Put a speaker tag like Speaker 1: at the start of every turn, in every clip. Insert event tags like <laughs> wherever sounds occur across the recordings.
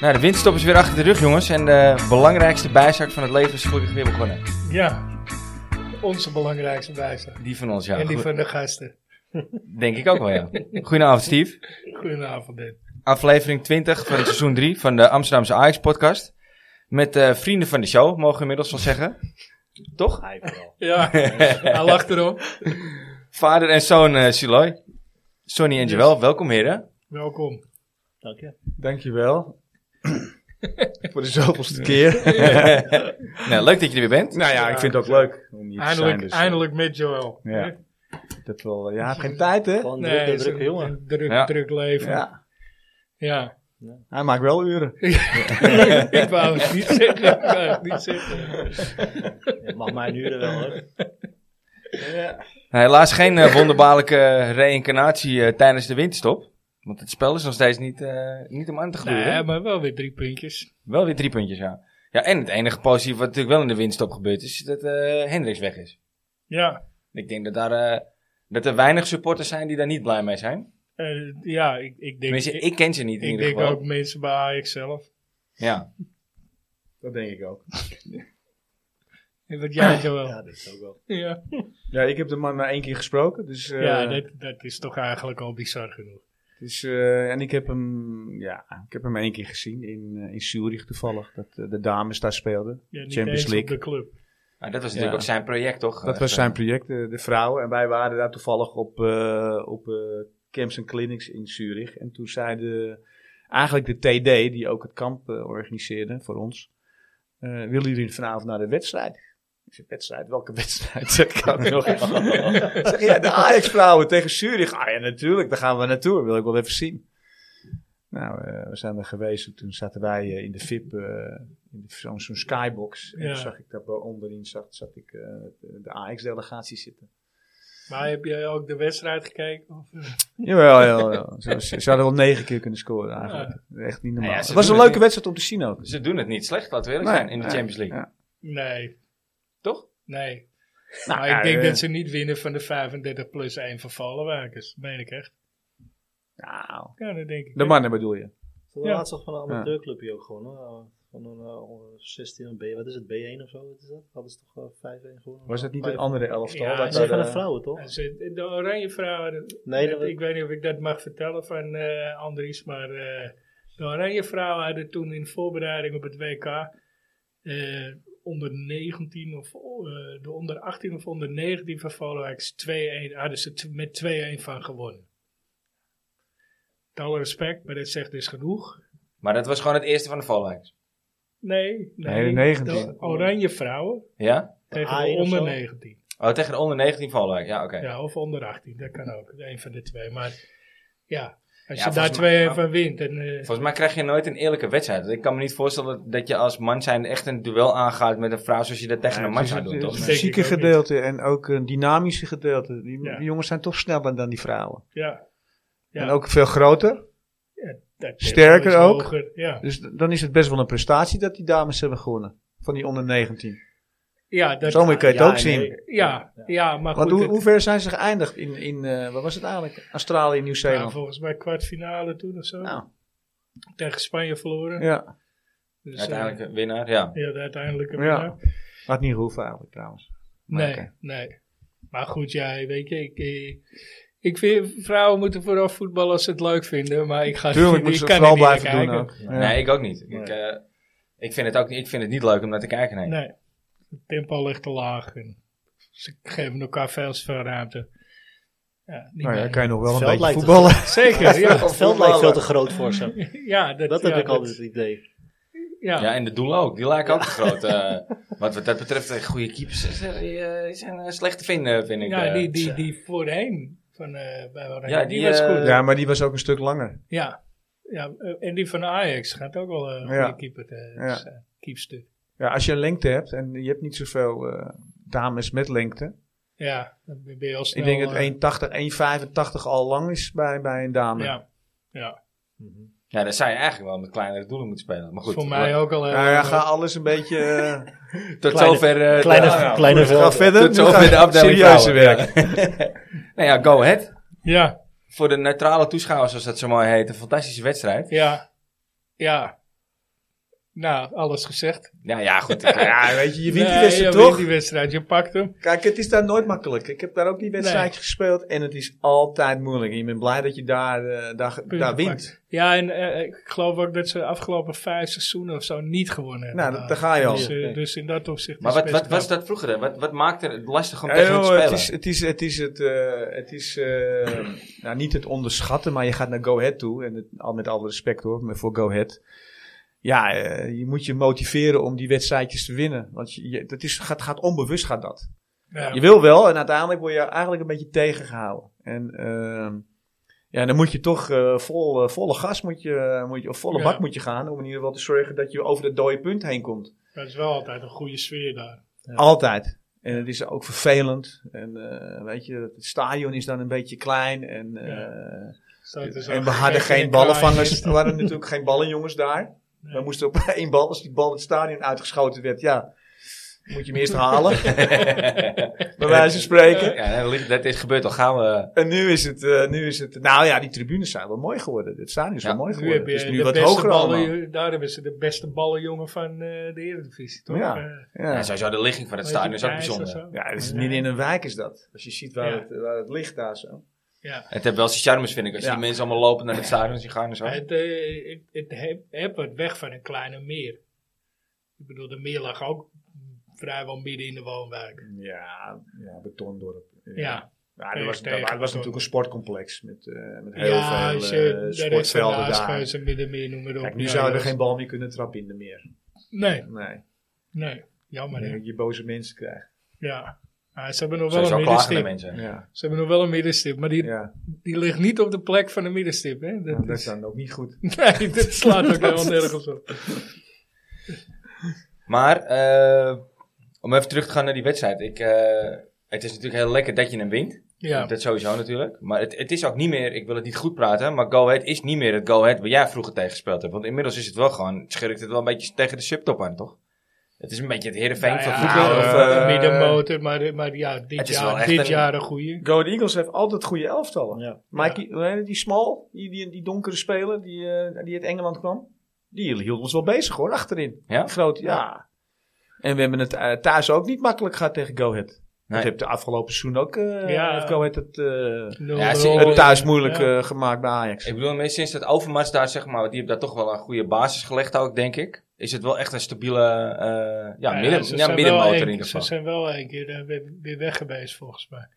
Speaker 1: Nou, de windstop is weer achter de rug, jongens. En de belangrijkste bijzaak van het leven is gelukkig weer begonnen.
Speaker 2: Ja, onze belangrijkste bijzaak.
Speaker 1: Die van ons, ja.
Speaker 2: en die
Speaker 1: Goed-
Speaker 2: van de gasten.
Speaker 1: Denk ik ook wel, ja. Goedenavond, Steve.
Speaker 2: Goedenavond, Ben.
Speaker 1: Aflevering 20 van het seizoen 3 van de Amsterdamse Ajax-podcast. Met eh, vrienden van de show, mogen we inmiddels wel zeggen. Toch?
Speaker 2: Ja, hij lacht erom.
Speaker 1: Vader en zoon eh Siloy. Sonny en Joël, welkom heren.
Speaker 2: Welkom.
Speaker 3: Dank je.
Speaker 2: <coughs>
Speaker 4: Dankjewel. Voor de zoveelste keer.
Speaker 1: <laughs> Nou, leuk dat je er weer bent.
Speaker 4: Nou ja, ik vind het ook leuk om hier te zijn.
Speaker 2: Eindelijk,
Speaker 4: Dus, eh,
Speaker 2: eindelijk met Joel.
Speaker 4: Ja. Ik heb wel, ja, hij heeft geen tijd hè.
Speaker 3: Gewoon druk,
Speaker 2: het
Speaker 3: druk,
Speaker 2: is
Speaker 3: drukke
Speaker 2: een
Speaker 3: jongen.
Speaker 2: Druk,
Speaker 1: Ja.
Speaker 2: druk leven. Ja.
Speaker 4: Ja, hij maakt wel uren.
Speaker 2: ik wou het niet zeggen. Ik wou het niet zeggen.
Speaker 3: Het mag mijn uren wel hoor.
Speaker 1: Nou, helaas geen eh, wonderbaarlijke reïncarnatie eh, tijdens de winterstop. Want het spel is nog steeds niet, eh, niet om aan te gluren.
Speaker 2: Nee, maar wel weer drie puntjes.
Speaker 1: Wel weer drie puntjes, ja. Ja, en het enige positieve wat natuurlijk wel in de winststop gebeurt is dat eh Hendricks weg is.
Speaker 2: Ja,
Speaker 1: Ik denk dat, daar, eh, dat er weinig supporters zijn die daar niet blij mee zijn.
Speaker 2: eh, ja ik, ik denk,
Speaker 1: Tenminste,
Speaker 2: ik,
Speaker 1: ik ken ze niet in
Speaker 2: ik
Speaker 1: ieder
Speaker 2: denk
Speaker 1: geval.
Speaker 2: ook mensen bij Ajax zelf.
Speaker 1: Ja.
Speaker 4: Dat denk ik ook.
Speaker 2: En Wat jij Joel.
Speaker 3: Ja, dat is ook wel.
Speaker 2: Ja,
Speaker 4: Ja, ik heb de man maar één keer gesproken. Dus, eh,
Speaker 2: ja dat, dat is toch eigenlijk al bizar genoeg.
Speaker 4: dus, eh, en ik heb hem, ja, ik heb hem één keer gezien in, eh, in Zurich toevallig. Dat eh, de dames daar speelden.
Speaker 2: Ja, niet
Speaker 4: Champions
Speaker 2: eens op
Speaker 4: League.
Speaker 2: de club.
Speaker 1: Maar dat was natuurlijk
Speaker 4: Ja.
Speaker 1: ook zijn project, toch?
Speaker 3: Oh,
Speaker 4: Dat was zijn project, eh, de vrouwen. En wij waren daar toevallig op, eh, op eh, camps en clinics in Zurich. En toen zei de, eigenlijk de TD, die ook het kamp eh, organiseerde voor ons. eh, willen jullie vanavond naar de wedstrijd? Ik zeg, wedstrijd? Welke wedstrijd? <laughs> Zeg ik aan hem nog even. zeg ja, de Ajax-vrouwen tegen Zurich. Ah ja, natuurlijk, daar gaan we naartoe. wil ik wel even zien. Nou, eh, we zijn er geweest. En Toen zaten wij eh, in de VIP, eh, in de- zo'n zo'n skybox. En
Speaker 2: Ja.
Speaker 4: toen zag ik daar bo- onderin zat, zat ik, eh, de de Ajax-delegatie zitten.
Speaker 2: Maar heb jij ook de wedstrijd gekeken? Of, eh?
Speaker 4: Jawel, jawel, jawel. Ze, ze ze hadden wel negen keer kunnen scoren eigenlijk. Echt niet normaal.
Speaker 1: Nou ja, ze
Speaker 4: het was een
Speaker 1: doen het
Speaker 4: leuke wedstrijd om te zien ook.
Speaker 1: Ze doen het niet slecht, laten we eerlijk
Speaker 4: Nee,
Speaker 1: zijn, in de
Speaker 4: nee,
Speaker 1: Champions League.
Speaker 4: ja.
Speaker 2: Nee,
Speaker 1: Toch?
Speaker 2: nee.
Speaker 4: Nou,
Speaker 2: maar
Speaker 4: ja,
Speaker 2: ik denk
Speaker 4: eh,
Speaker 2: dat ze niet winnen van de 35 plus 1 vervallen wakers. Meen ik echt.
Speaker 4: Nou,
Speaker 2: Ja, dat denk ik.
Speaker 4: de
Speaker 2: echt.
Speaker 4: mannen bedoel je?
Speaker 3: Voor de
Speaker 2: Ja.
Speaker 3: laatst nog van een amateurclubje ook gewoon hoor. Van een eh, 16 en B, wat is het, B1 of zo? Wat is dat? Hadden ze toch eh, 5-1 gewonnen?
Speaker 4: Was dat niet
Speaker 3: Vijf-
Speaker 4: een andere elftal?
Speaker 2: Ja,
Speaker 4: dat
Speaker 3: Nee,
Speaker 4: daar eh,
Speaker 3: van
Speaker 4: de-
Speaker 3: de vrouwen toch?
Speaker 2: En ze- De Oranje Vrouwen,
Speaker 3: Nee,
Speaker 2: dat-
Speaker 3: dat-
Speaker 2: ik weet niet of ik dat mag vertellen van eh, Andries, maar eh, de Oranje Vrouwen hadden toen in voorbereiding op het WK eh, onder 19 of eh, de onder 18 of onder 19 van Volwijks 2-1, hadden ze t- met 2-1 van gewonnen. Met Alle respect, maar dat zegt dus genoeg.
Speaker 1: Maar dat was gewoon het eerste van de vallijks.
Speaker 2: Nee, nee,
Speaker 4: Nee, de 19.
Speaker 2: de Oranje Vrouwen
Speaker 1: Ja?
Speaker 2: tegen de
Speaker 3: A1 of
Speaker 2: onder
Speaker 3: zo?
Speaker 2: 19.
Speaker 1: Oh, tegen de onder 19 vallijks. Ja, oké.
Speaker 2: Ja, of onder 18, dat kan ook. Een van de twee. Maar ja, als
Speaker 1: Ja,
Speaker 2: je daar
Speaker 1: volgens mij-
Speaker 2: twee van wint. En, eh,
Speaker 1: Volgens mij krijg je nooit een eerlijke wedstrijd. Want Ik kan me niet voorstellen dat- dat je als man zijn echt een duel aangaat met een vrouw zoals je dat tegen
Speaker 4: Ja,
Speaker 1: een
Speaker 4: het
Speaker 1: man
Speaker 4: is
Speaker 1: zou
Speaker 4: het-
Speaker 1: doen,
Speaker 4: <laughs> het
Speaker 1: toch?
Speaker 2: Denk
Speaker 4: fysieke
Speaker 2: ik ook
Speaker 4: gedeelte en ook een dynamische gedeelte. Die,
Speaker 2: Ja.
Speaker 4: die jongens zijn toch sneller dan die vrouwen.
Speaker 2: ja, Ja.
Speaker 4: En ook veel groter.
Speaker 2: dat
Speaker 4: Sterker
Speaker 2: tempo is
Speaker 4: ook.
Speaker 2: hoger, Ja,
Speaker 4: Dus d- dan is het best wel een prestatie dat die dames hebben gewonnen. Van die onder 19.
Speaker 2: ja, dat,
Speaker 4: Zo moet je het
Speaker 3: Ja,
Speaker 4: ook zien.
Speaker 3: nee.
Speaker 2: ja, ja, maar
Speaker 4: Want
Speaker 2: goed.
Speaker 4: hoe,
Speaker 2: het-
Speaker 4: hoe ver zijn ze geëindigd in, in eh, wat was het eigenlijk? Australië,
Speaker 2: ja,
Speaker 4: Nieuw-Zeeland.
Speaker 2: volgens mij kwartfinale toen of zo.
Speaker 4: nou,
Speaker 2: Tegen Spanje verloren.
Speaker 4: ja.
Speaker 2: Dus, eh,
Speaker 1: Uiteindelijk een winnaar, ja.
Speaker 2: ja, de uiteindelijke
Speaker 4: Ja.
Speaker 2: winnaar.
Speaker 4: Had niet hoeven eigenlijk trouwens. Maar
Speaker 2: Nee,
Speaker 4: oké.
Speaker 2: nee. Maar goed, ja, weet je, ik... eh, ik vind, vrouwen moeten vooral voetballen als ze het leuk vinden, maar ik ga
Speaker 4: Tuurlijk
Speaker 2: ik
Speaker 4: moeten ze
Speaker 2: kan
Speaker 4: het
Speaker 2: er
Speaker 4: vooral
Speaker 2: niet naar
Speaker 4: blijven doen
Speaker 2: kijken.
Speaker 4: ook. Ja.
Speaker 1: Nee, ik ook niet. Ik,
Speaker 3: Nee.
Speaker 1: eh, ik, vind het ook, niet- ik vind het niet leuk om naar te kijken, nee.
Speaker 2: Nee, het tempo ligt te laag en ze geven elkaar veel te veel ruimte. Ja, niet
Speaker 4: Nou ja,
Speaker 2: meer.
Speaker 4: kan je nog wel een
Speaker 3: Veld
Speaker 4: beetje
Speaker 3: lijkt
Speaker 4: voetballen.
Speaker 2: <laughs> Zeker, ja.
Speaker 3: <laughs> Het veld lijkt veel te groot voor ze.
Speaker 2: <laughs> <laughs> ja dat,
Speaker 3: Dat heb
Speaker 2: ja,
Speaker 3: ik altijd het idee.
Speaker 2: dus. Ja,
Speaker 1: Ja, en de doelen ook. Die lijken ook te groot. eh, wat, wat dat betreft, eh, goede keepers eh, die, eh, die zijn eh, slecht te vinden, vind ik.
Speaker 2: ja
Speaker 1: eh.
Speaker 2: die, die, die voorheen van, eh, bij Oranje,
Speaker 1: Ja,
Speaker 2: die,
Speaker 1: die,
Speaker 2: was goed.
Speaker 1: eh,
Speaker 4: <laughs> Ja, maar die was ook een stuk langer.
Speaker 2: Ja. Ja, eh, en die van Ajax gaat ook wel eh, een
Speaker 4: Ja.
Speaker 2: goede keeper te
Speaker 4: Ja.
Speaker 2: zijn. Keepster.
Speaker 4: Ja, als je een lengte hebt en je hebt niet zoveel eh, dames met lengte.
Speaker 2: Ja, dan ben je al snel...
Speaker 4: Ik denk dat
Speaker 2: eh,
Speaker 4: 1,80, 1,85 al lang is bij, bij een dame.
Speaker 2: Ja, ja.
Speaker 1: Ja, dan zou je eigenlijk wel met kleinere doelen moeten spelen. Maar goed,
Speaker 2: voor mij ook al... eh,
Speaker 4: Nou ja, ga alles een beetje... eh,
Speaker 1: tot
Speaker 3: Kleine-
Speaker 1: zover eh, de-
Speaker 3: Kleine,
Speaker 1: ja, ja.
Speaker 3: kleine
Speaker 4: ga
Speaker 3: velden.
Speaker 4: verder.
Speaker 1: Tot
Speaker 4: Nu
Speaker 1: zover
Speaker 4: ga-
Speaker 1: de afdeling
Speaker 4: serieuze
Speaker 1: vrouwen.
Speaker 4: werk.
Speaker 1: <laughs> Nou ja, go ahead.
Speaker 2: ja.
Speaker 1: Voor de neutrale toeschouwers, zoals dat zo mooi heet, een fantastische wedstrijd.
Speaker 2: Ja, ja. Nou, alles gezegd.
Speaker 1: Nou ja, goed.
Speaker 4: <laughs> Ja, weet je, je wint die
Speaker 2: Nee,
Speaker 4: wedstrijd
Speaker 2: je wint
Speaker 4: toch?
Speaker 2: die wedstrijd, je pakt hem.
Speaker 4: Kijk, het is daar nooit makkelijk. Ik heb daar ook die wedstrijd gespeeld en het is altijd moeilijk. En je bent blij dat je daar, eh, daar, daar
Speaker 2: Punten
Speaker 4: wint.
Speaker 2: pakt. Ja, en eh, ik geloof ook dat ze de afgelopen vijf seizoenen of zo niet gewonnen hebben.
Speaker 4: Nou, dat- daar ga je al.
Speaker 2: Dus, eh,
Speaker 3: Ja.
Speaker 2: dus in dat
Speaker 1: <laughs>
Speaker 2: opzicht
Speaker 1: Maar
Speaker 2: is
Speaker 1: wat,
Speaker 2: het
Speaker 1: wat
Speaker 2: best
Speaker 1: was
Speaker 2: knap.
Speaker 1: dat vroeger dan? Wat, wat maakte het lastig om
Speaker 4: Ja,
Speaker 1: tegen
Speaker 4: joh,
Speaker 1: hun te spelen?
Speaker 4: het is, het is, het is, het, eh, het is eh, <clears throat> nou, niet het onderschatten, maar je gaat naar Go Ahead toe. En het, al met alle respect hoor, maar voor Go Ahead. Ja, eh, je moet je motiveren om die wedstrijdjes te winnen. Want je, je- dat is, gaat, gaat onbewust gaat dat.
Speaker 2: Ja.
Speaker 4: Je wil wel en uiteindelijk word je eigenlijk een beetje tegengehouden. En ehm, ja, dan moet je toch eh, vol, eh, volle gas moet je, eh, moet je, of volle
Speaker 2: Ja.
Speaker 4: bak moet je gaan. Om in ieder geval te zorgen dat je over dat dode punt heen komt.
Speaker 2: Dat is wel altijd een goede sfeer daar.
Speaker 3: Ja.
Speaker 4: Altijd. En het is ook vervelend. En eh, weet je, het stadion is dan een beetje klein. En, eh,
Speaker 2: Staat er zo
Speaker 4: en we hadden
Speaker 2: gek in
Speaker 4: geen
Speaker 2: een kraai.
Speaker 4: ballenvangers. Er waren natuurlijk geen ballenjongens daar.
Speaker 2: Nee.
Speaker 4: We moesten op <laughs> één bal, als die bal het stadion uitgeschoten werd, ja, moet je hem eerst halen.
Speaker 2: <laughs>
Speaker 4: bij wijze van
Speaker 1: <laughs>
Speaker 4: spreken.
Speaker 1: Ja, dat ligt- dat is gebeurd al gaan we.
Speaker 4: En nu is, het, eh, nu is het, nou ja, die tribunes zijn wel mooi geworden. Het stadion is
Speaker 1: Ja.
Speaker 4: wel mooi
Speaker 2: Nu
Speaker 4: geworden.
Speaker 2: heb
Speaker 4: Het
Speaker 2: je
Speaker 4: is nu
Speaker 2: de
Speaker 4: wat
Speaker 2: beste
Speaker 4: hoger
Speaker 2: ballen-
Speaker 4: allemaal.
Speaker 2: Daar hebben ze de beste ballenjongen van eh, de Eredivisie, toch?
Speaker 4: Ja.
Speaker 2: Eh,
Speaker 1: Ja,
Speaker 4: Ja.
Speaker 1: sowieso de ligging van het
Speaker 2: weet je,
Speaker 1: stadion is dus ook
Speaker 2: Thijs of
Speaker 1: bijzonder.
Speaker 2: zo.
Speaker 4: Ja, het is midden in een wijk is dat. Als je ziet waar,
Speaker 2: Ja.
Speaker 4: het, waar het ligt daar zo.
Speaker 2: Ja.
Speaker 1: Het heeft wel zijn charmes, vind ik. Als je
Speaker 4: Ja.
Speaker 1: die mensen allemaal lopen naar het stadion zien gaan en zo.
Speaker 2: Het, eh, het, het heb, heb het weg van een kleine meer. Ik bedoel, de meer lag ook vrijwel midden in de woonwijk.
Speaker 4: Ja, ja betondorp.
Speaker 2: Ja,
Speaker 4: Ja, Nou, er was,
Speaker 2: Tegen-
Speaker 4: daar-
Speaker 2: tegen-
Speaker 4: was natuurlijk een sportcomplex met, eh, met heel
Speaker 2: ja als
Speaker 4: veel eh,
Speaker 2: je direct van de
Speaker 4: sportvelden daar.
Speaker 2: Aasgeuze middenmeer noem maar op.
Speaker 4: Kijk, nu
Speaker 2: Ja,
Speaker 4: zouden we
Speaker 2: dat-
Speaker 4: geen bal meer kunnen trappen in de meer.
Speaker 2: Nee,
Speaker 4: Nee,
Speaker 2: nee. Jammer hè.
Speaker 4: dat je boze mensen krijgt.
Speaker 2: Ja. Maar ze hebben nog wel
Speaker 1: Sowieso
Speaker 2: een
Speaker 1: klagen de
Speaker 2: middenstip.
Speaker 1: mensen.
Speaker 4: Ja,
Speaker 2: Ze hebben nog wel een middenstip, maar die,
Speaker 4: ja.
Speaker 2: die ligt niet op de plek van de middenstip. Hè?
Speaker 4: Nou, dat
Speaker 2: is-
Speaker 4: is dan ook niet goed.
Speaker 2: <laughs> Nee, dit slaat ook helemaal nergens op.
Speaker 1: Maar, eh, om even terug te gaan naar die wedstrijd. Ik, eh, het is natuurlijk heel lekker dat je hem wint.
Speaker 2: Ja,
Speaker 1: Dat sowieso natuurlijk. Maar het, het is ook niet meer, ik wil het niet goed praten, maar Go Ahead is niet meer het Go Ahead waar jij vroeger tegen gespeeld hebt. Want inmiddels is het wel gewoon, schurkt het wel een beetje tegen de subtop aan, toch? Het is een beetje het Heerenveen
Speaker 2: Nou
Speaker 1: van
Speaker 2: ja,
Speaker 1: vroeger.
Speaker 4: nou,
Speaker 1: of,
Speaker 4: eh,
Speaker 1: eh,
Speaker 2: middenmotor, maar, maar ja, dit,
Speaker 1: het is wel
Speaker 2: jaar,
Speaker 1: echt
Speaker 2: dit
Speaker 1: een-
Speaker 2: jaar een goeie.
Speaker 4: <laughs> Go Ahead Eagles heeft altijd goede elftallen.
Speaker 3: Ja.
Speaker 4: Mikey, hoe heet die Small, die, die, die donkere speler die, eh, die uit Engeland kwam, die hield ons wel bezig hoor, achterin.
Speaker 1: Ja?
Speaker 4: Groot, ja. En we hebben het eh, thuis ook niet makkelijk gehad tegen Go Ahead.
Speaker 1: Nee.
Speaker 4: Dat heeft de afgelopen seizoen ook, eh
Speaker 2: Ja.
Speaker 4: heeft Go Ahead het... eh,
Speaker 1: Ja, ze-
Speaker 4: het thuis moeilijk eh,
Speaker 2: moeilijk,
Speaker 1: eh,
Speaker 2: Ja.
Speaker 4: gemaakt bij Ajax.
Speaker 1: Ik bedoel, meer sinds dat Overmars daar, zeg maar, die heeft daar toch wel een goede basis gelegd ook, denk ik. Is het wel echt een stabiele, eh, ja, midden,
Speaker 2: ze
Speaker 1: ja,
Speaker 2: zijn wel
Speaker 1: middenmotor in
Speaker 2: één-
Speaker 1: ieder geval.
Speaker 2: Ze zijn wel een keer eh, weer, weer weg geweest, volgens mij.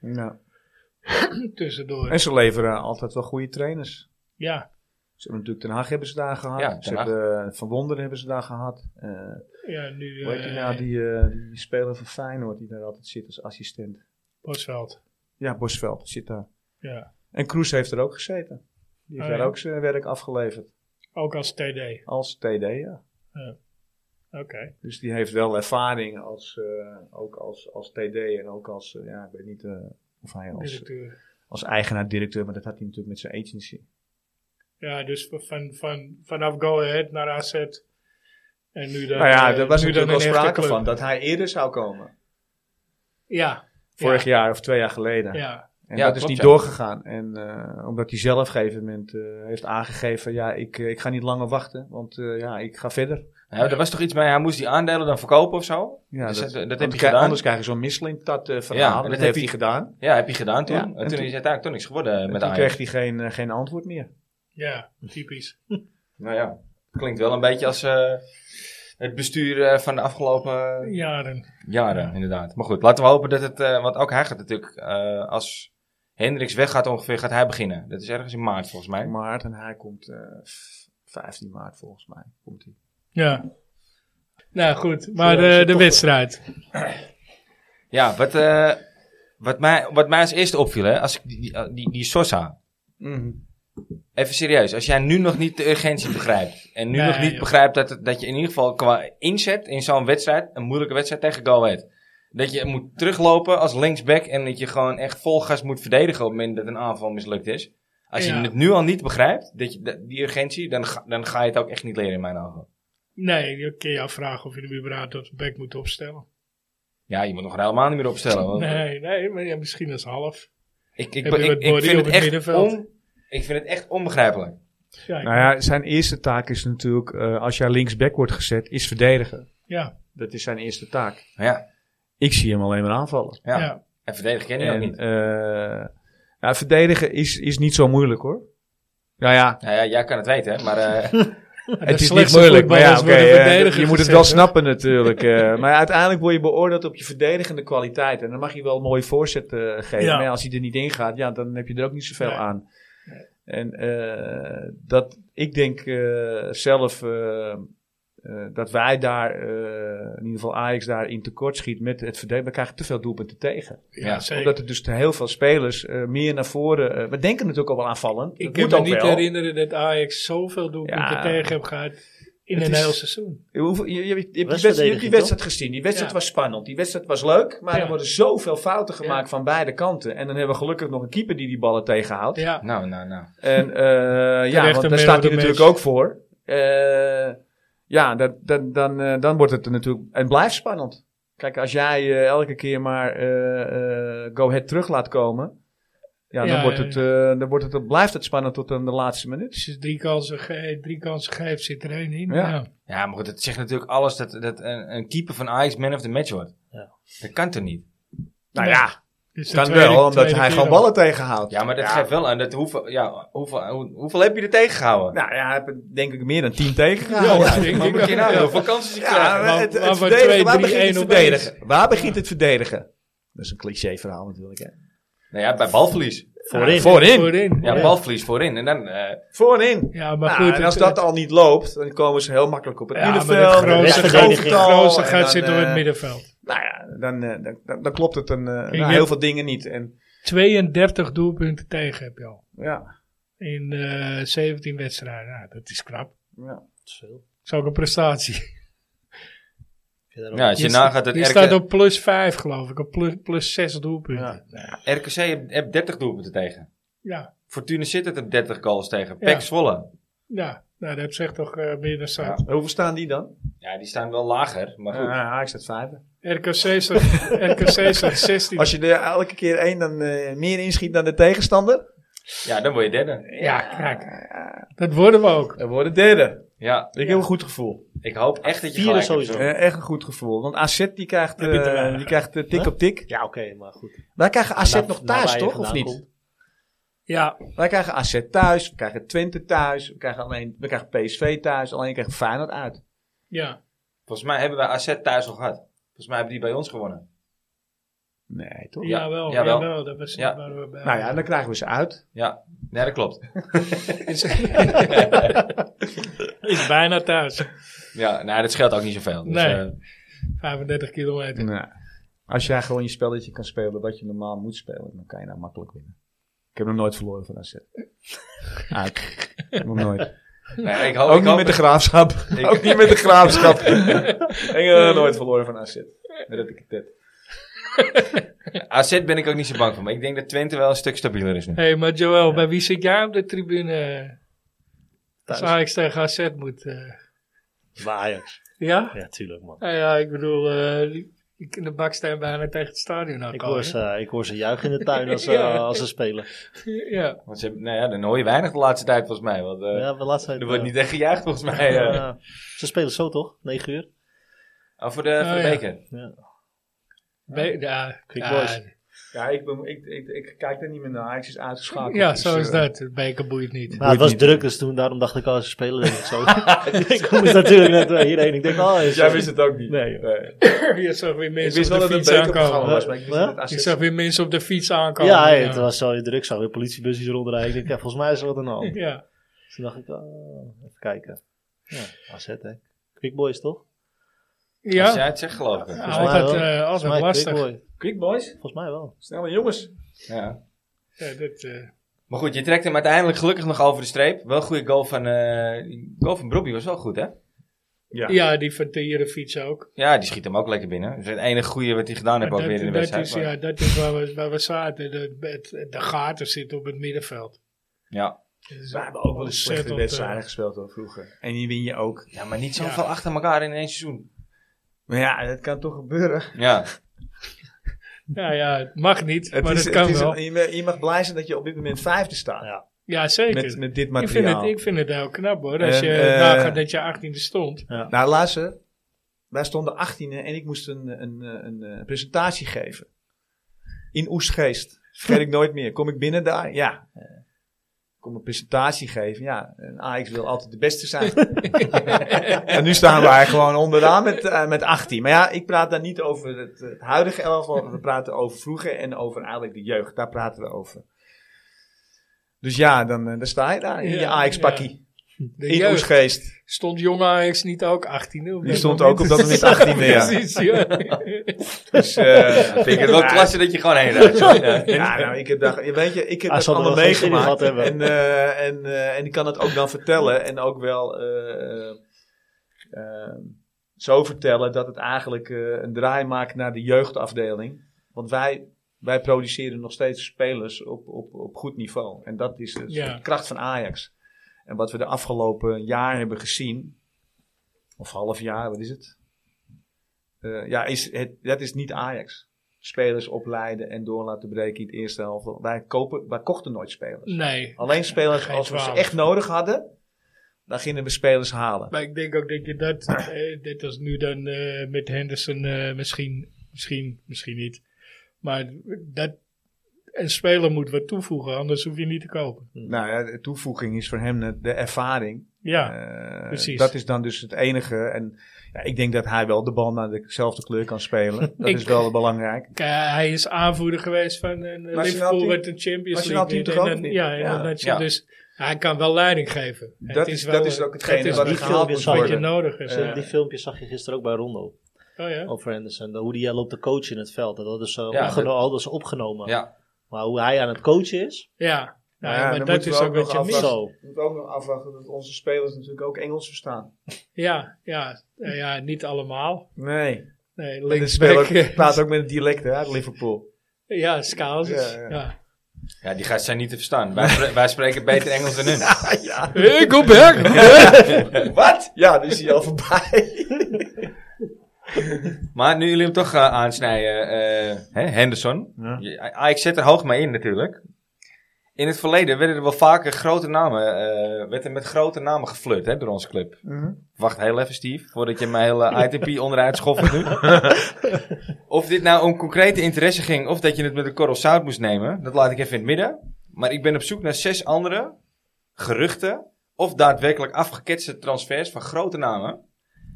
Speaker 2: Tussendoor.
Speaker 4: En ze leveren altijd wel goede trainers.
Speaker 2: Ja,
Speaker 4: Ze hebben natuurlijk Ten Hag hebben ze daar gehad.
Speaker 1: Ja,
Speaker 4: ze
Speaker 1: Ten Hag.
Speaker 4: hebben eh, Van Wonderen hebben ze daar gehad. Eh
Speaker 2: ja nu
Speaker 4: hoe heet die
Speaker 2: eh,
Speaker 4: nou, die, eh, die speler van Feyenoord die daar altijd zit als assistent.
Speaker 2: Bosveld.
Speaker 4: Ja, Bosveld zit daar.
Speaker 2: Ja.
Speaker 4: En Kroes heeft er ook gezeten. Die heeft
Speaker 2: Oh,
Speaker 4: daar
Speaker 2: ja.
Speaker 4: ook zijn werk afgeleverd.
Speaker 2: Ook als TD.
Speaker 4: Als TD, ja.
Speaker 2: Oké.
Speaker 4: Dus die heeft wel ervaring als, eh, ook als, als TD en ook als, eh, ja, ik weet niet eh, of hij als,
Speaker 2: Directeur.
Speaker 4: als eigenaar-directeur, maar dat had hij natuurlijk met zijn agency.
Speaker 2: Ja, dus van, van, vanaf Go Ahead naar AZ. En nu dan,
Speaker 4: Nou ja,
Speaker 2: eh,
Speaker 4: er was
Speaker 2: nu dan
Speaker 4: natuurlijk wel
Speaker 2: een echte
Speaker 4: sprake
Speaker 2: club.
Speaker 4: van dat hij eerder zou komen.
Speaker 2: Ja.
Speaker 4: Vorig
Speaker 2: ja.
Speaker 4: jaar of twee jaar geleden.
Speaker 2: Ja.
Speaker 4: En
Speaker 1: Ja,
Speaker 4: dat is
Speaker 1: klopt,
Speaker 4: niet
Speaker 1: ja.
Speaker 4: doorgegaan. En eh, omdat hij zelf op een gegeven moment eh, heeft aangegeven: ja, ik, eh, ik ga niet langer wachten, want eh, ja, ik ga verder.
Speaker 1: Ja, er was toch iets mee, hij moest die aandelen dan verkopen of zo?
Speaker 4: Ja,
Speaker 1: Dus dat- dat
Speaker 4: want
Speaker 1: heb je
Speaker 4: kri-
Speaker 1: gedaan?
Speaker 4: Anders krijg je zo'n misselintat eh verhaal.
Speaker 1: Ja,
Speaker 4: en dat, heeft hij gedaan.
Speaker 1: Ja, heb je gedaan toen.
Speaker 4: Ja,
Speaker 1: en
Speaker 4: en
Speaker 1: toen, is
Speaker 4: toen-
Speaker 1: het uiteindelijk toch niks geworden
Speaker 4: En
Speaker 1: met
Speaker 4: toen
Speaker 1: Ajax.
Speaker 4: kreeg hij geen, eh, geen antwoord meer.
Speaker 2: ja, typisch.
Speaker 1: Nou ja, klinkt wel een beetje als eh, het bestuur eh, van de afgelopen
Speaker 2: Jaren.
Speaker 1: jaren, inderdaad. Maar goed, laten we hopen dat het, eh, want ook hij gaat natuurlijk, eh, als Hendricks weggaat ongeveer, gaat hij beginnen. Dat is ergens in maart volgens mij.
Speaker 4: Maart en hij komt eh, v- 15 maart volgens mij. Komt hij.
Speaker 2: Ja. Nou goed, maar
Speaker 4: Zullen we-
Speaker 2: eh, de
Speaker 4: toch-
Speaker 2: wedstrijd.
Speaker 1: Ja, wat, eh, wat, mij, wat mij als eerste opviel, hè, als ik die, die, die, die Sosa. Mhm. Even serieus, als jij nu nog niet de urgentie begrijpt. En nu
Speaker 2: Nee,
Speaker 1: nog niet
Speaker 2: joh.
Speaker 1: begrijpt dat, het- dat je in ieder geval qua inzet in zo'n wedstrijd, een moeilijke wedstrijd tegen Go Ahead. Dat je moet teruglopen als linksback en dat je gewoon echt vol gas moet verdedigen op het moment dat een aanval mislukt is. Als
Speaker 2: Ja.
Speaker 1: je het nu al niet begrijpt, dat je, dat- die urgentie, dan ga, dan ga je het ook echt niet leren in mijn ogen.
Speaker 2: Nee, je kun je afvragen of je hem überhaupt tot back moet opstellen.
Speaker 1: Ja, je moet nog helemaal niet meer opstellen.
Speaker 4: Oh,
Speaker 1: want-
Speaker 2: Nee, nee, maar ja, misschien als half.
Speaker 1: Ik, ik,
Speaker 2: Heb je
Speaker 1: ik,
Speaker 2: met
Speaker 1: ik
Speaker 2: Borrie
Speaker 1: vind het
Speaker 2: op het
Speaker 1: echt
Speaker 2: middenveld?
Speaker 1: on, ik vind het echt onbegrijpelijk.
Speaker 2: Ja, ik-
Speaker 4: Nou ja, zijn eerste taak is natuurlijk, eh, als jij linksback wordt gezet, is verdedigen.
Speaker 2: ja,
Speaker 4: Dat is zijn eerste taak.
Speaker 1: Ja,
Speaker 4: Ik zie hem alleen maar aanvallen.
Speaker 1: ja.
Speaker 2: ja.
Speaker 1: En verdedigen ken je ook
Speaker 4: En,
Speaker 1: niet.
Speaker 4: eh, nou, verdedigen is, is niet zo moeilijk hoor. Nou ja,
Speaker 1: Nou ja, jij kan het weten, hè, maar
Speaker 2: <laughs>
Speaker 1: eh,
Speaker 2: De
Speaker 4: het is niet
Speaker 2: slechtste
Speaker 4: moeilijk, maar ja,
Speaker 2: voetballers
Speaker 4: oké,
Speaker 2: worden
Speaker 4: eh,
Speaker 2: verdediger
Speaker 4: je moet het
Speaker 2: gezet,
Speaker 4: wel
Speaker 2: hoor.
Speaker 4: snappen natuurlijk. eh, maar uiteindelijk word je beoordeeld op je verdedigende kwaliteit. En dan mag je wel een mooie voorzet eh, geven.
Speaker 2: Ja.
Speaker 4: Maar ja, als hij er niet in gaat, ja, dan heb je er ook niet zoveel
Speaker 2: Nee.
Speaker 4: aan.
Speaker 2: Nee.
Speaker 4: En eh, dat, ik denk eh, zelf eh, eh, dat wij daar, eh, in ieder geval Ajax, daarin tekort schiet met het verdedigen. We krijgen te veel doelpunten tegen.
Speaker 1: Ja,
Speaker 2: Ja, zeker.
Speaker 4: Omdat er dus te heel veel spelers eh, meer naar voren... eh, we denken natuurlijk ook wel aanvallend.
Speaker 2: Ik
Speaker 4: Dat
Speaker 2: kan
Speaker 4: moet
Speaker 2: me
Speaker 4: ook
Speaker 2: niet
Speaker 4: wel.
Speaker 2: herinneren dat Ajax zoveel doelpunten
Speaker 4: Ja.
Speaker 2: tegen heb gehad in
Speaker 4: Het
Speaker 2: een
Speaker 4: is-
Speaker 2: heel seizoen.
Speaker 4: Je, hoeft- je- je- je hebt die
Speaker 3: Restverdediging,
Speaker 4: wedstrijd, je hebt die
Speaker 3: toch?
Speaker 4: wedstrijd gezien. Die wedstrijd
Speaker 2: Ja.
Speaker 4: was spannend. Die wedstrijd was leuk. Maar
Speaker 2: Ja.
Speaker 4: er worden zoveel fouten gemaakt
Speaker 2: Ja.
Speaker 4: van beide kanten. En dan hebben we gelukkig nog een keeper die die ballen tegenhoudt.
Speaker 2: Ja,
Speaker 1: nou, nou, nou.
Speaker 4: En eh, ja,
Speaker 2: Terecht
Speaker 4: want
Speaker 2: een
Speaker 4: daar
Speaker 2: man
Speaker 4: staat
Speaker 2: of the
Speaker 4: hij natuurlijk
Speaker 2: match.
Speaker 4: ook voor. Eh, ja, dat, dan, dan, eh, dan wordt het er natuurlijk... En blijft spannend. Kijk, als jij eh, elke keer maar eh, eh, go-ahead terug laat komen... Ja, dan,
Speaker 2: Ja,
Speaker 4: wordt
Speaker 2: ja,
Speaker 4: het, eh, dan wordt het, blijft het spannend tot aan de laatste minuut.
Speaker 2: als je drie kansen, ge- drie kansen geeft, zit er één in.
Speaker 4: Ja.
Speaker 2: Ja.
Speaker 1: Ja, maar goed, het zegt natuurlijk alles dat, dat een, een keeper van Ajax man of the match wordt.
Speaker 3: Ja.
Speaker 1: Dat kan toch niet?
Speaker 4: Nou
Speaker 2: Nee.
Speaker 4: ja,
Speaker 2: Dit is de
Speaker 4: kan
Speaker 2: tweede-
Speaker 4: wel, omdat
Speaker 2: tweede
Speaker 4: hij
Speaker 2: keer
Speaker 4: gewoon
Speaker 2: al.
Speaker 4: ballen tegenhoudt.
Speaker 1: Ja, maar dat
Speaker 4: Ja.
Speaker 1: geeft wel aan dat hoeveel, ja, hoeveel, hoe- hoeveel heb je er tegengehouden?
Speaker 4: Nou ja, heb ik denk ik meer dan 10
Speaker 2: Ja,
Speaker 4: tegengehouden.
Speaker 2: dat
Speaker 4: <laughs> Ja,
Speaker 2: denk
Speaker 1: maar
Speaker 2: ik
Speaker 1: moet je
Speaker 2: wel.
Speaker 1: nou hoeveel kansen je
Speaker 4: maar
Speaker 1: krijgt?
Speaker 2: waar-
Speaker 4: het, het
Speaker 2: waar wordt
Speaker 4: verdedigen, waar
Speaker 2: 2-3-1
Speaker 4: begint het
Speaker 2: opeens?
Speaker 4: verdedigen? Waar begint het verdedigen? Dat is een cliché verhaal natuurlijk. Hè.
Speaker 1: Nou ja, bij balverlies.
Speaker 3: Voorin.
Speaker 4: voorin.
Speaker 2: Voorin.
Speaker 1: Ja,
Speaker 2: Ja,
Speaker 1: balverlies voorin. En dan, eh,
Speaker 4: Voorin.
Speaker 2: maar
Speaker 4: Nou,
Speaker 2: goed.
Speaker 4: en als
Speaker 2: het-
Speaker 4: dat al niet loopt, dan komen ze heel makkelijk op het
Speaker 2: Ja, maar
Speaker 4: middenveld.
Speaker 2: het grootste
Speaker 4: de
Speaker 3: gat-
Speaker 4: restverdediging.
Speaker 2: grootste
Speaker 4: En
Speaker 2: gaat
Speaker 4: dan,
Speaker 2: zitten door
Speaker 4: eh,
Speaker 2: het middenveld.
Speaker 4: Nou ja, dan, eh, dan, dan, dan klopt het een, eh, nou,
Speaker 2: je
Speaker 4: heel
Speaker 2: hebt-
Speaker 4: veel dingen niet. En,
Speaker 2: 32 doelpunten tegen heb je al.
Speaker 4: ja,
Speaker 2: In eh, 17 wedstrijden. Nou, dat is knap.
Speaker 4: ja.
Speaker 3: Dat is veel.
Speaker 2: Dat is ook een prestatie.
Speaker 3: Ik vind dat
Speaker 1: ja,
Speaker 3: ook-
Speaker 1: nou, als je
Speaker 2: Je
Speaker 1: nagaat dat
Speaker 2: Je staat
Speaker 1: RK,
Speaker 2: op plus 5 geloof ik. Op plus, plus 6 doelpunten. Ja.
Speaker 1: RKC hebt hebt 30 doelpunten tegen.
Speaker 2: ja.
Speaker 1: Fortuna Sittard hebt 30 goals tegen.
Speaker 2: Ja.
Speaker 1: Pek Zwolle.
Speaker 2: Nou, dat zegt toch eh, meer dan zat.
Speaker 4: Hoeveel staan die dan?
Speaker 1: Ja, die staan wel lager, maar goed.
Speaker 4: Ja, ik staat vijfde.
Speaker 2: RKC staat, <laughs> RKC staat 16.
Speaker 4: Als je er elke keer één dan eh, meer inschiet dan de tegenstander,
Speaker 1: Ja, dan word je derde.
Speaker 2: Ja, kijk. Dat worden we ook.
Speaker 4: dan wordt het derde.
Speaker 1: Ja,
Speaker 4: Ik heb een goed gevoel.
Speaker 1: ik hoop echt dat je
Speaker 3: Vierde
Speaker 1: gelijk
Speaker 3: sowieso.
Speaker 1: hebt.
Speaker 4: Eh, echt een goed gevoel. Want AZ die krijgt,
Speaker 2: Heb je te
Speaker 4: eh,
Speaker 2: weinig.
Speaker 4: die krijgt eh, tik
Speaker 3: Huh?
Speaker 4: op tik.
Speaker 3: Ja, oké, maar goed.
Speaker 4: Wij krijgen AZ
Speaker 3: Nou,
Speaker 4: nog
Speaker 3: nou,
Speaker 4: thuis,
Speaker 3: waar je
Speaker 4: toch? Of
Speaker 3: vandaan
Speaker 4: niet?
Speaker 3: komt.
Speaker 2: Ja,
Speaker 4: Wij krijgen AZ thuis. We krijgen Twente thuis. We krijgen, alleen, we krijgen PSV thuis. Alleen krijgen Feyenoord uit.
Speaker 2: ja.
Speaker 1: Volgens mij hebben wij AZ thuis al gehad. Volgens mij hebben die bij ons gewonnen.
Speaker 4: Nee, toch?
Speaker 2: Jawel,
Speaker 1: jawel.
Speaker 2: jawel. Dat was
Speaker 1: Ja.
Speaker 2: waar we bij
Speaker 4: Nou ja, dan krijgen we ze uit.
Speaker 1: Ja, ja dat klopt.
Speaker 2: is, is bijna thuis.
Speaker 4: Dus,
Speaker 1: Ja, nou, dat scheelt ook niet zoveel. Dus,
Speaker 2: Nee.
Speaker 1: eh,
Speaker 2: 35 kilometer.
Speaker 4: Nou, als jij gewoon je spelletje kan spelen wat je normaal moet spelen, dan kan je nou makkelijk winnen. Ik heb nog nooit verloren van <laughs> AZ. Uit. Nog nooit.
Speaker 1: nee, ik hoop,
Speaker 4: Ook
Speaker 1: ik
Speaker 4: niet
Speaker 1: hoop
Speaker 4: met <laughs> de graafschap.
Speaker 1: Ik-
Speaker 4: Ook niet met de graafschap. <laughs> Ik eh, heb nog nooit verloren van AZ. Dat ik het heb.
Speaker 1: <laughs> AZ ben ik ook niet zo bang voor. Maar ik denk dat Twente wel een stuk stabieler is nu.
Speaker 2: Hé, hey, maar Joël, bij wie zit jij op de tribune als
Speaker 3: Thuis.
Speaker 2: Ajax tegen AZ moet? eh?
Speaker 3: Bij Ajax.
Speaker 2: ja?
Speaker 3: Ja, tuurlijk, man.
Speaker 2: Nou ja, ik bedoel, eh, ik in de baksteen bijna tegen het stadion
Speaker 3: Ik hoor,
Speaker 2: aankomen.
Speaker 3: ze, ik hoor ze juichen in de tuin als, ze-
Speaker 2: Ja.
Speaker 3: als ze spelen.
Speaker 2: ja.
Speaker 1: Want ze hebben, nou ja, dan hoor je weinig de laatste tijd volgens mij. Want eh,
Speaker 3: Ja, we laatst
Speaker 1: er wordt niet echt gejuicht volgens mij. eh.
Speaker 3: Ze spelen zo toch? 9 uur?
Speaker 1: Oh, voor de, voor de
Speaker 2: Oh, ja.
Speaker 1: beker.
Speaker 3: Ja.
Speaker 2: Be- ja,
Speaker 3: Quick
Speaker 2: ja,
Speaker 3: boys.
Speaker 4: Ja, ik, ben, ik, ik, ik kijk daar niet meer naar. Ajax is uitgeschakeld.
Speaker 2: ja,
Speaker 4: Dus,
Speaker 2: zo is
Speaker 4: eh,
Speaker 2: dat. Het beker boeit niet.
Speaker 3: Nou, het was
Speaker 4: niet.
Speaker 3: druk, dus toen, daarom dacht ik, oh, ze spelen denk ik zo. ik moest natuurlijk net eh, hierheen. Ik denk, oh, is
Speaker 4: Dus Jij wist het ook niet.
Speaker 3: Nee,
Speaker 2: <laughs>
Speaker 3: joh.
Speaker 2: je zag weer
Speaker 4: Ik
Speaker 2: mensen
Speaker 4: wist wel
Speaker 2: op
Speaker 4: dat
Speaker 2: de
Speaker 4: het
Speaker 2: fiets
Speaker 4: een bekerprogramma
Speaker 2: aankomen.
Speaker 4: was, maar ik wist
Speaker 3: Huh?
Speaker 4: niet dat
Speaker 2: Ik
Speaker 4: AZ
Speaker 2: zag weer mensen op de fiets aankomen.
Speaker 3: Ja, het was zo druk. Zo weer politiebusjes rondrijden. Ik denk, ja, volgens mij is er wat aan de
Speaker 1: <laughs>
Speaker 3: hand.
Speaker 2: Ja.
Speaker 3: Toen dacht ik, oh, even kijken. Ja, AZ, hè. Quick Boys, toch?
Speaker 1: Als jij
Speaker 2: Ja,
Speaker 1: het zegt geloof ik.
Speaker 3: Ja.
Speaker 2: altijd,
Speaker 3: wel.
Speaker 2: eh,
Speaker 3: Volgens
Speaker 2: altijd
Speaker 3: mij
Speaker 2: lastig.
Speaker 3: Quick Boy.
Speaker 4: Quick boys,
Speaker 3: Volgens mij wel.
Speaker 4: snelle jongens.
Speaker 1: Ja.
Speaker 2: Ja, dit, eh,
Speaker 1: Maar goed, je trekt hem uiteindelijk gelukkig nog over de streep. Wel een goede goal van... eh die goal van Brobbey was wel goed, hè?
Speaker 4: Ja.
Speaker 2: ja, die van Tieren fiets ook.
Speaker 1: Ja, die schiet hem ook lekker binnen. Dat is het enige goede wat hij gedaan heeft ook
Speaker 2: Maar
Speaker 1: weer in de
Speaker 2: dat, dat,
Speaker 1: wedstrijd.
Speaker 2: is,
Speaker 1: maar-
Speaker 2: ja, dat is waar we, waar we zaten. De, het- de gaten zitten op het middenveld.
Speaker 1: ja.
Speaker 2: Dus
Speaker 4: We hebben ook wel eens slechte
Speaker 2: ontzettend, eh,
Speaker 4: wedstrijden gespeeld hoor, vroeger. En die win je ook.
Speaker 1: ja, maar niet zoveel achter elkaar in één seizoen.
Speaker 4: Maar ja, dat kan toch gebeuren.
Speaker 1: Ja,
Speaker 2: eh, nou ja, het mag niet, maar
Speaker 4: is,
Speaker 2: het kan
Speaker 4: is-
Speaker 2: wel.
Speaker 4: je, je mag blij zijn dat je op dit moment vijfde staat.
Speaker 3: Ja.
Speaker 2: Ja, zeker.
Speaker 4: Met, met dit
Speaker 2: ik, vind
Speaker 4: materiaal.
Speaker 2: het, ik vind het heel knap hoor. Als
Speaker 4: En,
Speaker 2: je
Speaker 4: eh,
Speaker 2: nagaat dat je 18e
Speaker 4: <laughs>
Speaker 2: stond.
Speaker 4: Nou, luister. Wij stonden 18 en ik moest een, een, een, eh, presentatie geven. In Oestgeest. Vergeet ik nooit meer. Kom ik binnen daar? Ja. Eh, Kom een presentatie geven. Ja, een Ajax wil altijd de beste zijn. en nu staan wij gewoon onderaan met, eh, met 18. Maar ja, ik praat daar niet over het, het huidige elftal. We praten over vroeger en over eigenlijk de jeugd. Daar praten we over. Dus ja, dan, eh, dan sta je daar in je
Speaker 2: Ja,
Speaker 4: Ajax-pakkie.
Speaker 2: De
Speaker 4: In
Speaker 2: jeugd.
Speaker 4: Oestgeest.
Speaker 2: Stond jong Ajax niet ook 18e? op
Speaker 4: Die
Speaker 2: dat
Speaker 4: stond
Speaker 2: moment?
Speaker 4: ook op
Speaker 2: <laughs>
Speaker 4: dat moment 18 e ja.
Speaker 2: Precies, ja.
Speaker 1: <laughs>
Speaker 4: Dus, eh,
Speaker 1: vind ik
Speaker 4: <laughs>
Speaker 1: het wel
Speaker 4: Ja.
Speaker 1: klasse dat je gewoon heen rijdt. zo. Ja.
Speaker 4: <laughs> ja, nou, ik heb daar, je weet je, ik heb
Speaker 3: Hij
Speaker 4: dat
Speaker 3: zal er
Speaker 4: allemaal
Speaker 3: Ah, wel geen zin in
Speaker 4: meegemaakt.
Speaker 3: gehad
Speaker 4: En,
Speaker 3: hebben.
Speaker 4: eh, en, eh, en ik kan het ook dan vertellen en ook wel eh, eh, zo vertellen dat het eigenlijk eh, een draai maakt naar de jeugdafdeling. Want wij, wij produceren nog steeds spelers op, op, op goed niveau. En dat is dus
Speaker 2: Ja.
Speaker 4: de kracht van Ajax. En wat we de afgelopen jaar hebben gezien, of half jaar, wat is het? Eh, ja, is het, dat is niet Ajax. Spelers opleiden en door laten breken in het eerste helft. Wij, kopen, wij kochten nooit spelers.
Speaker 2: <laughs> Nee.
Speaker 4: Alleen spelers
Speaker 2: Geen
Speaker 4: als we ze
Speaker 2: twaalf.
Speaker 4: echt nodig hadden, dan gingen we spelers halen.
Speaker 2: Maar ik denk ook dat je dat, eh, net als nu dan eh, met Henderson, eh, misschien, misschien, misschien niet. Maar dat, een speler moet wat toevoegen, anders hoef je niet te kopen.
Speaker 4: Nou ja, de toevoeging is voor hem de- de ervaring.
Speaker 2: Ja,
Speaker 4: Eh,
Speaker 2: precies.
Speaker 4: Dat is dan dus het enige. En ja, ik denk dat hij wel de bal naar dezelfde kleur kan
Speaker 2: <laughs>
Speaker 4: spelen. Dat
Speaker 2: Ik-
Speaker 4: is wel belangrijk.
Speaker 2: Kijk, hij is aanvoerder geweest van een eh,
Speaker 4: Nationaal
Speaker 2: Liverpool
Speaker 4: team.
Speaker 2: wat de Champions
Speaker 4: Nationaal
Speaker 2: League
Speaker 4: team
Speaker 2: wint.
Speaker 4: toch
Speaker 2: En
Speaker 4: ook
Speaker 2: dan-
Speaker 4: niet?
Speaker 2: Ja, en
Speaker 4: Ja.
Speaker 2: dat je
Speaker 1: Ja.
Speaker 2: dus hij kan wel leiding geven.
Speaker 4: Dat is, dat is ook hetgene
Speaker 2: is
Speaker 4: wat er
Speaker 3: niet
Speaker 4: gehaald
Speaker 3: veel
Speaker 4: moet
Speaker 3: weer
Speaker 2: wat je
Speaker 4: worden.
Speaker 2: nodig hebt.
Speaker 4: Eh,
Speaker 2: ja.
Speaker 3: Die filmpjes zag je gisteren ook bij Rondo.
Speaker 2: Oh ja.
Speaker 3: Over Henderson. Hoe die eh, loopt te coachen in het veld. En Dat is, eh,
Speaker 1: Ja,
Speaker 3: opgeno- al dat is opgenomen.
Speaker 1: Ja.
Speaker 3: Maar hoe hij aan het coachen is.
Speaker 2: Ja, nou,
Speaker 4: Ja,
Speaker 2: maar
Speaker 4: dan
Speaker 2: dat
Speaker 4: moeten we
Speaker 2: is ook
Speaker 4: ook
Speaker 2: wat
Speaker 4: nog
Speaker 2: je
Speaker 4: afwachten.
Speaker 2: mist.
Speaker 3: Zo.
Speaker 4: We moeten ook nog afwachten dat onze spelers natuurlijk ook Engels verstaan.
Speaker 2: Ja, ja, nou ja, niet allemaal.
Speaker 4: Nee.
Speaker 2: Nee,
Speaker 4: De
Speaker 2: linksback. <laughs>
Speaker 4: speler
Speaker 2: eh,
Speaker 4: <laughs> praat ook met het dialect hè, uit Liverpool.
Speaker 2: Ja, Skazes.
Speaker 4: Ja,
Speaker 2: Ja,
Speaker 4: ja.
Speaker 1: ja, die gasten zijn niet te verstaan. Wij, spre- wij spreken beter Engels dan hun.
Speaker 4: <laughs> ja.
Speaker 2: Ik op
Speaker 4: <laughs>
Speaker 2: weg!
Speaker 4: Wat? Ja, dus is hij al voorbij. <laughs>
Speaker 1: Maar nu jullie hem toch eh, aansnijden, eh, hè, Henderson.
Speaker 4: Ja.
Speaker 1: Je- Ajax zet er hoog mee in natuurlijk. In het verleden werden er wel vaker grote namen, eh, werd er met grote namen geflirt hè, door onze club. Wacht heel even, Steve, voordat je mijn hele ITP onderuit schoffelt nu. of dit nou om concrete interesse ging of dat je het met een korrel zout moest nemen, dat laat ik even in het midden. Maar ik ben op zoek naar zes andere geruchten of daadwerkelijk afgeketste transfers van grote namen.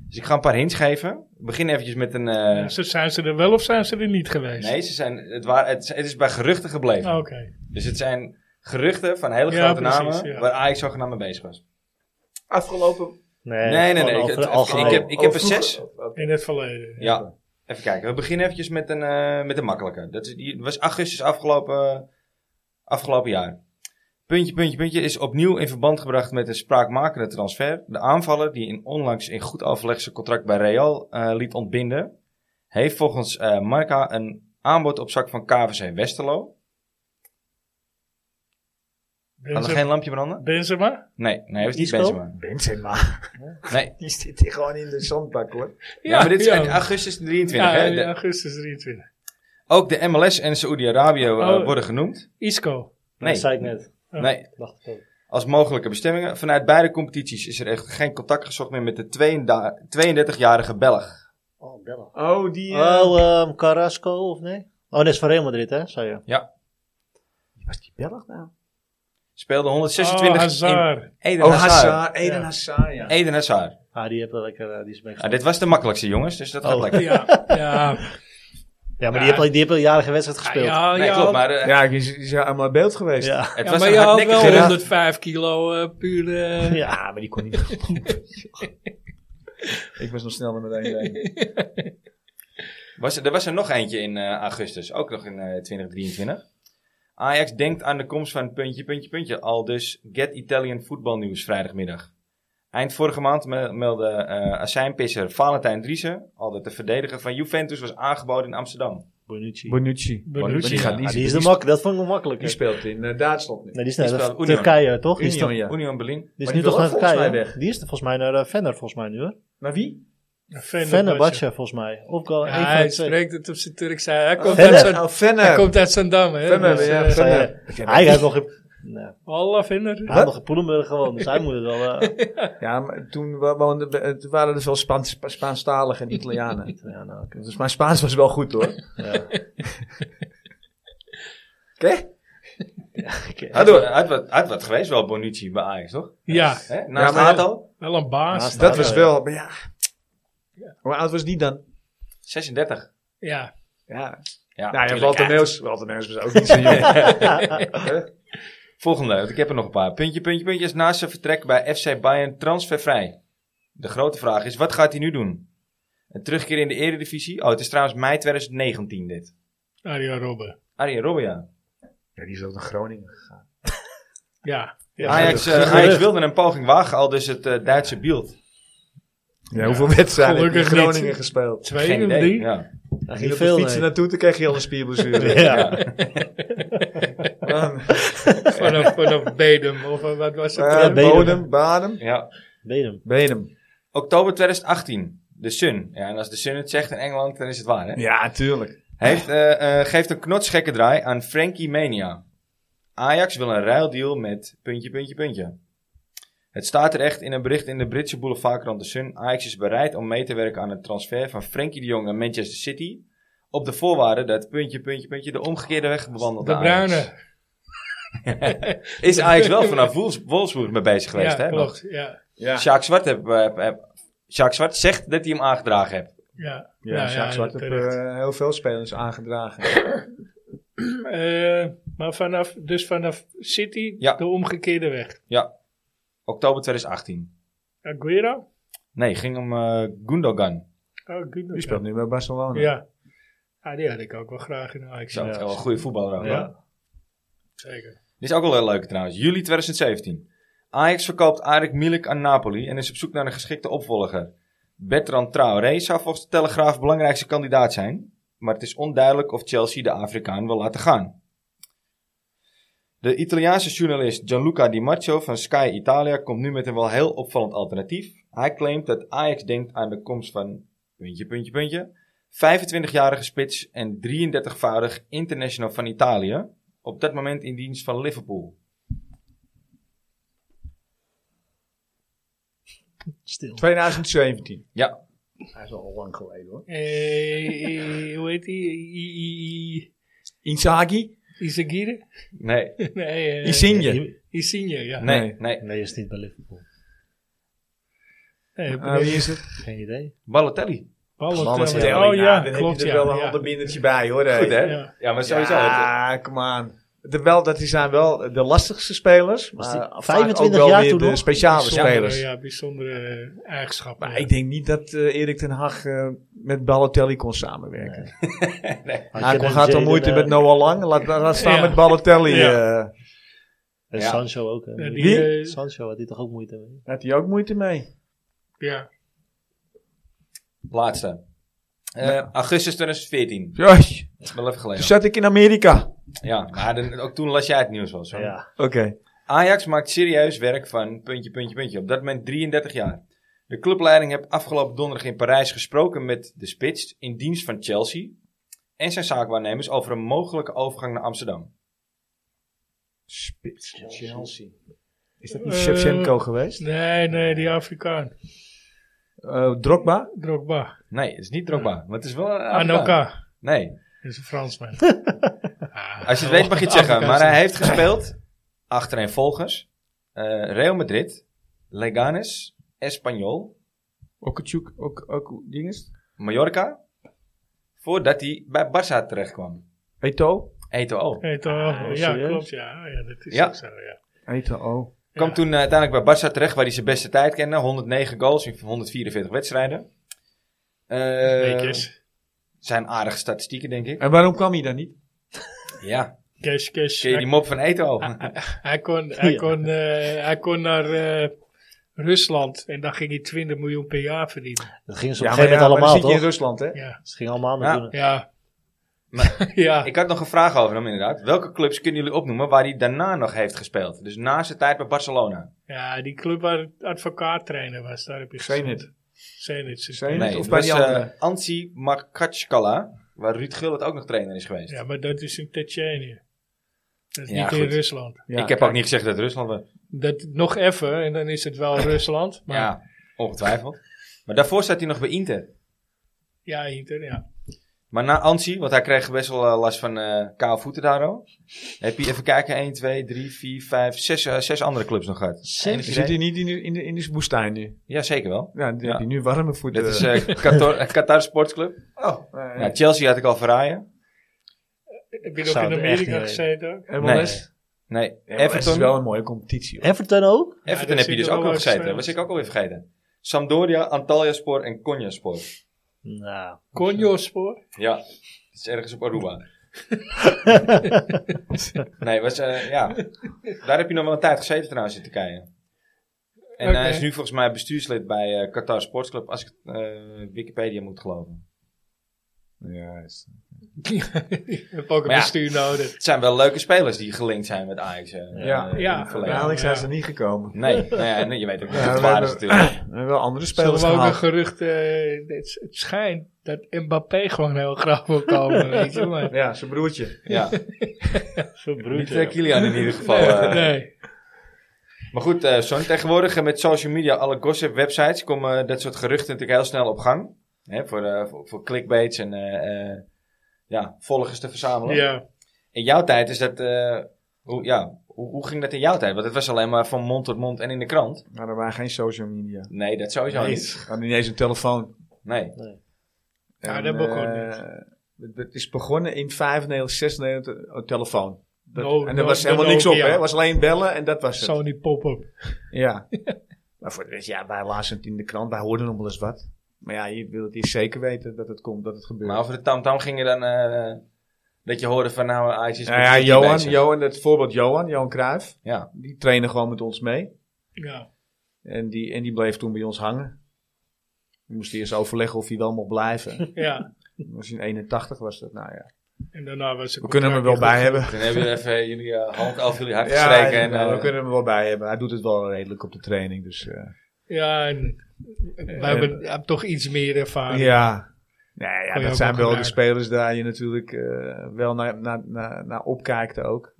Speaker 1: Dus ik ga een paar hints geven. Ik begin eventjes met een... eh,
Speaker 2: Zo Zijn ze er wel of zijn ze er niet geweest? Ah,
Speaker 1: Nee, ze zijn, het, waar, het, het is bij geruchten gebleven.
Speaker 2: Oké.
Speaker 1: Dus het zijn geruchten van hele
Speaker 2: Ja,
Speaker 1: grote
Speaker 2: precies,
Speaker 1: namen
Speaker 2: ja.
Speaker 1: waar Ajax zogenaamd mee bezig was.
Speaker 4: Afgelopen.
Speaker 3: Nee,
Speaker 1: nee, nee,
Speaker 3: gewoon
Speaker 1: nee,
Speaker 3: over-
Speaker 1: het- het-
Speaker 3: algemeen.
Speaker 1: ik heb- er
Speaker 4: vroeger-
Speaker 1: zes.
Speaker 4: Oké.
Speaker 2: In het verleden.
Speaker 1: Ja. Even kijken, we beginnen eventjes met een, eh, met een makkelijke. Dat is, die was augustus afgelopen, afgelopen jaar. Puntje, puntje, puntje is opnieuw in verband gebracht met een spraakmakende transfer. De aanvaller, die in onlangs in goed overleg zijn contract bij Real eh, liet ontbinden, heeft volgens eh, Marca een aanbod op zak van KVC Westerlo. Kan er
Speaker 2: Benzema?
Speaker 1: geen lampje branden?
Speaker 2: Benzema?
Speaker 1: Nee, nee, dat is niet
Speaker 3: Isco?
Speaker 1: Benzema.
Speaker 4: Benzema. <laughs>
Speaker 1: Nee.
Speaker 4: Die zit hier gewoon in de zandbak hoor.
Speaker 1: Ja, maar dit is in augustus 23.
Speaker 2: Ja,
Speaker 1: hè?
Speaker 2: in
Speaker 1: De-
Speaker 2: augustus 23.
Speaker 1: ook de MLS en Saoedi-Arabië eh,
Speaker 2: Oh.
Speaker 1: worden genoemd.
Speaker 2: Isco.
Speaker 1: Nee,
Speaker 3: Dat zei ik net.
Speaker 2: ja.
Speaker 1: nee,
Speaker 3: Dacht
Speaker 2: oh.
Speaker 3: ik ook.
Speaker 1: als mogelijke bestemmingen. Vanuit beide competities is er echt geen contact gezocht meer met de 32 32-jarige Belg.
Speaker 3: Oh, Bella.
Speaker 4: Oh, die.
Speaker 3: Oh, ehm, Carrasco of nee? Oh, dat is van Real Madrid, hè? Zei je.
Speaker 4: was die Belg nou?
Speaker 1: Speelde
Speaker 2: Oh,
Speaker 1: 126 in
Speaker 2: Hazard.
Speaker 1: Eden
Speaker 4: Oh,
Speaker 1: Hazard.
Speaker 4: Hazard. Eden
Speaker 2: Ja.
Speaker 4: Hazard, ja.
Speaker 1: Eden Hazard.
Speaker 3: Ah, die, hebt wel lekker, eh, die is meegenomen.
Speaker 1: Nou, dit was de makkelijkste, jongens, dus dat gaat
Speaker 3: Oh.
Speaker 1: lekker.
Speaker 2: Ja,
Speaker 1: <laughs>
Speaker 2: ja.
Speaker 3: Ja, maar
Speaker 2: Ja.
Speaker 3: die heeft al, die heeft al jarige wedstrijd gespeeld. Ja,
Speaker 2: Ja,
Speaker 1: Nee,
Speaker 2: ja,
Speaker 1: klopt, maar eh,
Speaker 4: Ja, die is, die is allemaal in beeld geweest.
Speaker 3: ja.
Speaker 1: het
Speaker 2: ja,
Speaker 1: was
Speaker 2: maar
Speaker 1: een
Speaker 2: je had
Speaker 1: hardnekkige...
Speaker 2: wel
Speaker 4: ja.
Speaker 2: 105 kilo eh puur...
Speaker 3: <laughs>
Speaker 2: eh,
Speaker 3: maar die
Speaker 4: <laughs>
Speaker 3: kon niet.
Speaker 4: Ik was nog snel met één been.
Speaker 1: Was, er er was er nog eentje in eh, augustus, ook nog in eh, 2023. Ajax denkt aan de komst van puntje, puntje, puntje. Al dus Get Italian voetbalnieuws vrijdagmiddag. Eind vorige maand me- meldde eh azijnpisser Valentijn Driessen, al dat de verdediger van Juventus, was aangeboden in Amsterdam.
Speaker 3: Bonucci.
Speaker 4: Bonucci.
Speaker 1: Bonucci
Speaker 2: Bonucci.
Speaker 1: gaat
Speaker 2: ja.
Speaker 1: niet.
Speaker 3: Ah, die is de mak dat vond ik wel makkelijk.
Speaker 4: Die speelt in eh, Duitsland nu.
Speaker 3: Nee, die is
Speaker 1: die
Speaker 3: naar
Speaker 1: speelt
Speaker 3: de-
Speaker 1: Union.
Speaker 3: Turkije, toch? Die is,
Speaker 4: Union,
Speaker 3: toch-
Speaker 4: ja.
Speaker 1: Union Berlin.
Speaker 3: die
Speaker 4: Maar
Speaker 3: is
Speaker 4: die
Speaker 3: nu toch
Speaker 4: wil ook
Speaker 3: naar
Speaker 4: volgens
Speaker 3: Turkije?
Speaker 4: mij weg.
Speaker 3: Die is er volgens mij naar eh, Venner, volgens mij nu, hè?
Speaker 4: Naar wie?
Speaker 2: Fenerbahce.
Speaker 3: Fenerbahce, volgens mij. Of wel
Speaker 2: Ja,
Speaker 3: één van
Speaker 2: hij
Speaker 3: de twee.
Speaker 2: spreekt het op zijn Turks. Hij, hij, komt,
Speaker 3: Venner.
Speaker 2: uit Zand-
Speaker 4: Oh,
Speaker 2: hij
Speaker 4: Venner.
Speaker 2: komt uit Zandam, hè?
Speaker 4: Venner,
Speaker 2: dus,
Speaker 4: ja,
Speaker 2: eh,
Speaker 4: Venner.
Speaker 3: Hij heeft nog... in- Nou,
Speaker 2: Alle vinden.
Speaker 3: handige Poelenburg gewoon. Dus hij moet het wel... eh,
Speaker 4: Ja, maar toen, wa- woonden we- eh, toen waren er veel Spaan- Spa- Spaanstaligen en Italianen.
Speaker 3: ja, nou, oké.
Speaker 4: Dus mijn Spaans was wel goed hoor.
Speaker 3: Ja,
Speaker 4: <laughs> Oké? Ah,
Speaker 3: oké.
Speaker 1: Hij had, hij had wat- hij had wat geweest wel Bonucci bij Ajax, toch?
Speaker 2: Ja,
Speaker 1: Hè? Naast
Speaker 4: Ja, maar-
Speaker 1: Hato?
Speaker 2: wel een baas.
Speaker 3: Naast-
Speaker 4: Dat was wel, maar ja. Hoe oud was die dan?
Speaker 1: 36.
Speaker 2: Ja,
Speaker 4: Ja,
Speaker 1: Ja,
Speaker 4: nou ja,
Speaker 1: tuurlijk,
Speaker 4: Walter
Speaker 1: hè.
Speaker 4: Neus. Walter Neus was ook niet zo jong.
Speaker 1: Volgende, want ik heb er nog een paar. Puntje, puntje, puntje is naast zijn vertrek bij FC Bayern transfervrij. De grote vraag is, wat gaat hij nu doen? Een terugkeer in de eredivisie? Oh, het is trouwens mei 2019 dit.
Speaker 2: Arjen Robben.
Speaker 1: Arjen Robben, ja.
Speaker 4: Ja, die is ook naar Groningen.
Speaker 2: Ja,
Speaker 3: Ja,
Speaker 1: Ajax, eh,
Speaker 3: gelukkig.
Speaker 1: Ajax wilde een poging wagen, al dus het eh, Duitse beeld.
Speaker 4: Ja, hoeveel wedstrijden heeft hij in
Speaker 2: Gelukkig niet.
Speaker 4: Groningen gespeeld?
Speaker 2: twee en drie.
Speaker 1: Ja.
Speaker 4: Ging
Speaker 3: Hij ging
Speaker 4: je op de
Speaker 3: veel
Speaker 4: fietsen
Speaker 3: nee.
Speaker 4: naartoe, toen kreeg je al een spierblessure.
Speaker 3: <laughs> Ja.
Speaker 4: Man, <laughs>
Speaker 2: Vanaf, vanaf Bedum of eh, wat was het?
Speaker 4: eh,
Speaker 3: Ja, Benum.
Speaker 4: bodem, Badem,
Speaker 1: ja.
Speaker 3: Benum.
Speaker 4: Benum.
Speaker 1: Oktober 2018. De Sun. Ja, en als de Sun het zegt in Engeland, dan is het waar, hè?
Speaker 4: Ja, tuurlijk.
Speaker 1: Heeft, eh, eh, geeft een knotsgekke draai aan Frankie Mania. Ajax wil een ruildeal met puntje, puntje, puntje. Het staat er echt in een bericht in de Britse boulevardkrant The Sun. Ajax is bereid om mee te werken aan het transfer van Frankie de Jong naar Manchester City. Op de voorwaarde dat puntje, puntje, puntje de omgekeerde weg bewandelt.
Speaker 2: De
Speaker 1: Ajax.
Speaker 2: Bruine.
Speaker 1: Is Ajax wel vanaf Wolfs- Wolfsburg mee bezig geweest,
Speaker 2: ja,
Speaker 1: hè?
Speaker 2: klopt. Ja,
Speaker 4: Ja,
Speaker 1: Sjaak Zwart, heb, heb- heb- Sjaak Zwart zegt dat hij hem aangedragen heeft.
Speaker 2: ja.
Speaker 4: ja,
Speaker 2: Nou
Speaker 4: Sjaak Zwart heeft
Speaker 2: terecht.
Speaker 4: eh, heel veel spelers aangedragen.
Speaker 2: Eh, maar vanaf, dus vanaf City
Speaker 1: Ja.
Speaker 2: de omgekeerde weg.
Speaker 1: Oktober 2018.
Speaker 2: Aguero?
Speaker 1: Nee, ging om eh, Gundogan.
Speaker 2: Oh, Gundogan.
Speaker 4: Die speelt nu bij Barcelona.
Speaker 2: Ja. ja, die had ik ook wel graag in Ajax.
Speaker 1: Zo,
Speaker 3: Ja.
Speaker 1: echt wel een goede voetballer ook.
Speaker 2: Ja.
Speaker 1: hoor.
Speaker 2: Zeker.
Speaker 1: Dit is ook wel heel leuk trouwens. Juli 2017. Ajax verkoopt Arik Milik aan Napoli en is op zoek naar een geschikte opvolger. Bertrand Traoré zou volgens de Telegraaf belangrijkste kandidaat zijn. Maar het is onduidelijk of Chelsea de Afrikaan wil laten gaan. De Italiaanse journalist Gianluca Di Marzio van Sky Italia komt nu met een wel heel opvallend alternatief. Hij claimt dat Ajax denkt aan de komst van... Puntje, puntje, puntje. 25-jarige spits en 33-voudig international van Italië op dat moment in dienst van Liverpool.
Speaker 3: Stil.
Speaker 4: 2017.
Speaker 1: Ja,
Speaker 3: Hij is al lang geleden hoor.
Speaker 2: Eh, eh, hoe heet die? I- I- I-
Speaker 4: Inzaghi?
Speaker 2: Izagirre?
Speaker 1: nee,
Speaker 2: <laughs> Nee. eh,
Speaker 4: Insigne?
Speaker 2: Insigne, ja.
Speaker 1: nee, nee.
Speaker 4: Nee.
Speaker 3: Nee, is niet bij Liverpool.
Speaker 2: Nee,
Speaker 4: Ah, wie is het?
Speaker 3: Geen idee.
Speaker 1: Ballotelli.
Speaker 2: Balotelli.
Speaker 4: Balotelli.
Speaker 2: Oh
Speaker 4: Nou,
Speaker 2: ja,
Speaker 4: dan
Speaker 2: klopt
Speaker 4: heb je
Speaker 2: ja.
Speaker 4: er wel een
Speaker 2: ja.
Speaker 4: ander binnenetje bij hoor.
Speaker 1: Goed hè? Ja,
Speaker 2: Ja.
Speaker 1: maar sowieso. het-
Speaker 4: Ja, ah, come on. De, wel, dat die zijn wel de lastigste spelers.
Speaker 3: Was die
Speaker 4: Maar vaak
Speaker 3: 25
Speaker 4: ook wel
Speaker 3: jaar
Speaker 4: weer
Speaker 3: toen
Speaker 4: de
Speaker 3: nog?
Speaker 4: speciale
Speaker 2: Bijzondere,
Speaker 4: spelers.
Speaker 2: Ja, bijzondere eh, eigenschappen.
Speaker 4: Maar
Speaker 2: ja.
Speaker 4: ik denk niet dat eh, Erik ten Hag eh, met Balotelli kon samenwerken. Hij Nou, kon- had al moeite
Speaker 3: eh,
Speaker 4: met Noah Lang. Laat, laat staan
Speaker 2: Ja.
Speaker 4: met Balotelli.
Speaker 2: Ja.
Speaker 4: eh.
Speaker 3: En
Speaker 1: Ja.
Speaker 3: Sancho ook. hè.
Speaker 2: Ja, die,
Speaker 4: Wie?
Speaker 2: eh,
Speaker 3: Sancho had hij toch ook moeite mee?
Speaker 4: Had hij ook moeite mee.
Speaker 2: ja.
Speaker 1: Laatste. Eh, Augustus 2014.
Speaker 4: Josh,
Speaker 1: Wel even
Speaker 4: toen
Speaker 1: geleden.
Speaker 4: zat ik in Amerika.
Speaker 1: Ja, maar dan- ook toen las jij het nieuws wel zo.
Speaker 3: Ja.
Speaker 4: Oké.
Speaker 1: Ajax maakt serieus werk van puntje, puntje, puntje. Op dat moment 33 jaar. De clubleiding heeft afgelopen donderdag in Parijs gesproken met de spits in dienst van Chelsea en zijn zaakwaarnemers over een mogelijke overgang naar Amsterdam.
Speaker 4: Spits. Chelsea. Is dat niet
Speaker 2: Eh,
Speaker 4: Shevchenko geweest?
Speaker 2: Nee, nee, die Afrikaan.
Speaker 4: Eh, Drogba?
Speaker 2: Drogba.
Speaker 1: Nee, het is niet Drogba, maar het is wel een Afrikaan.
Speaker 2: Anoka.
Speaker 1: Nee,
Speaker 2: Dat is een
Speaker 1: <laughs>
Speaker 2: Fransman. Ah,
Speaker 1: Als je het weet mag je het zeggen. Maar
Speaker 2: Afrikaanse.
Speaker 1: hij heeft gespeeld achtereenvolgens eh Real Madrid, Leganes, Espanyol,
Speaker 4: Okachuk, ook, ook dinges?
Speaker 1: Mallorca. Voordat hij bij Barça terechtkwam.
Speaker 4: Eto?
Speaker 1: Eto ook.
Speaker 2: Hey, toch? ja,
Speaker 3: Ah, serieus?
Speaker 2: klopt. Ja, ja dat is
Speaker 1: Ja.
Speaker 2: ook zo. Ja.
Speaker 4: Eto, oh.
Speaker 1: Kwam
Speaker 2: Ja.
Speaker 1: toen eh, uiteindelijk bij Barça terecht, waar hij zijn beste tijd kende. 109 goals in 144 wedstrijden. Eh,
Speaker 2: Weetjes.
Speaker 1: zijn aardige statistieken, denk ik.
Speaker 4: En waarom kwam hij dan niet?
Speaker 2: <laughs>
Speaker 1: Ja,
Speaker 2: Cash, cash.
Speaker 1: ken je die
Speaker 2: Hij,
Speaker 1: mop van Eto?
Speaker 2: <laughs> hij kon, hij,
Speaker 3: Ja.
Speaker 2: kon, eh, hij kon naar eh, Rusland en dan ging hij 20 miljoen per jaar verdienen.
Speaker 3: Dat gingen ze op een gegeven
Speaker 4: dan
Speaker 3: moment allemaal
Speaker 4: zit je in
Speaker 3: toch?
Speaker 4: Rusland, hè?
Speaker 2: Ja.
Speaker 3: Ze gingen allemaal
Speaker 1: Ja.
Speaker 3: naar doen.
Speaker 2: Ja.
Speaker 1: Maar-
Speaker 2: <laughs> ja.
Speaker 1: Ik had nog een vraag over hem inderdaad. Welke clubs kunnen jullie opnoemen waar hij daarna nog heeft gespeeld? Dus na zijn tijd bij Barcelona.
Speaker 2: ja, die club waar het advocaat trainer was, daar heb je
Speaker 4: Zenit.
Speaker 2: Zenit.
Speaker 4: Zenit.
Speaker 1: Nee,
Speaker 4: Of
Speaker 1: of
Speaker 4: bij
Speaker 1: bij
Speaker 4: die
Speaker 1: was, eh,
Speaker 4: andere?
Speaker 1: Ansi Makatskala, waar Ruud Gullit ook nog trainer is geweest.
Speaker 2: Ja, maar dat is in Tsjetsjenië. Dat is
Speaker 1: Ja,
Speaker 2: niet in
Speaker 1: goed.
Speaker 2: Rusland.
Speaker 1: ik heb ook niet gezegd dat Rusland... we-
Speaker 2: Dat, nog even, en dan is het
Speaker 1: <laughs>
Speaker 2: wel Rusland. Maar ja,
Speaker 1: Ja, ongetwijfeld. Maar daarvoor zat hij nog bij Inter.
Speaker 2: Inter, ja.
Speaker 1: Maar na Ansi, want hij kreeg best wel eh, last van eh koude voeten daar ook. Heb je even kijken, 1, 2, 3, 4, 5, 6, zes andere clubs nog gehad. Enig
Speaker 4: Zit
Speaker 1: idee?
Speaker 4: hij niet in de, in de, in de woestijn nu?
Speaker 1: Ja, zeker wel.
Speaker 4: Ja, dan
Speaker 1: Ja.
Speaker 4: heb je nu warme voeten.
Speaker 1: Dat is eh, Qatar, eh, Qatar Sportsclub.
Speaker 4: oh, eh,
Speaker 1: Ja, Chelsea had ik al verraaien.
Speaker 2: Heb je
Speaker 3: Ik
Speaker 2: nog
Speaker 3: zou
Speaker 2: in
Speaker 3: het echt
Speaker 2: Amerika
Speaker 3: niet
Speaker 2: gezeten? ook?
Speaker 1: Nee.
Speaker 4: MLS?
Speaker 1: Nee,
Speaker 4: MLS is
Speaker 1: Everton.
Speaker 4: wel een mooie competitie. hoor.
Speaker 3: Everton ook?
Speaker 1: Everton
Speaker 2: Ja,
Speaker 1: heb
Speaker 2: dat
Speaker 1: je
Speaker 2: zit
Speaker 1: dus
Speaker 2: er
Speaker 1: ook
Speaker 2: wel
Speaker 1: nog
Speaker 2: eens,
Speaker 1: gezeten.
Speaker 2: eh,
Speaker 1: was ik ook alweer vergeten. Sampdoria, Antalya Sport en Konya Sport.
Speaker 3: Nou.
Speaker 2: <laughs> Konjospoor?
Speaker 1: Ja, dat is ergens op
Speaker 4: <laughs>
Speaker 1: Aruba. nee, was, eh, ja. daar heb je nog wel een tijd gezeten trouwens in Turkije. En
Speaker 2: Oké.
Speaker 1: hij is nu volgens mij bestuurslid bij eh, Qatar Sportsclub, als ik eh, Wikipedia moet geloven.
Speaker 4: Ja, is-
Speaker 2: Je hebt ook een
Speaker 1: Maar ja.
Speaker 2: bestuur nodig.
Speaker 1: Het zijn wel leuke spelers die gelinkt zijn met Ajax. eh,
Speaker 4: Ja.
Speaker 1: eh, in
Speaker 2: Ja.
Speaker 1: het
Speaker 4: Bij
Speaker 1: verleden.
Speaker 4: Alex zijn
Speaker 2: Ja.
Speaker 4: ze niet gekomen.
Speaker 1: Nee, nou ja, nee, je weet ook niet
Speaker 4: Ja,
Speaker 1: wat het
Speaker 4: we
Speaker 1: waar is
Speaker 4: hebben-
Speaker 1: natuurlijk.
Speaker 4: We hebben wel andere
Speaker 2: Zullen
Speaker 4: spelers
Speaker 2: we ook een
Speaker 4: gehaald.
Speaker 2: gerucht... eh, het, het schijnt dat Mbappé gewoon heel graag wil komen, weet je. Maar,
Speaker 4: Ja, zijn broertje.
Speaker 1: Ja,
Speaker 3: Zo
Speaker 1: niet
Speaker 3: bruut.
Speaker 1: eh, Kilian in ieder geval. eh.
Speaker 2: nee.
Speaker 1: Maar goed, eh Son, tegenwoordig eh, met social media, alle gossip websites, komen eh, dat soort geruchten natuurlijk heel snel op gang. Hè, voor, eh, voor, voor clickbaits en eh, eh, ja, volgers te verzamelen.
Speaker 2: Ja.
Speaker 1: In jouw tijd is dat, eh, hoe, ja, hoe, hoe ging dat in jouw tijd? Want het was alleen maar van mond tot mond en in de krant.
Speaker 4: Maar er waren geen social media.
Speaker 1: Nee, dat sowieso
Speaker 4: Nee,
Speaker 1: niet.
Speaker 4: Ze hadden niet eens een telefoon.
Speaker 1: Nee.
Speaker 2: Ja,
Speaker 4: En,
Speaker 2: dat begon
Speaker 4: eh, het- Het is begonnen in 95, 96, een telefoon. Dat-
Speaker 2: No-
Speaker 4: en
Speaker 2: no-
Speaker 4: er was
Speaker 2: no
Speaker 4: helemaal niks op,
Speaker 2: Nokia.
Speaker 4: hè? Het was alleen bellen en dat was het.
Speaker 2: Sony pop-up. <laughs>
Speaker 4: Ja. maar voor de rest, ja, wij lazen het in de krant, wij hoorden nog wel eens wat. Maar ja, je wil het eerst zeker weten dat het komt, dat het gebeurt.
Speaker 1: Maar over de tamtam ging je dan, eh, dat je hoorde van nou, Ajax is
Speaker 4: nou
Speaker 1: met
Speaker 4: ja,
Speaker 1: City
Speaker 4: Johan,
Speaker 1: bezig.
Speaker 4: Johan, het voorbeeld Johan, Johan Cruijff,
Speaker 1: Ja.
Speaker 4: die trainde gewoon met ons mee.
Speaker 2: Ja.
Speaker 4: En die, en die bleef toen bij ons hangen. We moesten eerst overleggen of hij wel mocht blijven.
Speaker 2: <laughs> ja.
Speaker 4: Dat was in 81 was dat, nou ja.
Speaker 2: En daarna was het
Speaker 4: We kunnen hem er wel bij hebben.
Speaker 1: Dan hebben jullie even jullie eh, hand over jullie hart
Speaker 4: Ja,
Speaker 1: gestreken. en,
Speaker 4: inderdaad,
Speaker 1: eh,
Speaker 4: we kunnen hem er wel bij hebben. Hij doet het wel redelijk op de training, dus... eh,
Speaker 2: Ja, en wij
Speaker 4: Eh,
Speaker 2: hebben ja, toch iets meer ervaring.
Speaker 4: Ja. Nee, ja,
Speaker 2: je ook
Speaker 4: dat zijn
Speaker 2: wel
Speaker 4: wel de
Speaker 2: gebruiken.
Speaker 4: spelers daar je natuurlijk eh, wel naar, naar, naar, naar opkijkt ook.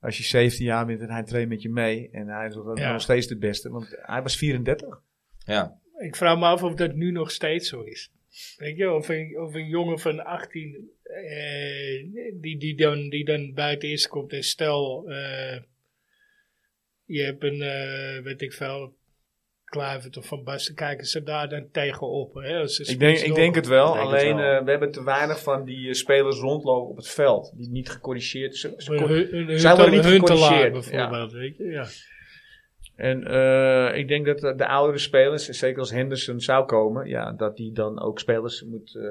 Speaker 4: Als je 17 jaar bent en hij traint met je mee. En hij is nog-
Speaker 2: Ja.
Speaker 4: nog steeds de beste. Want hij was 34.
Speaker 1: ja.
Speaker 2: Ik vraag me af of dat nu nog steeds zo is. Weet je, of een, of een jongen van 18 eh, die, die, dan, die dan bij het eerste komt en stel eh, je hebt een, eh, weet ik veel, Kluivert of Van Basten, kijken ze daar dan tegenop. Hè? Als ze
Speaker 4: Ik denk,
Speaker 2: spits
Speaker 4: ik denk het wel.
Speaker 3: Ik denk het
Speaker 4: alleen
Speaker 3: wel.
Speaker 4: eh, we hebben te weinig van die eh, spelers rondlopen op het veld. Die niet gecorrigeerd ze- ze
Speaker 2: Een
Speaker 4: cor-
Speaker 2: hun- een
Speaker 4: Zij worden
Speaker 2: Huntelaar-
Speaker 4: niet
Speaker 2: Huntelaar
Speaker 4: gecorrigeerd,
Speaker 2: bijvoorbeeld, weet je, ja.
Speaker 4: En eh, ik denk dat de, de oudere spelers, zeker als Henderson zou komen, ja, dat die dan ook spelers moet eh,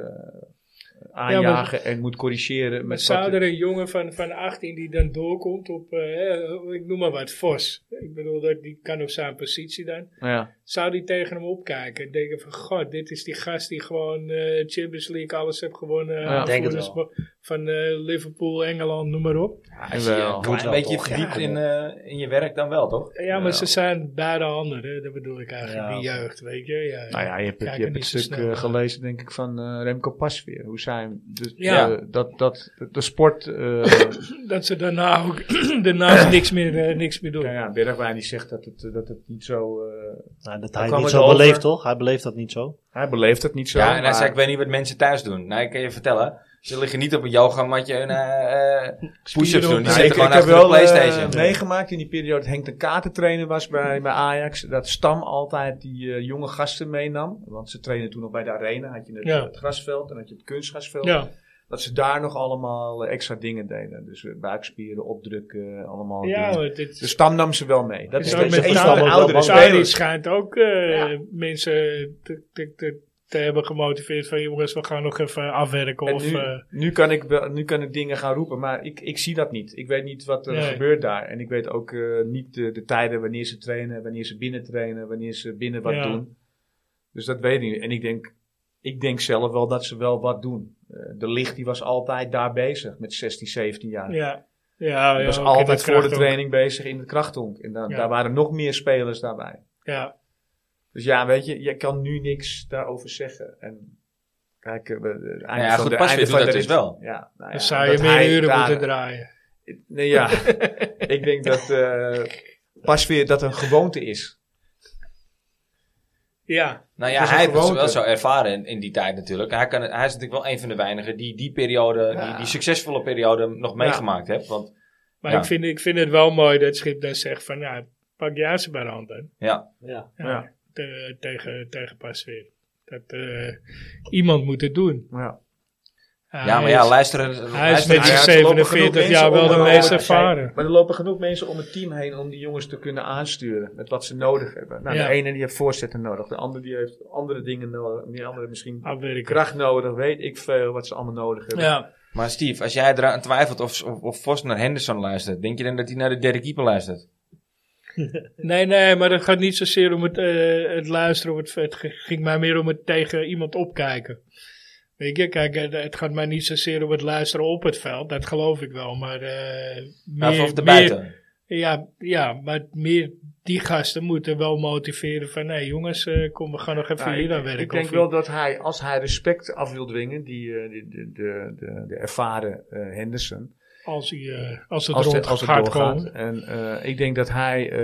Speaker 4: aanjagen en moet corrigeren.
Speaker 2: Maar
Speaker 4: Met wat-
Speaker 2: zou er een jongen van, van 18 die dan doorkomt op, eh, eh, ik noem maar wat, Vos. Ik bedoel, dat, die kan op zijn positie dan.
Speaker 4: ja.
Speaker 2: Zou die tegen hem opkijken en denken van, god, dit is die gast die gewoon eh, Champions League alles heeft gewonnen.
Speaker 4: Ja,
Speaker 2: eh,
Speaker 3: denk het
Speaker 2: voetbal- Van eh, Liverpool, Engeland, noem maar op.
Speaker 1: Als je
Speaker 4: Jawel. Nou
Speaker 1: een
Speaker 4: Moet
Speaker 1: klein
Speaker 4: wel,
Speaker 1: beetje
Speaker 4: toch?
Speaker 1: verdiept
Speaker 4: Ja,
Speaker 1: in, eh, in je werk dan wel, toch?
Speaker 2: Ja, maar
Speaker 4: Ja.
Speaker 2: ze zijn beide handen, hè? dat bedoel ik eigenlijk,
Speaker 3: Ja.
Speaker 2: die jeugd, weet je. Ja,
Speaker 4: Nou ja, je hebt, het-
Speaker 2: Kijk
Speaker 4: je hebt
Speaker 2: er
Speaker 4: het
Speaker 2: niet zo
Speaker 4: stuk
Speaker 2: snel
Speaker 4: eh,
Speaker 2: naar.
Speaker 4: gelezen, denk ik, van eh, Remco Pasveer. Hoe zijn de,
Speaker 2: Ja.
Speaker 4: de- dat, dat de sport. eh
Speaker 2: Dat ze daarna ook <clears throat> daarnaast niks, meer, eh, niks meer doen.
Speaker 4: nou ja, Bergwijn die zegt dat het, eh, dat het niet zo. eh,
Speaker 3: Nou, dat
Speaker 4: Daar
Speaker 3: hij het
Speaker 4: kwam
Speaker 3: niet
Speaker 4: het
Speaker 3: zo
Speaker 4: over.
Speaker 3: beleeft, toch? Hij beleeft dat niet zo.
Speaker 4: hij beleeft het niet zo.
Speaker 1: ja, en hij
Speaker 4: maar-
Speaker 1: zei, ik weet niet wat mensen thuis doen. Nou, ik kan je vertellen. Ze liggen niet op een yogamatje en eh, eh, push-ups doen.
Speaker 4: Nou,
Speaker 1: Die zitten
Speaker 4: ik, ik
Speaker 1: gewoon
Speaker 4: heb
Speaker 1: achter de
Speaker 4: wel eh,
Speaker 1: Playstation.
Speaker 4: meegemaakt in die periode dat Henk de Kater trainer was bij, bij Ajax. Dat Stam altijd die eh, jonge gasten meenam. Want ze trainen toen nog bij de arena. Had je het,
Speaker 2: Ja.
Speaker 4: het grasveld en had je het kunstgrasveld.
Speaker 2: Ja.
Speaker 4: Dat ze daar nog allemaal eh, extra dingen deden. Dus eh, buikspieren, opdrukken, allemaal
Speaker 2: Ja,
Speaker 4: dingen.
Speaker 2: maar dit
Speaker 4: De stam nam ze wel mee. Dat
Speaker 2: Is
Speaker 4: Dus is,
Speaker 2: ook
Speaker 4: dat is
Speaker 2: met
Speaker 4: een
Speaker 2: Tadic-
Speaker 4: van de oudere
Speaker 2: Sarri
Speaker 4: spelers.
Speaker 2: schijnt ook eh, mensen te, te, te, te hebben gemotiveerd van jongens, we gaan nog even afwerken.
Speaker 4: En
Speaker 2: of,
Speaker 4: nu,
Speaker 2: eh,
Speaker 4: nu, kan ik, wel- nu kan ik dingen gaan roepen, maar ik, ik zie dat niet. Ik weet niet wat er
Speaker 2: Nee.
Speaker 4: gebeurt daar. En ik weet ook eh, niet de, de tijden wanneer ze trainen, wanneer ze binnen trainen, wanneer ze binnen wat
Speaker 2: Ja.
Speaker 4: doen. Dus dat weet ik niet. En ik denk, ik denk zelf wel dat ze wel wat doen. Eh, de licht die was altijd daar bezig met 16, 17 jaar.
Speaker 2: ja, ja,
Speaker 4: Die
Speaker 2: ja,
Speaker 4: was
Speaker 2: ook in
Speaker 4: altijd voor de
Speaker 2: kracht ook.
Speaker 4: training bezig in de krachthonk. En dan,
Speaker 2: Ja.
Speaker 4: daar waren nog meer spelers daarbij.
Speaker 2: Ja,
Speaker 4: Dus ja, weet je, je kan nu niks daarover zeggen. En kijk, eh, we- het einde
Speaker 1: Nou ja,
Speaker 4: van
Speaker 1: goed,
Speaker 4: de,
Speaker 1: Pasveer
Speaker 4: einde
Speaker 1: doet
Speaker 4: van
Speaker 1: dat
Speaker 4: de-
Speaker 1: dus wel.
Speaker 4: Ja, nou ja,
Speaker 2: dan zou je
Speaker 4: dat hij
Speaker 2: meer uren
Speaker 4: daar-
Speaker 2: moeten draaien.
Speaker 4: Nee, ja,
Speaker 2: <laughs>
Speaker 4: ik denk dat eh, pas weer dat een gewoonte is.
Speaker 2: Ja,
Speaker 1: Nou
Speaker 4: Het
Speaker 1: ja,
Speaker 4: is een
Speaker 1: hij heeft het
Speaker 4: gewoonte.
Speaker 1: wel zo ervaren in, in die tijd natuurlijk. Hij, kan, het- hij is natuurlijk wel een van de weinigen die die periode, die, die succesvolle periode nog meegemaakt heeft. Want
Speaker 2: maar
Speaker 1: Ja.
Speaker 2: Ik, vind, ik vind het wel mooi dat Schip dan zegt van, nou, pak jij ze bij de hand aan.
Speaker 1: ja,
Speaker 3: Ja.
Speaker 2: Ja,
Speaker 4: Ja.
Speaker 2: te- tegen, tegen Pasveer. Dat eh, iemand moet het doen.
Speaker 4: Ja.
Speaker 2: Hij
Speaker 1: ja maar ja,
Speaker 2: is-
Speaker 1: luisteren.
Speaker 2: Hij is met
Speaker 4: Nou
Speaker 2: zijn
Speaker 4: ja, er lopen genoeg
Speaker 2: 47
Speaker 4: mensen
Speaker 2: jaar wel
Speaker 4: om
Speaker 2: de
Speaker 4: een-
Speaker 2: meest
Speaker 4: om-
Speaker 2: ervaren.
Speaker 4: Maar er lopen genoeg mensen om het team heen om die jongens te kunnen aansturen met wat ze nodig hebben. Nou,
Speaker 2: Ja.
Speaker 4: De ene die heeft voorzetten nodig, de andere die heeft andere dingen nodig, die andere
Speaker 2: Ah.
Speaker 4: misschien
Speaker 2: Afwerken.
Speaker 4: kracht nodig, weet ik veel wat ze allemaal nodig hebben.
Speaker 2: Ja,
Speaker 1: Maar Steve, als jij eraan twijfelt of, of, of Vos naar Henderson luistert, denk je dan dat hij naar de derde keeper luistert?
Speaker 2: nee, nee, maar het gaat niet zozeer om het, eh, het luisteren. Of het, het g- ging mij meer om het tegen iemand opkijken. Weet je, kijk, het, het gaat mij niet zozeer om het luisteren op het veld. Dat geloof ik wel, maar eh
Speaker 1: Of,
Speaker 2: meer,
Speaker 1: of de
Speaker 2: meer,
Speaker 1: buiten?
Speaker 2: Ja, ja, maar meer die gasten moeten wel motiveren van... nee jongens, eh, kom, we gaan nog even
Speaker 4: Nou,
Speaker 2: hier aan
Speaker 4: ik,
Speaker 2: werken.
Speaker 4: ik denk
Speaker 2: Of-
Speaker 4: wel dat hij, als hij respect af wil dwingen, die, eh, die- de, de, de, de ervaren eh, Henderson,
Speaker 2: Als, hij, eh, als het
Speaker 4: als,
Speaker 2: rond
Speaker 4: het, als het
Speaker 2: gaat
Speaker 4: doorgaat.
Speaker 2: komen.
Speaker 4: En eh, ik denk dat hij eh,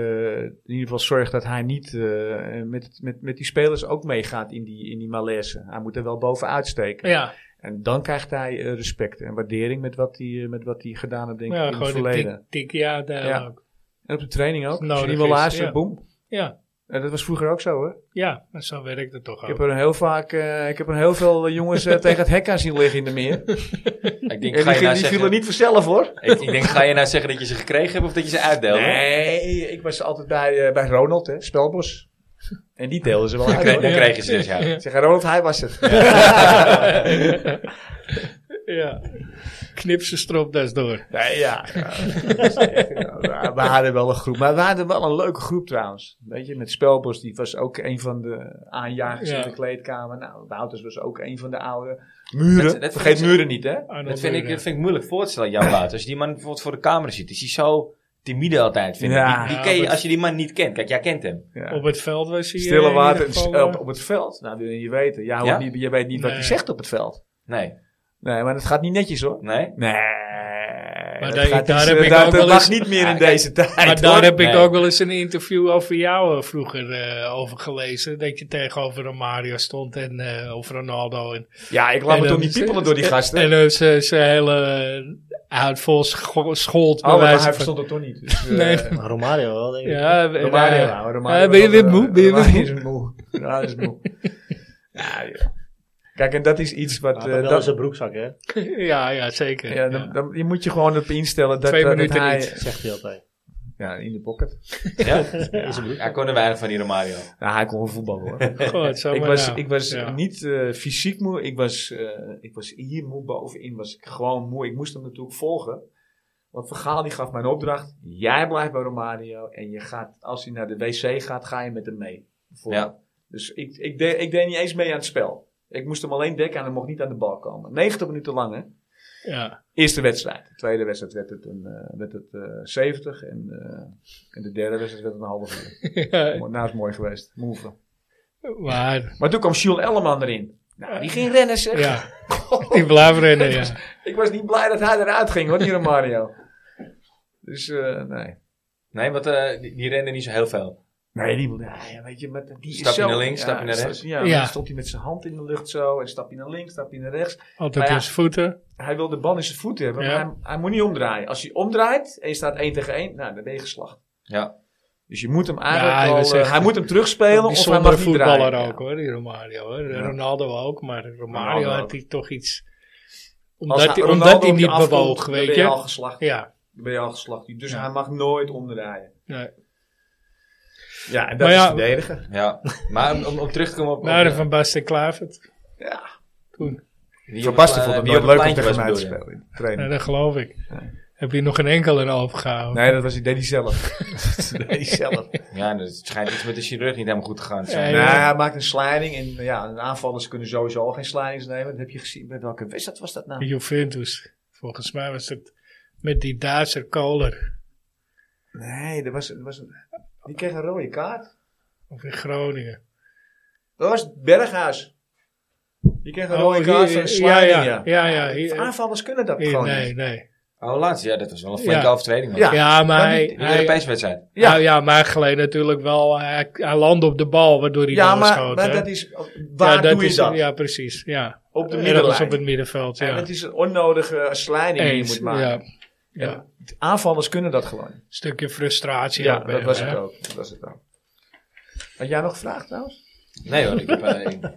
Speaker 4: in ieder geval zorgt dat hij niet eh, met, het- met, met die spelers ook meegaat in die, in die malaise. Hij moet er wel bovenuit steken.
Speaker 2: Ja,
Speaker 4: En dan krijgt hij eh, respect en waardering met wat hij, eh, met wat hij gedaan heeft denk ik,
Speaker 2: ja
Speaker 4: in het
Speaker 2: gewoon een
Speaker 4: verleden.
Speaker 2: tik, tik ja, daar
Speaker 4: Ja.
Speaker 2: ook.
Speaker 4: En op de training ook.
Speaker 2: Als
Speaker 4: Als je niet
Speaker 2: nodig
Speaker 4: wil
Speaker 2: is,
Speaker 4: luisteren,
Speaker 2: ja.
Speaker 4: boem.
Speaker 2: Ja,
Speaker 4: En dat was vroeger ook zo, hè?
Speaker 2: ja, maar zo werkt het toch
Speaker 4: Ik
Speaker 2: ook.
Speaker 4: heb er heel vaak, eh, ik heb er heel veel jongens eh, tegen het hek aan zien liggen in de meer.
Speaker 1: Ik denk,
Speaker 4: <laughs> en
Speaker 1: ga je nou
Speaker 4: die, die vielen
Speaker 1: zeggen,
Speaker 4: niet vanzelf, hoor.
Speaker 1: ik, ik denk, ga je nou zeggen dat je ze gekregen hebt of dat je ze uitdeelde?
Speaker 4: Nee, ik was altijd bij, eh, bij Ronald, hè, Spelbos. En die deelden ze wel
Speaker 1: Dan,
Speaker 4: uit,
Speaker 1: kre-
Speaker 4: hoor.
Speaker 1: dan
Speaker 2: Ja.
Speaker 1: kreeg je ze dus, ja.
Speaker 4: Zeg, Ronald, hij was het. <laughs>
Speaker 2: ja. Knip ze stropdas door.
Speaker 4: Nee, ja. ja. dat is echt, ja, we hadden wel een groep. Maar we hadden wel een leuke groep trouwens. Weet je, met Spelbos, die was ook een van de aanjagers
Speaker 2: Ja.
Speaker 4: in de kleedkamer. Nou, Wouters was ook een van de oude.
Speaker 1: Dat-
Speaker 4: Muren.
Speaker 1: dat
Speaker 4: Vergeet
Speaker 1: vind ik-
Speaker 4: muren niet, hè?
Speaker 2: Arnold
Speaker 1: Dat vind, ik,
Speaker 2: Muren.
Speaker 1: dat vind ik moeilijk voor te stellen, Jan Wout. Als je die man bijvoorbeeld voor de camera ziet, is hij zo timide altijd, vind ik.
Speaker 4: Ja.
Speaker 1: die, die ken je,
Speaker 2: Ja,
Speaker 1: als je die man niet kent. Kijk, jij kent hem.
Speaker 4: Ja.
Speaker 2: Op het veld was hij... eh,
Speaker 4: Stille
Speaker 2: in
Speaker 4: water
Speaker 2: ieder geval,
Speaker 4: en s-
Speaker 2: eh,
Speaker 4: op, op het veld. Nou, wil je niet weten. Ja,
Speaker 1: Ja?
Speaker 4: Niet, je weet niet wat hij
Speaker 2: Nee.
Speaker 4: zegt op het veld.
Speaker 1: Nee.
Speaker 4: Nee, maar dat gaat niet netjes hoor.
Speaker 1: Nee?
Speaker 4: Nee. dat
Speaker 2: daar-
Speaker 4: gaat
Speaker 2: daar
Speaker 4: niet-
Speaker 2: heb ik
Speaker 4: dat-
Speaker 2: ook
Speaker 4: dat
Speaker 2: wel
Speaker 4: mag
Speaker 2: eens-
Speaker 4: niet meer in
Speaker 1: Ah,
Speaker 4: deze tijd.
Speaker 2: Maar daar
Speaker 4: hoor.
Speaker 2: heb ik
Speaker 1: Nee.
Speaker 2: ook wel eens een interview over jou eh, vroeger eh, over gelezen. Dat je tegenover een Mario stond en eh of Ronaldo. En,
Speaker 4: Ja, ik laat
Speaker 2: en
Speaker 4: me toch
Speaker 2: dan-
Speaker 4: niet piepelen door die gasten.
Speaker 2: En dan ze, ze hele huid vol scho- schold. bij
Speaker 4: Oh, maar
Speaker 2: wijze
Speaker 4: hij
Speaker 2: van-
Speaker 4: verstond het toch niet. Dus, eh,
Speaker 2: Nee.
Speaker 3: Maar Romario wel, denk ik.
Speaker 2: Ja, we-
Speaker 4: Romario,
Speaker 2: eh,
Speaker 4: nou,
Speaker 2: eh,
Speaker 4: Romario.
Speaker 2: ben je weer
Speaker 4: eh,
Speaker 2: moe? Ben je weer
Speaker 4: Romario
Speaker 2: moe?
Speaker 4: is moe.
Speaker 2: <laughs>
Speaker 4: Ja, dat is moe. Ja, joh. Kijk, en dat is iets wat...
Speaker 3: Maar
Speaker 4: eh,
Speaker 3: wel
Speaker 4: dat-
Speaker 3: in zijn broekzak, hè?
Speaker 2: <laughs> Ja, ja, zeker.
Speaker 4: ja, dan, dan- je moet je gewoon op instellen dat,
Speaker 2: Twee
Speaker 4: dat
Speaker 2: minuten
Speaker 4: hij...
Speaker 2: niet.
Speaker 3: Zegt hij altijd.
Speaker 4: Ja, in de pocket.
Speaker 1: Ja?
Speaker 3: In zijn broekzak.
Speaker 1: Hij kon er weinig van, die Romario.
Speaker 4: Nou, hij kon wel
Speaker 2: <laughs>
Speaker 4: voetballen hoor.
Speaker 2: Goed, zo
Speaker 4: <laughs> ik
Speaker 2: maar
Speaker 4: was,
Speaker 2: nou.
Speaker 4: ik was
Speaker 2: Ja.
Speaker 4: niet eh, fysiek moe. Ik was, eh, ik was hier moe. Bovenin was ik gewoon moe. Ik moest hem natuurlijk volgen. Want Vergaal die gaf mij een opdracht. Jij blijft bij Romario. En je gaat, als hij naar de wc gaat, ga je met hem mee. Bijvoorbeeld.
Speaker 1: Ja.
Speaker 4: Dus ik, ik, deed, ik deed niet eens mee aan het spel. Ik moest hem alleen dekken en hij mocht niet aan de bal komen. 90 minuten lang hè.
Speaker 2: Ja. <laughs>
Speaker 4: Eerste wedstrijd. De tweede wedstrijd werd het, een, eh, werd het eh, 70. En, eh, en de derde wedstrijd werd het een half uur. Nou is het mooi geweest. Move.
Speaker 2: maar,
Speaker 4: <laughs> Maar toen kwam Jules Elleman erin. Nou, die ging rennen zeg.
Speaker 2: ja. Die blijft rennen, ja.
Speaker 4: <laughs> Ik was niet blij dat hij eruit
Speaker 2: <laughs>
Speaker 4: ging hoor, die Mario. Dus eh, nee.
Speaker 1: Nee, want eh, die, die rende niet zo heel veel.
Speaker 4: Nee, die wilde, ja, ja, weet je, maar die is
Speaker 1: Stap je
Speaker 4: zo-
Speaker 1: naar links,
Speaker 4: ja,
Speaker 1: stap je naar
Speaker 4: sta-
Speaker 1: rechts.
Speaker 4: Ja,
Speaker 2: Ja.
Speaker 4: dan stond hij met zijn hand in de lucht zo. En stap je naar links, stap je naar rechts.
Speaker 2: Altijd
Speaker 4: Maar ja.
Speaker 2: op zijn voeten.
Speaker 4: Hij wil de bal in zijn voeten hebben,
Speaker 2: Ja.
Speaker 4: maar hij, hij moet niet omdraaien. Als hij omdraait en je staat 1 tegen 1, nou, dan ben je geslacht.
Speaker 1: Ja.
Speaker 4: Dus je moet hem eigenlijk
Speaker 2: Ja, hij
Speaker 4: al,
Speaker 2: was
Speaker 4: eh,
Speaker 2: echt
Speaker 4: hij moet hem terugspelen of hij
Speaker 2: Bijzondere
Speaker 4: mag niet
Speaker 2: voetballer
Speaker 4: draaien.
Speaker 2: ook, hoor, die Romario. Hoor.
Speaker 4: Ja.
Speaker 2: Ronaldo ook, maar Romario
Speaker 4: Ronaldo ook.
Speaker 2: had hij toch iets...
Speaker 4: Als
Speaker 2: Omdat hij,
Speaker 4: Ronaldo
Speaker 2: omdat hij
Speaker 4: op je
Speaker 2: niet
Speaker 4: afkomt,
Speaker 2: bewoog,
Speaker 4: dan
Speaker 2: weet
Speaker 4: ben je al
Speaker 2: je.
Speaker 4: geslacht.
Speaker 2: Ja.
Speaker 4: Dan ben je al geslacht. Dus
Speaker 2: Ja.
Speaker 4: hij mag nooit omdraaien.
Speaker 2: Nee.
Speaker 4: Ja, en dat
Speaker 2: Maar ja,
Speaker 4: is verdedigen.
Speaker 1: Ja. Maar om, om, om terug te komen op... op
Speaker 2: Naar de Van Basten Klavert.
Speaker 4: Ja.
Speaker 2: Toen.
Speaker 1: die
Speaker 4: Van
Speaker 1: op het pla-
Speaker 4: Basten vond het
Speaker 1: die
Speaker 4: nooit
Speaker 1: op het
Speaker 4: leuk om
Speaker 1: pleintje
Speaker 4: tegen
Speaker 1: was,
Speaker 4: mij te
Speaker 1: bedoel je?
Speaker 4: spelen. in de training.
Speaker 2: Ja, dat geloof ik. Heb je nog een enkele in overgehouden?
Speaker 4: Nee, dat was hij deed hij
Speaker 2: <laughs>
Speaker 4: zelf. dat deed hij zelf.
Speaker 1: Ja, dus het schijnt iets met de chirurg niet helemaal goed gegaan te zijn.
Speaker 2: Ja,
Speaker 4: Nou,
Speaker 2: ja.
Speaker 4: hij maakt een sliding. En ja, aanvallers kunnen sowieso al geen slidings nemen. Dat heb je gezien. Bij welke wedstrijd was dat nou?
Speaker 2: Juventus. Volgens mij was het met die Duitser Kohler.
Speaker 4: Nee, dat was, dat was een, die kreeg een rode kaart.
Speaker 2: Of in Groningen.
Speaker 4: Dat was Berghuis. Die kreeg een
Speaker 2: Oh,
Speaker 4: rode
Speaker 2: hier-
Speaker 4: kaart van
Speaker 2: ja,
Speaker 4: een sliding,
Speaker 2: ja,
Speaker 4: ja.
Speaker 2: ja, ja, hier-
Speaker 4: Aanvallers kunnen dat
Speaker 2: Hier,
Speaker 4: gewoon
Speaker 2: nee,
Speaker 4: niet.
Speaker 2: nee.
Speaker 1: Oh, laatst. Ja, dat was wel een flinke
Speaker 2: Ja.
Speaker 1: overtreding. hoor.
Speaker 4: Ja.
Speaker 2: Ja, maar
Speaker 4: maar
Speaker 2: hij,
Speaker 1: Een
Speaker 2: hij-
Speaker 1: Europese wedstrijd.
Speaker 4: Ja.
Speaker 2: ja. Nou ja, maar hij gleed natuurlijk wel. Hij, hij landde op de bal, waardoor hij
Speaker 4: Ja,
Speaker 2: dan
Speaker 4: maar,
Speaker 2: schoot.
Speaker 4: maar
Speaker 2: hè.
Speaker 4: dat is, waar
Speaker 2: ja, dat
Speaker 4: doe je
Speaker 2: is-
Speaker 4: dat?
Speaker 2: Ja, precies. Ja.
Speaker 4: Op de
Speaker 2: Ergens
Speaker 4: middenlijn.
Speaker 2: op het middenveld,
Speaker 4: En
Speaker 2: ja.
Speaker 4: het is een onnodige slijding die je
Speaker 2: Eens,
Speaker 4: moet maken.
Speaker 2: ja. Ja.
Speaker 4: Aanvallers kunnen dat gewoon.
Speaker 2: Stukje frustratie.
Speaker 4: Ja,
Speaker 2: ook bij
Speaker 4: dat,
Speaker 2: hem,
Speaker 4: was
Speaker 2: hè.
Speaker 4: het ook. dat was het ook. Had jij nog gevraagd trouwens?
Speaker 1: Nee hoor, ik heb... eh,
Speaker 4: <laughs>
Speaker 1: ik-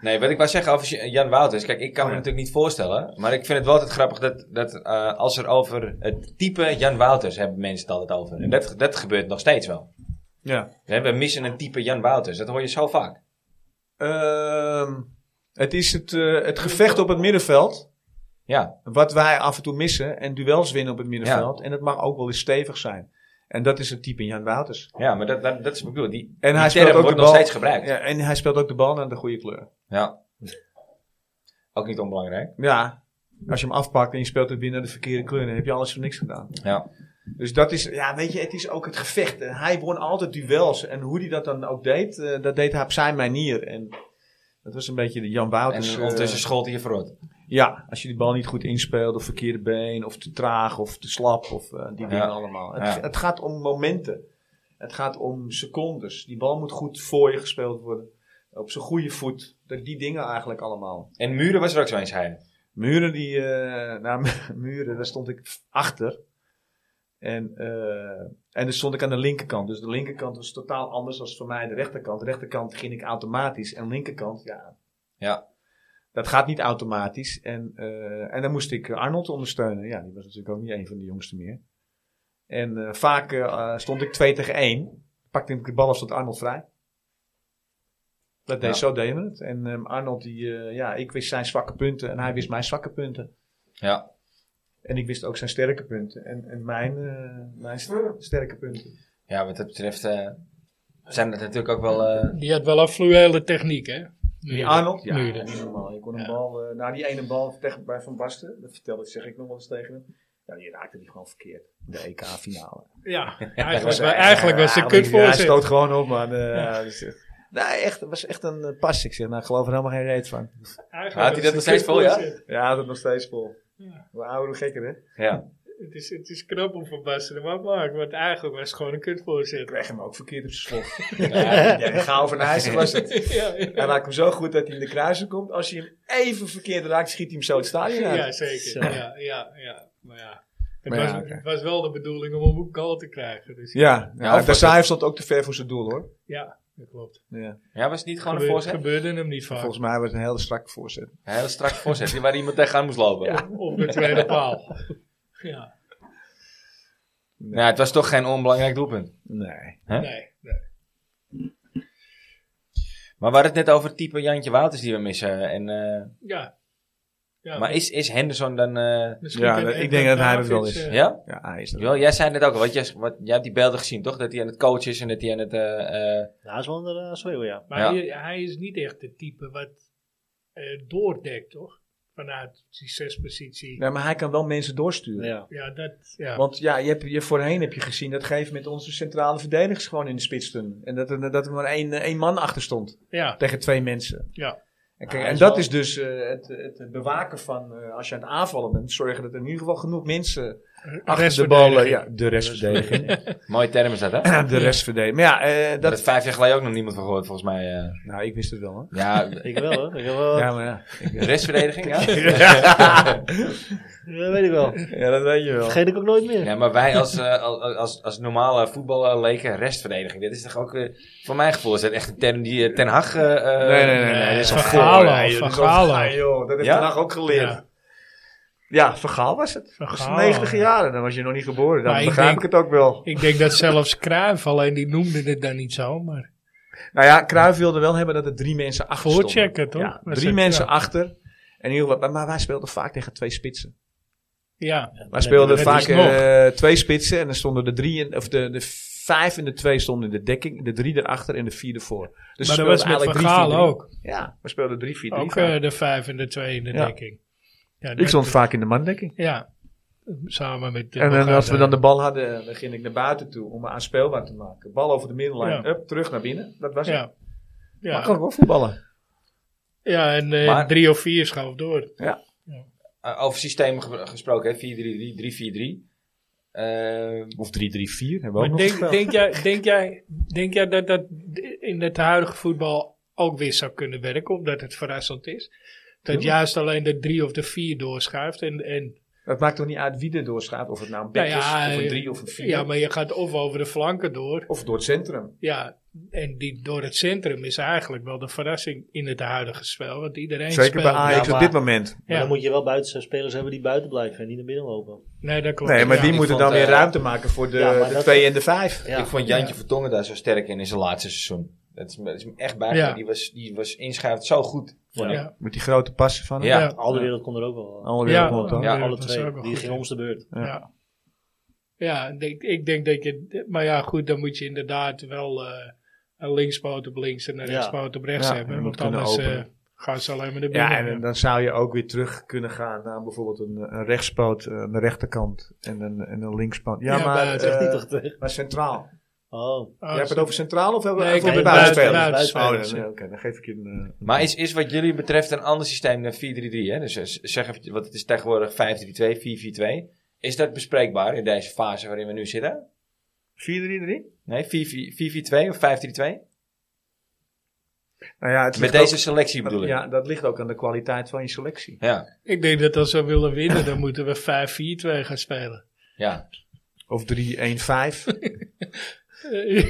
Speaker 1: Nee, wat ik wou zeggen over Jan Wouters. Kijk, ik kan me
Speaker 4: Oh Ja.
Speaker 1: natuurlijk niet voorstellen. Maar ik vind het wel altijd grappig dat, dat eh, als er over het type Jan Wouters hebben mensen het altijd over. En dat, dat gebeurt nog steeds wel.
Speaker 4: Ja.
Speaker 1: Hè, We missen een type Jan Wouters. Dat hoor je zo vaak.
Speaker 4: Ehm, het is het, eh, het gevecht op het middenveld.
Speaker 1: Ja,
Speaker 4: Wat wij af en toe missen. En duels winnen op het middenveld. En het mag ook wel eens stevig zijn. En dat is het type Jan Wouters.
Speaker 1: ja maar dat, dat, dat is wat ik bedoel. Die,
Speaker 4: En
Speaker 1: die
Speaker 4: hij
Speaker 1: term
Speaker 4: speelt ook de
Speaker 1: wordt nog
Speaker 4: bal.
Speaker 1: steeds gebruikt. Ja.
Speaker 4: Ja, en hij speelt ook de bal naar de goede kleur.
Speaker 1: Ook niet onbelangrijk.
Speaker 4: Ja. Als je hem afpakt en je speelt het binnen de verkeerde kleur. Dan heb je alles voor niks gedaan.
Speaker 1: Ja.
Speaker 4: Dus dat is, ja, weet je, het is ook het gevecht. En hij won altijd duels. En hoe hij dat dan ook deed, eh, dat deed hij op zijn manier. En dat was een beetje de Jan
Speaker 1: en
Speaker 4: Wouters. eh,
Speaker 1: ondertussen scholt hij je verrot.
Speaker 4: ja, als je die bal niet goed inspeelt, of verkeerde been, of te traag, of te slap, of eh, die dingen
Speaker 1: Ja.
Speaker 4: allemaal. Het,
Speaker 1: Ja.
Speaker 4: het gaat om momenten. Het gaat om secondes. Die bal moet goed voor je gespeeld worden. Op zijn goede voet. Dat die dingen eigenlijk allemaal.
Speaker 1: En Muren was er ook zo eens hij.
Speaker 4: Muren, die, eh nou, <laughs> muren, daar stond ik achter. En, eh, en dan stond ik aan de linkerkant. Dus de linkerkant was totaal anders dan voor mij de rechterkant. De rechterkant ging ik automatisch. En de linkerkant, ja.
Speaker 1: Ja.
Speaker 4: Dat gaat niet automatisch. En, eh, en dan moest ik Arnold ondersteunen. Ja, die was natuurlijk ook niet een van de jongsten meer. En eh, vaak eh, stond ik 2 tegen 1. Pakte ik de bal en stond Arnold vrij. Dat deed,
Speaker 1: Ja.
Speaker 4: Zo deden we het. En ehm, Arnold, die, eh, ja, ik wist zijn zwakke punten en hij wist mijn zwakke punten.
Speaker 1: Ja.
Speaker 4: En ik wist ook zijn sterke punten en, en mijn, eh, mijn st- sterke punten.
Speaker 1: Ja, wat dat betreft eh, zijn dat natuurlijk ook wel... eh,
Speaker 2: Die had wel een fluwele techniek, hè?
Speaker 4: Die Arnold, ja,
Speaker 2: Nu dus.
Speaker 4: niet normaal. Je kon een
Speaker 2: Ja.
Speaker 4: bal, eh, nou die ene bal tegen, bij Van Basten, dat vertelde ik, zeg ik nog wel eens tegen hem. Ja, die raakte die gewoon verkeerd. De EK-finale.
Speaker 2: Ja,
Speaker 4: Dat
Speaker 2: eigenlijk,
Speaker 4: was
Speaker 2: eigenlijk was het
Speaker 4: eigenlijk-
Speaker 2: kut
Speaker 4: ja,
Speaker 2: voor
Speaker 4: Hij stoot gewoon op, maar... eh, ja, dus, eh, Nee, echt, het was echt een eh, pas. Ik zeg, nou, ik geloof er helemaal geen reet van.
Speaker 1: Had hij dat nog steeds vol, ja?
Speaker 4: Ja, dat nog steeds vol.
Speaker 2: Ja.
Speaker 4: We houden hoe gekker, hè?
Speaker 1: ja.
Speaker 2: Het is, het is knap om van Basten wat maakt, want eigenlijk was het gewoon een
Speaker 4: Ik
Speaker 2: kutvoorzitter.
Speaker 4: kreeg hem ook verkeerd op zijn slot.
Speaker 1: Ja.
Speaker 4: <laughs> Ja, Gaal van IJssel was het.
Speaker 2: <laughs> ja,
Speaker 4: Hij
Speaker 2: ja.
Speaker 4: raakt hem zo goed dat hij in de kruising komt. Als je hem even verkeerd raakt, schiet hij hem zo het stadion uit.
Speaker 2: ja, zeker. Ja, ja, ja. Maar ja, het,
Speaker 4: Maar
Speaker 2: was,
Speaker 4: ja, oké.
Speaker 2: het was wel de bedoeling om een boek goal te krijgen. Dus ja,
Speaker 4: Ja,
Speaker 1: Ja, of was
Speaker 4: Versailles stond ook te ver voor zijn doel, hoor.
Speaker 2: dat klopt.
Speaker 4: Ja.
Speaker 1: ja, was het niet gewoon een
Speaker 2: Gebeur-
Speaker 1: voorzet?
Speaker 2: gebeurde hem niet vaak.
Speaker 4: Volgens mij was het een hele strakke voorzet.
Speaker 1: Een heel strak voorzet die waar iemand tegenaan moest lopen.
Speaker 2: Op- Op de
Speaker 4: <laughs>
Speaker 2: tweede paal. Ja,
Speaker 1: Nou, het was toch geen onbelangrijk doelpunt.
Speaker 4: Nee.
Speaker 1: Hè?
Speaker 2: nee. nee.
Speaker 1: Maar we hadden het net over het type Jantje Wouters die we missen. En, eh,
Speaker 2: Ja. ja
Speaker 1: maar is, is Henderson dan... eh,
Speaker 2: misschien
Speaker 4: Ja,
Speaker 2: kan
Speaker 4: dat- ik
Speaker 2: Edward
Speaker 4: denk dat hij dat wel
Speaker 2: Davids,
Speaker 4: is.
Speaker 2: eh,
Speaker 1: ja?
Speaker 4: Ja, hij is
Speaker 1: Jawel, jij zei net ook al. Want jij, wat, jij hebt die beelden gezien, toch? Dat hij aan het coachen is en dat hij aan het... eh, eh,
Speaker 3: Ja, dat is wel een uh, schreeuw, ja.
Speaker 2: Maar
Speaker 1: Ja.
Speaker 2: hij, hij is niet echt de type wat eh, doordekt, toch? Vanuit die zespositie.
Speaker 4: Nee, maar hij kan wel mensen doorsturen.
Speaker 3: ja.
Speaker 2: Ja, dat... Ja.
Speaker 4: Want ja, je hebt, je voorheen heb je gezien dat geef met onze centrale verdedigers gewoon in de spits stonden. En dat er, dat er maar één, eh, één man achter stond
Speaker 2: ja,
Speaker 4: tegen twee mensen.
Speaker 2: ja.
Speaker 4: En,
Speaker 3: Ja,
Speaker 4: kijk,
Speaker 3: hij
Speaker 4: en
Speaker 3: is
Speaker 4: dat
Speaker 3: wel-
Speaker 4: is dus eh, het, het bewaken van, eh, als je aan het aanvallen bent, zorgen dat er in ieder geval genoeg mensen achter de ballen. Ja, de restverdediging.
Speaker 1: mooie term is dat, hè?
Speaker 4: de restverdediging. Maar ja, eh,
Speaker 1: Dat
Speaker 4: dat,
Speaker 1: is vijf jaar geleden ook nog niemand van gehoord, volgens mij. eh.
Speaker 4: Nou, ik wist het wel hoor.
Speaker 1: ja,
Speaker 3: Ik wel, hoor. Ik heb wel,
Speaker 4: Ja, maar
Speaker 2: <laughs>
Speaker 4: ja.
Speaker 2: eh,
Speaker 1: restverdediging, ja?
Speaker 3: Dat weet ik wel.
Speaker 4: ja, dat weet je wel.
Speaker 3: Vergeet ik ook nooit meer.
Speaker 1: Ja, maar wij als, eh, als, als, als normale voetballerleken restverdediging. Dit is toch ook, eh, voor mijn gevoel, is dat echt een term die eh, Ten Hag... eh, eh,
Speaker 4: Nee, nee, nee, nee.
Speaker 2: Nee,
Speaker 4: dat is
Speaker 2: Van
Speaker 4: een
Speaker 2: Gaal
Speaker 4: voorwaarde,
Speaker 2: al, Van
Speaker 4: joh. Dat is al
Speaker 2: Gaal
Speaker 4: Gaal,
Speaker 2: al.
Speaker 4: joh. Dat heeft
Speaker 1: Ja?
Speaker 4: Ten Hag ook geleerd. Ja,
Speaker 2: Ja.
Speaker 4: vergaal was het.
Speaker 2: Van
Speaker 4: Dat was
Speaker 2: Gaal.
Speaker 4: 90 jaar, dan was je nog niet geboren. Dan
Speaker 2: Maar ik
Speaker 4: begrijp
Speaker 2: denk-
Speaker 4: ik het ook wel.
Speaker 2: Ik denk dat zelfs Cruijff, alleen die noemde het dan niet zo, maar...
Speaker 4: Nou ja, Cruijff wilde wel hebben dat er drie mensen achter
Speaker 2: Voorchecken,
Speaker 4: stonden.
Speaker 2: toch?
Speaker 4: Ja,
Speaker 2: Dat
Speaker 4: drie
Speaker 2: is-
Speaker 4: mensen
Speaker 2: ja.
Speaker 4: achter. En heel wat, maar- maar wij speelden vaak tegen twee spitsen.
Speaker 2: Ja,
Speaker 4: Wij speelden
Speaker 2: dat is
Speaker 4: vaak
Speaker 2: nog.
Speaker 4: eh, twee spitsen en dan stonden de drie, in- of de, de vijf en de twee stonden in de dekking, de drie erachter en de vier ervoor. Dus
Speaker 2: maar
Speaker 4: we
Speaker 2: dat was
Speaker 4: speelden
Speaker 2: met Van
Speaker 4: eigenlijk
Speaker 2: Gaal
Speaker 4: 3-4-3.
Speaker 2: ook.
Speaker 4: Ja, we speelden drie, vier, drie.
Speaker 2: Ook
Speaker 4: vaak.
Speaker 2: eh, de vijf en de twee in de
Speaker 4: Ja.
Speaker 2: dekking. Ja,
Speaker 4: ik
Speaker 2: dat-
Speaker 4: stond vaak in de mandekking.
Speaker 2: Ja, samen met... de
Speaker 4: En dan, als we
Speaker 2: Bogarde.
Speaker 4: dan de bal hadden, eh, dan ging ik naar buiten toe om me aanspeelbaar te maken. Bal over de middenlijn,
Speaker 2: Ja.
Speaker 4: up, terug naar binnen. Dat was het.
Speaker 2: Ja,
Speaker 4: Maar
Speaker 2: ja.
Speaker 4: kan ik wel voetballen.
Speaker 2: ja en eh,
Speaker 1: Maar-
Speaker 2: drie of vier schoof door.
Speaker 1: eh, over systemen ge- gesproken, hè, 4-3-3, 3-4-3. Eh,
Speaker 4: Of 3-3-4 hebben we ook
Speaker 2: Maar
Speaker 4: nog
Speaker 2: denk,
Speaker 4: gespeeld.
Speaker 2: denk, jij, denk, jij, denk jij dat dat in het huidige voetbal ook weer zou kunnen werken, omdat het verrassend is? Dat
Speaker 4: Tuurlijk.
Speaker 2: juist alleen de drie of de vier doorschuift. En, en,
Speaker 4: Het maakt toch niet uit wie er doorschaadt. Of het nou een bek
Speaker 2: Nou ja,
Speaker 4: is, of een
Speaker 2: eh,
Speaker 4: 3 of een 4.
Speaker 2: ja, maar je gaat of over de flanken door.
Speaker 4: Of door het centrum.
Speaker 2: Ja, en die door het centrum is eigenlijk wel de verrassing in het huidige spel. Want iedereen
Speaker 4: Zeker
Speaker 2: speelt.
Speaker 4: bij Ajax
Speaker 3: Ja,
Speaker 4: op
Speaker 3: maar-
Speaker 4: dit moment.
Speaker 3: Maar
Speaker 2: Ja.
Speaker 3: dan moet je wel buiten spelers hebben die buiten blijven en niet naar binnen lopen.
Speaker 2: Nee, dat klopt.
Speaker 4: Nee, maar
Speaker 2: Ja.
Speaker 4: die
Speaker 1: ik
Speaker 4: moeten
Speaker 1: vond,
Speaker 4: dan weer
Speaker 1: eh,
Speaker 4: ruimte maken voor de
Speaker 3: Ja, maar
Speaker 4: 2
Speaker 3: dat-
Speaker 4: en de 5.
Speaker 3: Ja.
Speaker 1: Ik vond Jantje Vertongen daar zo sterk in in zijn laatste seizoen. Dat is, me- dat is me echt bij.
Speaker 2: Ja.
Speaker 1: Die was, die was inschuift zo goed.
Speaker 3: Ja.
Speaker 2: Ja.
Speaker 4: Met die grote passen van hem.
Speaker 1: Ja.
Speaker 2: Ja.
Speaker 3: Al de wereld kon er ook wel.
Speaker 2: Ja.
Speaker 4: Alle wereld rond,
Speaker 2: Ja.
Speaker 4: hoor.
Speaker 2: dat
Speaker 3: alle
Speaker 2: is
Speaker 3: twee.
Speaker 2: ook wel
Speaker 3: Die
Speaker 2: goed,
Speaker 3: ging
Speaker 2: ja.
Speaker 3: om de beurt.
Speaker 4: Ja.
Speaker 2: Ja, ja ik denk, ik denk dat je. Maar ja, goed, dan moet je inderdaad wel eh een linkspoot op links en een
Speaker 3: Ja.
Speaker 2: rechtspoot op rechts
Speaker 4: Ja, je
Speaker 2: hebben.
Speaker 4: moet
Speaker 2: Want
Speaker 4: kunnen
Speaker 2: anders eh,
Speaker 4: openen.
Speaker 2: gaan ze alleen maar de binnen.
Speaker 4: Ja, en dan zou je ook weer terug kunnen gaan naar bijvoorbeeld een, een rechtspoot eh, aan de rechterkant en een, en een linkspoot. Ja,
Speaker 2: Ja,
Speaker 4: maar,
Speaker 2: maar-
Speaker 3: Zegt hij
Speaker 4: eh,
Speaker 3: toch tegen?
Speaker 4: maar centraal.
Speaker 3: Oh.
Speaker 2: Oh,
Speaker 4: Jij hebt het over centraal of hebben we
Speaker 2: Nee,
Speaker 4: over
Speaker 2: ik heb
Speaker 4: de
Speaker 2: het
Speaker 4: buitenspelers?
Speaker 2: buiten-
Speaker 3: buitenspelers.
Speaker 4: Oh, dan- nee, Oké, dan geef ik je een... eh,
Speaker 1: Maar is, is wat jullie betreft een ander systeem dan 4-3-3? Hè? Dus eh, zeg even, wat het is tegenwoordig 5-3-2, 4-4-2. Is dat bespreekbaar in deze fase waarin we nu zitten?
Speaker 4: 4-3-3?
Speaker 1: Nee, 4-4-2 of 5-3-2?
Speaker 4: Nou ja, het
Speaker 1: Met
Speaker 4: ligt
Speaker 1: deze selectie
Speaker 4: ook-
Speaker 1: bedoel ik.
Speaker 4: Ja, dat ligt ook aan de kwaliteit van je selectie.
Speaker 1: Ja,
Speaker 2: Ik denk dat als we willen winnen, dan moeten we 5-4-2 gaan
Speaker 4: <laughs>
Speaker 2: spelen.
Speaker 1: ja.
Speaker 4: Of
Speaker 1: <laughs>
Speaker 4: 3-1-5.
Speaker 2: Eh,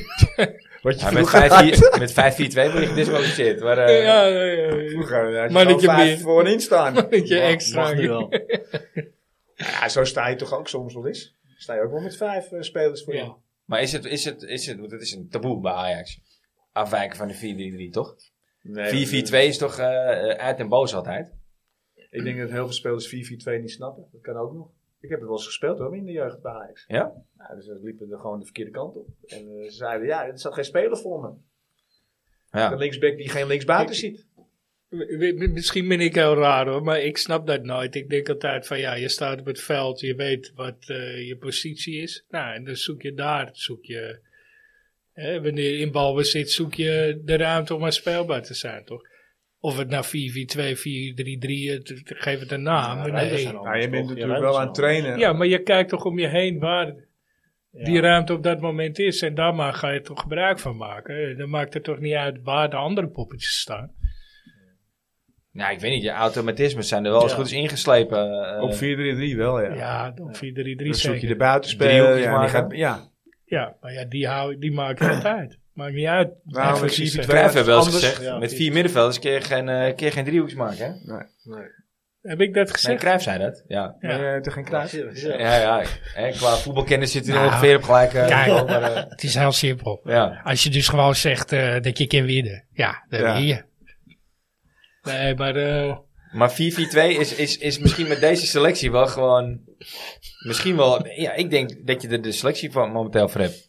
Speaker 4: Wat
Speaker 1: Ja, met 5-4 met 5-4-2 word je gedisqualificeerd. Maar, eh,
Speaker 2: ja, ja, ja, ja.
Speaker 4: maar
Speaker 2: Maar
Speaker 4: dat
Speaker 2: dat je
Speaker 4: eh, je
Speaker 2: meer-
Speaker 4: voorin
Speaker 2: <laughs>
Speaker 4: staan.
Speaker 2: Dat je
Speaker 3: Mag-
Speaker 2: extra.
Speaker 3: Mag nu wel.
Speaker 4: ja, zo sta je toch ook soms wel eens. Sta je ook wel met vijf eh, spelers voor
Speaker 2: Ja.
Speaker 4: je.
Speaker 1: maar is het, is het, is het, want het is een taboe bij Ajax. Afwijken van de 4-3-3, toch? 4-4-2
Speaker 4: Nee,
Speaker 1: is toch eh, eh, uit en boos altijd?
Speaker 4: Ik denk dat heel veel spelers 4-4-2 niet snappen. Dat kan ook nog. Ik heb het wel eens gespeeld hoor, in de jeugd bij Ajax.
Speaker 1: Ja?
Speaker 4: Nou, dus ze liepen er gewoon de verkeerde kant op. En eh, ze zeiden, ja, er zat geen speler voor me. Een
Speaker 1: Ja.
Speaker 4: linksback die geen linksbuiten ziet.
Speaker 2: W- w- Misschien ben ik heel raar hoor, maar ik snap dat nooit. Ik denk altijd van ja, je staat op het veld, je weet wat eh, je positie is. Nou, en dan zoek je daar, zoek je, hè, wanneer je in balbezit, zoek je de ruimte om maar speelbaar te zijn, toch? Of het nou 4-4-2, 4-3-3, het- het- geef het een naam.
Speaker 3: Ja,
Speaker 2: maar
Speaker 3: ruimtes
Speaker 2: nee.
Speaker 3: zijn
Speaker 4: Nou, je
Speaker 3: anders,
Speaker 4: bent
Speaker 3: toch?
Speaker 4: natuurlijk
Speaker 3: ruimtes
Speaker 4: wel aan het
Speaker 3: zijn
Speaker 4: trainen.
Speaker 2: Ja, maar je kijkt toch om je heen waar
Speaker 3: anders.
Speaker 2: die
Speaker 3: Ja.
Speaker 2: ruimte op dat moment is. En daar maar ga je toch gebruik van maken. Eh, Dan maakt het toch niet uit waar de andere poppetjes staan.
Speaker 1: Nou, ik weet niet. Je automatismes zijn er wel eens
Speaker 3: Ja.
Speaker 1: goed eens ingeslepen. eh,
Speaker 4: Op 4-3-3 wel, ja.
Speaker 2: Ja, dan 4-3-3
Speaker 4: Dan zoek je
Speaker 2: zeker.
Speaker 4: de buitenspeler.
Speaker 1: Driehoekjes
Speaker 4: Ja, die
Speaker 1: maken.
Speaker 4: gaat, ja.
Speaker 2: Ja, maar ja, die, hou, die maakt het <clears throat> uit. Maakt niet uit.
Speaker 4: Nou,
Speaker 2: Even
Speaker 4: met
Speaker 2: precies,
Speaker 4: die
Speaker 2: hè.
Speaker 4: twee-
Speaker 1: Cruijff heeft wel eens
Speaker 4: Anders-
Speaker 1: gezegd,
Speaker 3: ja,
Speaker 1: met
Speaker 3: precies.
Speaker 1: vier middenvelders kun je geen, eh, kun je geen driehoeks maken. Hè?
Speaker 2: Heb ik dat
Speaker 1: Nee,
Speaker 2: gezegd?
Speaker 1: Cruijff zei dat. Ja,
Speaker 2: Ja.
Speaker 4: Maar, eh, toch geen kruis.
Speaker 3: Ja.
Speaker 1: ja, ja. Hè, qua voetbalkennis zit hij
Speaker 2: Nou,
Speaker 1: ongeveer op gelijk. eh,
Speaker 2: kijk.
Speaker 1: niveau, maar, eh,
Speaker 2: Het is heel simpel.
Speaker 1: ja.
Speaker 2: Als je dus gewoon zegt eh, dat je kan winnen. Ja, dan
Speaker 4: Ja.
Speaker 2: win je. Nee, maar eh,
Speaker 1: Maar 4-4-2 is, is, is misschien met deze selectie wel gewoon... Misschien wel... Ja, ik denk dat je er de selectie van momenteel voor hebt.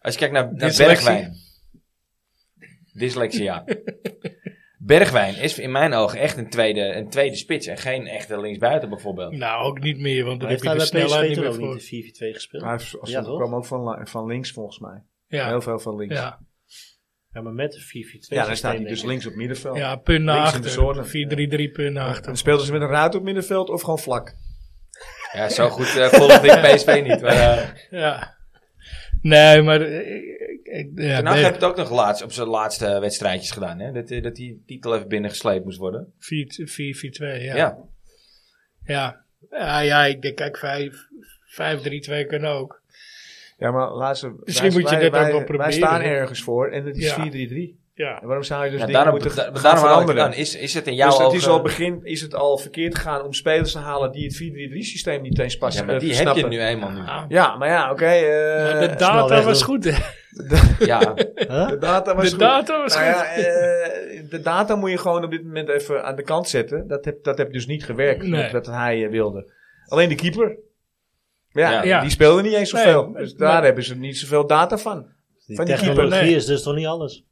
Speaker 1: Als je kijkt naar, naar
Speaker 2: Dyslexie.
Speaker 1: Bergwijn. Dyslexie,
Speaker 4: <laughs>
Speaker 1: ja. Bergwijn is in mijn ogen echt een tweede, een tweede spits. En geen echte linksbuiten bijvoorbeeld.
Speaker 2: nou ook niet meer, want
Speaker 3: Maar
Speaker 2: dan
Speaker 3: heeft
Speaker 2: heb je
Speaker 3: hij
Speaker 2: de
Speaker 3: bij
Speaker 2: snelheid
Speaker 3: PSV
Speaker 2: niet
Speaker 3: toen
Speaker 2: meer
Speaker 3: ook
Speaker 2: voor.
Speaker 3: niet de 4-4-2 gespeeld?
Speaker 4: Maar hij
Speaker 3: Ja, toch?
Speaker 4: kwam ook van, la- van links volgens mij.
Speaker 2: Ja,
Speaker 4: Heel veel van links.
Speaker 2: ja.
Speaker 3: Ja, maar met de 4-4-2
Speaker 4: Ja, dan staat
Speaker 3: systeem,
Speaker 4: hij dus
Speaker 3: denk ik.
Speaker 4: links op middenveld.
Speaker 2: ja, punt naar
Speaker 4: Links in de zone.
Speaker 2: achter. 4-3-3 punt naar
Speaker 4: Dan
Speaker 2: achter.
Speaker 4: speelden ze met een ruit op middenveld of gewoon vlak.
Speaker 1: Ja, zo goed eh volgde
Speaker 4: <laughs>
Speaker 1: ik PSV niet. Maar, eh,
Speaker 2: Ja. Nee, maar... eh, ik- ik- ja,
Speaker 1: Ten Hag
Speaker 2: nee.
Speaker 1: heeft het ook nog laatst, op zijn laatste wedstrijdjes gedaan. Hè? Dat, eh, dat die titel even binnengesleept moest worden.
Speaker 2: 4-4-2,
Speaker 1: Ja.
Speaker 2: ja. Ja, ja, ja ik denk, kijk, 5-3-2 kan ook.
Speaker 4: Ja, maar laatst.
Speaker 2: Misschien moet je dit ook wel
Speaker 4: Wij
Speaker 2: proberen,
Speaker 4: staan
Speaker 2: hè?
Speaker 4: ergens voor en het is
Speaker 2: Ja.
Speaker 4: 4-3-3.
Speaker 2: Ja.
Speaker 4: En waarom zou je dus
Speaker 1: Ja,
Speaker 4: dingen
Speaker 1: daarom
Speaker 4: moeten
Speaker 1: da-
Speaker 4: gaan
Speaker 1: daarom haal ik het
Speaker 4: veranderen?
Speaker 1: aan. Is, is het in jouw
Speaker 4: dus het
Speaker 1: ogen...
Speaker 4: is al begin is het al verkeerd gegaan om spelers te halen die het 4-3-3 systeem niet Ah. eens
Speaker 1: ja,
Speaker 4: passen.
Speaker 1: maar
Speaker 4: eh,
Speaker 1: die heb je
Speaker 4: snappen.
Speaker 1: nu eenmaal
Speaker 4: <laughs>
Speaker 1: nu.
Speaker 4: Ja, maar ja, oké. eh,
Speaker 2: Maar de
Speaker 3: snel
Speaker 2: data
Speaker 3: weg
Speaker 2: was
Speaker 3: doen.
Speaker 2: goed, hè?
Speaker 1: Ja,
Speaker 3: Huh?
Speaker 4: de data was
Speaker 2: De
Speaker 4: goed.
Speaker 2: data was
Speaker 4: Nou
Speaker 2: goed.
Speaker 4: ja, eh, de data moet je gewoon op dit moment even aan de kant zetten. Dat heb, dat heb dus niet gewerkt,
Speaker 2: Nee.
Speaker 4: wat- wat hij eh, wilde. Alleen de keeper. Ja,
Speaker 1: Ja.
Speaker 2: Ja.
Speaker 4: die speelde niet eens
Speaker 2: Nee,
Speaker 4: zoveel.
Speaker 2: maar-
Speaker 4: dus daar
Speaker 2: maar-
Speaker 4: hebben ze niet zoveel data van.
Speaker 3: Die
Speaker 4: Van die
Speaker 3: technologie
Speaker 2: keeper, nee.
Speaker 3: is dus toch niet alles?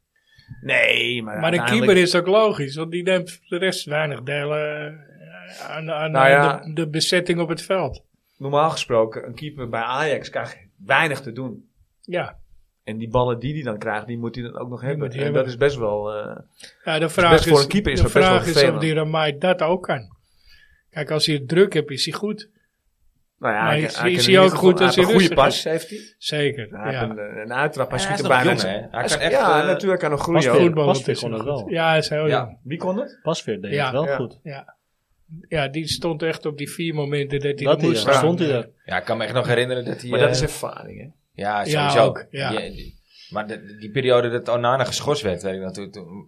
Speaker 4: Nee, nou, maar
Speaker 2: Maar de
Speaker 4: uiteindelijk-
Speaker 2: keeper is ook logisch, want die neemt de rest weinig delen eh, aan, aan
Speaker 4: Nou
Speaker 2: aan
Speaker 4: ja.
Speaker 2: de, de bezetting op het veld.
Speaker 4: normaal gesproken, een keeper bij Ajax krijgt weinig te doen.
Speaker 2: Ja,
Speaker 4: En die ballen die hij dan krijgt, die moet hij dan ook nog hebben.
Speaker 2: moet hij
Speaker 4: En
Speaker 2: hebben.
Speaker 4: dat is best wel... eh,
Speaker 2: ja de vraag
Speaker 4: best
Speaker 2: is,
Speaker 4: voor een keeper is
Speaker 2: de
Speaker 4: dat best wel
Speaker 2: vraag is of
Speaker 4: vervelend.
Speaker 2: die Ramai dat ook kan. Kijk, als hij het druk hebt, is hij goed.
Speaker 4: Nou ja,
Speaker 2: Maar
Speaker 4: hij
Speaker 2: ik
Speaker 4: kan-
Speaker 2: zie-
Speaker 4: hij
Speaker 2: ik
Speaker 4: kan
Speaker 2: zie
Speaker 4: in
Speaker 2: ook
Speaker 4: ieder
Speaker 2: goed
Speaker 4: geval-
Speaker 2: als
Speaker 4: hij heeft
Speaker 2: hij
Speaker 4: een goede
Speaker 2: rustig
Speaker 4: pas, heeft hij.
Speaker 2: Zeker.
Speaker 4: Hij
Speaker 2: Ja,
Speaker 4: heeft een, een uittrap, hij
Speaker 1: hij
Speaker 4: schiet
Speaker 1: is
Speaker 4: er
Speaker 1: nog
Speaker 4: bijna
Speaker 1: jong,
Speaker 4: uit.
Speaker 1: hè? Hij
Speaker 4: Hij
Speaker 1: kan
Speaker 4: is-
Speaker 1: echt...
Speaker 4: ja,
Speaker 1: eh,
Speaker 4: natuurlijk kan nog
Speaker 2: Als
Speaker 4: groeien.
Speaker 3: Pasveer-
Speaker 4: ook.
Speaker 2: voetbal
Speaker 3: Pasveer
Speaker 2: is
Speaker 3: kon
Speaker 2: nog
Speaker 3: dat
Speaker 2: goed.
Speaker 3: wel.
Speaker 2: Ja, hij is heel
Speaker 1: Ja.
Speaker 2: jong.
Speaker 4: Wie kon het?
Speaker 3: Pasveer deed
Speaker 2: Ja.
Speaker 3: het wel
Speaker 4: Ja.
Speaker 3: goed.
Speaker 2: Ja, die stond echt op die vier momenten dat hij
Speaker 3: Dat
Speaker 2: er
Speaker 3: hij
Speaker 2: moest
Speaker 3: er,
Speaker 2: staan.
Speaker 3: stond hij er.
Speaker 1: ja, ik kan me echt nog herinneren dat hij...
Speaker 4: Maar dat
Speaker 1: eh,
Speaker 4: is oh, ervaring, hè?
Speaker 1: Ja,
Speaker 2: Ja,
Speaker 1: sowieso.
Speaker 2: ook, ja.
Speaker 1: Die- die- maar de- die periode dat Onana geschorst werd, weet ik nog, toen, toen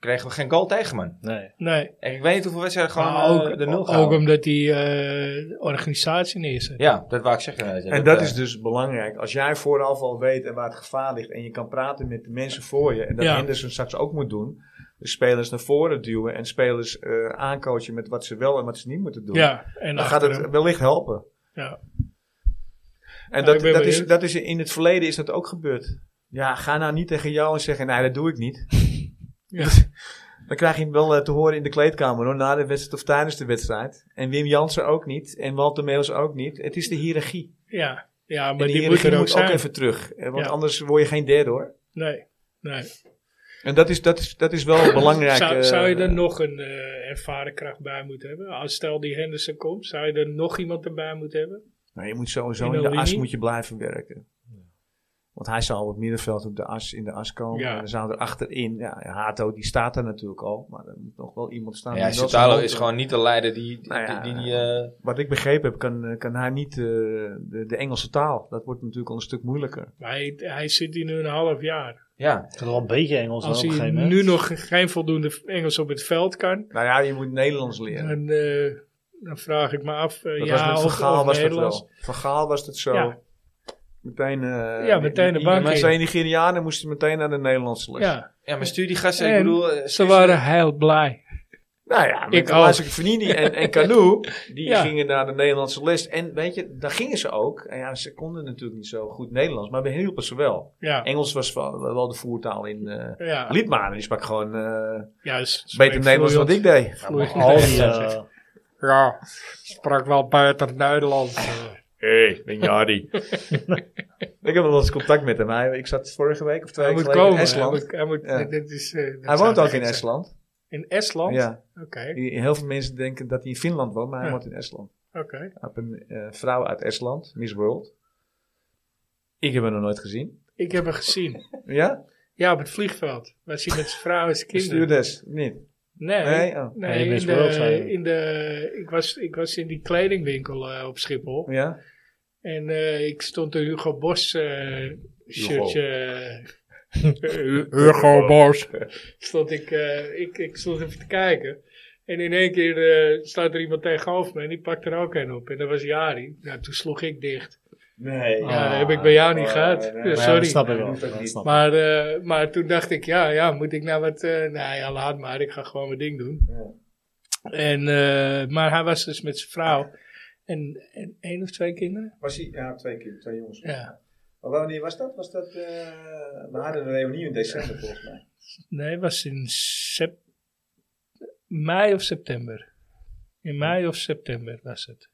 Speaker 1: kregen we geen goal tegen, man.
Speaker 3: Nee.
Speaker 2: Nee,
Speaker 1: En ik weet niet hoeveel wedstrijden gewoon
Speaker 2: maar
Speaker 4: Nou,
Speaker 1: eh,
Speaker 2: ook,
Speaker 1: de nul
Speaker 2: ook
Speaker 1: gaan.
Speaker 2: omdat die eh, organisatie neerzet.
Speaker 1: Ja, dat wou ik zeggen. weet je.
Speaker 4: En dat
Speaker 1: eh,
Speaker 4: is dus belangrijk. Als jij vooraf al weet en waar het gevaar ligt en je kan praten met de mensen voor je. En dat
Speaker 2: Ja.
Speaker 4: Henderson straks ook moet doen. De spelers naar voren duwen en spelers eh aancoachen met wat ze wel en wat ze niet moeten doen.
Speaker 2: Ja, en
Speaker 4: dan gaat
Speaker 2: achter
Speaker 4: het
Speaker 2: hem.
Speaker 4: wellicht helpen.
Speaker 2: Ja.
Speaker 4: En
Speaker 2: Ja,
Speaker 4: dat,
Speaker 2: ik ben
Speaker 4: dat, is,
Speaker 2: benieuwd.
Speaker 4: dat is in het verleden is dat ook gebeurd. Ja, ga nou niet tegen jou en zeggen, nee, dat doe ik niet.
Speaker 2: Ja.
Speaker 4: Dan krijg je hem wel eh, te horen in de kleedkamer, hoor, na de wedstrijd of tijdens de wedstrijd. En Wim Jansen ook niet, en Walter Meels ook niet. Het is de
Speaker 2: <laughs>
Speaker 4: hiërarchie.
Speaker 2: Ja. ja,
Speaker 4: En
Speaker 2: maar
Speaker 4: die
Speaker 2: die moet
Speaker 4: hiërarchie
Speaker 2: er ook
Speaker 4: moet ook,
Speaker 2: zijn.
Speaker 4: even terug. eh, Want
Speaker 2: Ja.
Speaker 4: anders word je geen derde, hoor.
Speaker 2: Nee, nee.
Speaker 4: En dat is, dat is, dat is
Speaker 2: <coughs>
Speaker 4: wel belangrijk.
Speaker 2: Zou,
Speaker 4: eh,
Speaker 2: zou je er nog een eh, ervaren kracht bij moeten hebben? Als stel die Henderson komt, zou je er nog iemand erbij moeten hebben?
Speaker 4: Nou, je moet sowieso
Speaker 2: in
Speaker 4: in,
Speaker 2: de
Speaker 4: de as
Speaker 2: linie?
Speaker 4: moet je blijven werken. Want hij zou op het middenveld op de as, in de as komen.
Speaker 2: Ja.
Speaker 4: En dan zou er achterin. Ja, Hato die staat er natuurlijk al. Maar er moet nog wel iemand staan.
Speaker 1: ja,
Speaker 4: die wel
Speaker 1: Sotalo
Speaker 4: zijn
Speaker 1: is
Speaker 4: hand-
Speaker 1: gewoon niet de leider die... die,
Speaker 4: Nou ja,
Speaker 1: die, die, eh,
Speaker 4: Wat ik begrepen heb, kan, eh, kan hij niet eh, de, de Engelse taal. Dat wordt natuurlijk al een stuk moeilijker.
Speaker 2: Maar hij, hij zit hier nu een half jaar.
Speaker 1: ja,
Speaker 3: Het is wel een beetje Engels aan op
Speaker 2: Als
Speaker 3: een
Speaker 2: hij
Speaker 3: gegeven moment.
Speaker 2: nu nog geen voldoende Engels op het veld kan,
Speaker 4: Nou ja, je moet Nederlands leren.
Speaker 2: dan, eh, dan vraag ik me af, eh,
Speaker 4: Dat
Speaker 2: ja,
Speaker 4: was met
Speaker 2: of,
Speaker 4: Vergaal
Speaker 2: of
Speaker 4: was dat
Speaker 2: Nederlands.
Speaker 4: wel. Vergaal was dat zo.
Speaker 2: Ja.
Speaker 4: Meteen, eh,
Speaker 2: Ja, meteen de bank
Speaker 4: Die
Speaker 2: in.
Speaker 4: twee Nigerianen moesten meteen naar de Nederlandse les.
Speaker 2: Ja,
Speaker 1: ja, maar stuur die gasten. Ik
Speaker 2: En
Speaker 1: bedoel, eh,
Speaker 2: ze
Speaker 1: stuur
Speaker 2: waren heel blij.
Speaker 4: Nou ja,
Speaker 2: Ik
Speaker 4: ik
Speaker 2: ook.
Speaker 4: als ik Vanini en,
Speaker 2: <laughs>
Speaker 4: en Canoe, die
Speaker 2: Ja.
Speaker 4: gingen naar de Nederlandse les. En weet je, daar gingen ze ook. En ja, ze konden natuurlijk niet zo goed Nederlands, maar we hielpen ze wel.
Speaker 2: Ja,
Speaker 4: Engels was wel, wel de voertaal in eh
Speaker 2: ja.
Speaker 4: Liedmanen. Die sprak gewoon eh,
Speaker 2: ja ze spreekt
Speaker 4: beter Nederlands dan
Speaker 2: vloeiend-
Speaker 4: ik deed.
Speaker 2: vloeiend
Speaker 3: Al die,
Speaker 2: Nederlands,
Speaker 3: eh,
Speaker 2: zeg. Ja, sprak wel buiten het Nederlands.
Speaker 4: Hé, hey, ben Jari. ik heb nog wel eens contact met hem. Hij, ik zat vorige week of twee
Speaker 2: Hij
Speaker 4: weken
Speaker 2: moet komen.
Speaker 4: geleden in
Speaker 2: Hij,
Speaker 4: Estland.
Speaker 2: moet, hij, moet,
Speaker 4: Ja.
Speaker 2: dit is, eh, dat
Speaker 4: Hij
Speaker 2: zou
Speaker 4: woont ook in
Speaker 2: zijn.
Speaker 4: Estland.
Speaker 2: In Estland?
Speaker 4: Ja.
Speaker 2: Oké,
Speaker 4: Heel veel mensen denken dat hij in Finland woont, maar hij
Speaker 2: Ja.
Speaker 4: woont in Estland.
Speaker 2: oké.
Speaker 4: Ik heb een eh, vrouw uit Estland, Miss World. Ik heb haar nog nooit gezien.
Speaker 2: Ik heb hem gezien.
Speaker 4: Ja?
Speaker 2: Ja, op het vliegveld. Was hij met zijn vrouw en zijn
Speaker 4: De
Speaker 2: kinderen.
Speaker 4: stewardess, niet?
Speaker 2: Nee, nee,
Speaker 4: Nee? Oh.
Speaker 3: Nee,
Speaker 2: in,
Speaker 3: Miss World zijn
Speaker 2: de,
Speaker 3: we.
Speaker 2: in de, ik, was, ik was in die kledingwinkel eh, op Schiphol.
Speaker 4: Ja?
Speaker 2: En eh, ik stond een Hugo Bos eh shirtje.
Speaker 4: Hugo <laughs>
Speaker 2: Bos. Stond ik, eh, ik, ik stond even te kijken. En in één keer eh, staat er iemand tegenover me en die pakt er ook een op. En dat was Jari. Nou, toen sloeg ik dicht.
Speaker 4: Nee. Ah, eh,
Speaker 2: Ja, dat heb ik bij jou niet gehad. Ja,
Speaker 3: Ja,
Speaker 2: sorry.
Speaker 3: dat snap ik
Speaker 4: Nee,
Speaker 3: wel.
Speaker 4: dat
Speaker 3: Dat
Speaker 4: niet.
Speaker 3: snap ik.
Speaker 2: Maar, eh, maar toen dacht ik, ja, ja, moet ik nou wat... eh nou ja, laat maar, ik ga gewoon mijn ding doen. En, eh, maar hij was dus met zijn vrouw en, en één of twee kinderen.
Speaker 4: Was hij, ja, twee keer, twee jongens.
Speaker 2: Ja.
Speaker 4: Maar wanneer was dat? Was dat eh, we hadden een reunie in december volgens mij.
Speaker 2: Nee, het was in sep- mei of september. In mei of september was het.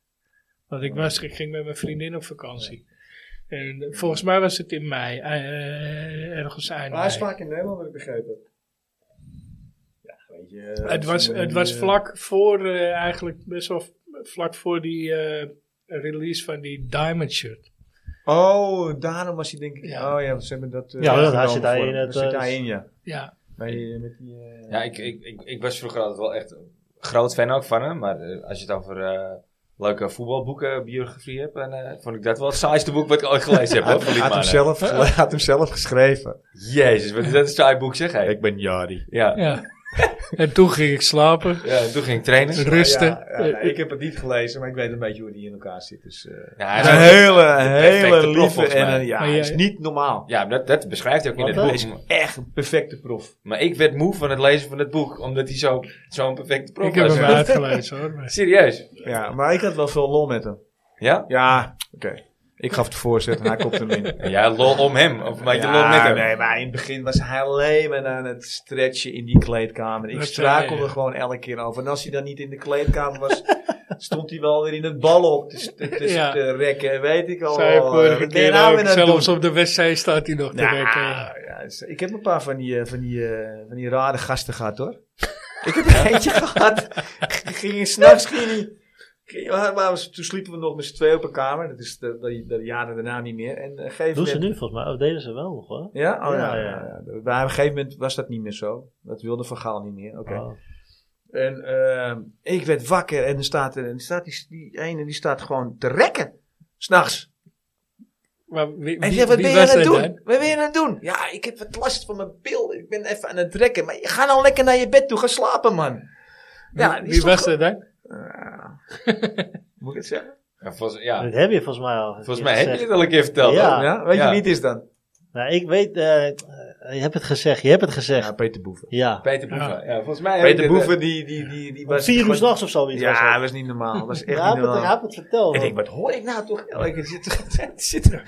Speaker 2: Want ik, was, ik ging met mijn vriendin op vakantie. En eh, volgens mij was het in mei, eh, ergens eind
Speaker 4: Maar hij is
Speaker 2: mei.
Speaker 4: vaak in Nederland, heb ik begrepen. Ja, weet je.
Speaker 2: Het was,
Speaker 4: eh,
Speaker 2: het was vlak voor, eh, eigenlijk best wel v- vlak voor die eh, release van die Diamond Shirt.
Speaker 4: Oh, daarom was hij denk ik.
Speaker 2: Ja.
Speaker 4: Oh ja, ze hebben dat. eh,
Speaker 3: Ja, dat- hij zit
Speaker 4: genomen
Speaker 3: hij
Speaker 4: voor
Speaker 3: in
Speaker 4: hem.
Speaker 3: het,
Speaker 4: Daar zit
Speaker 3: eh,
Speaker 4: hij in, ja.
Speaker 2: Ja,
Speaker 4: Bij, eh, met die, eh,
Speaker 1: Ja, ik, ik, ik, ik was vroeger altijd wel echt een groot fan ook van hem. Maar eh, als je het over eh, leuke voetbalboeken, biografie hebt, dan eh, vond ik dat wel het saaiste boek wat ik ooit gelezen heb.
Speaker 4: Hij
Speaker 1: hoor,
Speaker 4: had,
Speaker 1: van
Speaker 4: hij had hem
Speaker 1: Liedmanen.
Speaker 4: zelf, gele- <laughs> had hem zelf geschreven.
Speaker 1: Jezus, wat is dat een saai boek zeg hij.
Speaker 4: Ik ben Jari.
Speaker 1: Ja.
Speaker 2: ja. en toen ging ik slapen,
Speaker 1: ja, en toen ging ik trainen.
Speaker 2: rusten.
Speaker 4: Ja, ja, nee,
Speaker 2: Eh,
Speaker 4: ik heb het niet gelezen, maar ik weet een beetje hoe die in elkaar zit. Dus, eh,
Speaker 1: Ja, hij
Speaker 4: Hij is
Speaker 1: is
Speaker 4: een
Speaker 1: ook-
Speaker 4: hele,
Speaker 1: perfecte
Speaker 4: hele
Speaker 1: prof,
Speaker 4: lieve
Speaker 1: volgens
Speaker 4: en
Speaker 1: mij.
Speaker 4: een- ja,
Speaker 2: Maar
Speaker 4: hij
Speaker 2: jij-
Speaker 4: is niet normaal.
Speaker 1: ja, dat, dat beschrijft hij ook in het
Speaker 4: Hij
Speaker 1: boek.
Speaker 4: is echt een perfecte prof.
Speaker 1: Maar ik werd moe van het lezen van het boek, omdat hij zo- zo'n perfecte prof
Speaker 2: ik heb
Speaker 1: was.
Speaker 2: hem uitgelezen hoor.
Speaker 4: <laughs>
Speaker 2: maar-
Speaker 1: Serieus?
Speaker 4: Ja, maar ik had wel veel lol met hem.
Speaker 1: Ja?
Speaker 4: Ja, oké. Ik gaf de voorzet en hij kopte hem <laughs> in.
Speaker 1: En jij lol om hem, of maak je
Speaker 4: ja,
Speaker 1: lol met hem?
Speaker 4: nee, maar in het begin was hij alleen maar aan het stretchen in die kleedkamer. Ik
Speaker 2: Dat zei
Speaker 4: strakelde
Speaker 2: hij, ja.
Speaker 4: gewoon elke keer over. En als hij dan niet in de kleedkamer was, <laughs> stond hij wel weer in het bal op te, te, te-
Speaker 2: <laughs> Ja.
Speaker 4: te rekken. Weet ik al.
Speaker 2: Zei vorige
Speaker 4: Wat ben je
Speaker 2: keer
Speaker 4: nou
Speaker 2: ook,
Speaker 4: weer aan het
Speaker 2: zelfs
Speaker 4: doen?
Speaker 2: op de wc staat hij nog te
Speaker 4: Nou,
Speaker 2: rekken.
Speaker 4: eh,
Speaker 3: <laughs>
Speaker 4: ja, dus ik heb een paar van die, eh, van die, eh, van die rare gasten gehad hoor. Ik heb er eentje gehad. Ging je s'nachts, ging je ging- waar- waar was- Toen sliepen we nog met z'n tweeën op een kamer. Dat is de, de, de jaren daarna niet meer. En eh, geef
Speaker 3: Doen ze nu volgens mij. Of deden ze wel nog hoor.
Speaker 4: Ja? Oh ja.
Speaker 3: Ja,
Speaker 4: ja,
Speaker 3: ja.
Speaker 4: ja. Maar op een gegeven moment was dat niet meer zo. Dat wilde Van Gaal niet meer. Oké.
Speaker 3: Oh.
Speaker 4: En ehm, ik werd wakker en er staat, er, en er staat die, die ene die staat gewoon te rekken. S'nachts.
Speaker 2: Maar wie,
Speaker 4: En
Speaker 2: wie-
Speaker 4: je zegt, wat
Speaker 2: wie
Speaker 4: ben je aan
Speaker 2: was
Speaker 4: het
Speaker 2: dat
Speaker 4: doen?
Speaker 2: dan?
Speaker 4: Wat ben je aan het doen? Ja, ik heb wat last van mijn bil. Ik ben even aan het rekken. Maar ga nou lekker naar je bed toe. Ga slapen, man. Ja,
Speaker 2: Wie-
Speaker 4: die
Speaker 2: wie
Speaker 4: stond
Speaker 2: was dat dan?
Speaker 4: Moet ik het zeggen?
Speaker 1: Ja, volgens, ja,
Speaker 3: Dat heb je volgens mij al.
Speaker 1: volgens mij heb je dit al een keer verteld.
Speaker 3: Ja.
Speaker 1: Ja.
Speaker 4: Ja, weet
Speaker 1: Ja.
Speaker 4: je wie het is dan?
Speaker 3: Nou, ik weet. eh, eh, je hebt het gezegd. Je hebt het gezegd.
Speaker 4: Ja, Peter Boeven.
Speaker 3: Ja.
Speaker 1: Peter Boeven. Ja. volgens mij heb
Speaker 4: Peter
Speaker 1: ik dit, eh,
Speaker 4: Boeven, die, die, die, die
Speaker 3: Om
Speaker 4: was...
Speaker 3: Vier uur
Speaker 4: gewoon-
Speaker 3: s'nachts of zoiets. was
Speaker 4: Ja,
Speaker 3: het.
Speaker 4: dat was niet normaal. Dat
Speaker 3: <laughs>
Speaker 4: was echt
Speaker 3: Hij
Speaker 4: niet
Speaker 3: heeft het- hij
Speaker 4: normaal.
Speaker 3: heeft het verteld.
Speaker 4: Ik
Speaker 3: hoor.
Speaker 4: denk, wat hoor ik nou toch? Elke <laughs> zit zitten.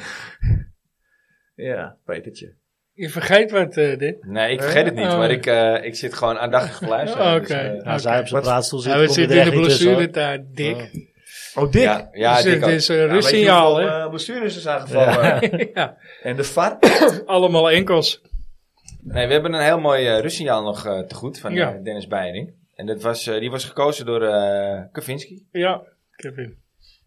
Speaker 4: Ja, Petertje.
Speaker 2: Je vergeet wat eh, dit.
Speaker 1: eh, Nee, ik vergeet het niet,
Speaker 2: Oh.
Speaker 1: maar ik, eh, ik zit gewoon aandachtig te luisteren.
Speaker 2: Oh,
Speaker 1: dus,
Speaker 2: oké.
Speaker 1: eh,
Speaker 3: Nou, zij op zijn
Speaker 4: Wat-
Speaker 3: praatstoel zit.
Speaker 2: Ja, we zitten in de blessuretijd, Dick.
Speaker 3: Ja.
Speaker 4: Oh, Dick.
Speaker 1: ja, ja,
Speaker 2: dus
Speaker 1: Dick
Speaker 2: het
Speaker 1: ook.
Speaker 2: is een rustsignaal, hè?
Speaker 4: Uh, blessures is
Speaker 2: <laughs>
Speaker 4: aangevallen.
Speaker 1: eh,
Speaker 2: Ja,
Speaker 4: En de VAR.
Speaker 2: allemaal enkels.
Speaker 1: Nee, we hebben een heel mooi eh rustsignaal nog eh, te goed van
Speaker 2: Ja.
Speaker 1: eh, Dennis Beiring. En dat was, eh, die was gekozen door eh Kavinsky.
Speaker 2: Ja, Kevin.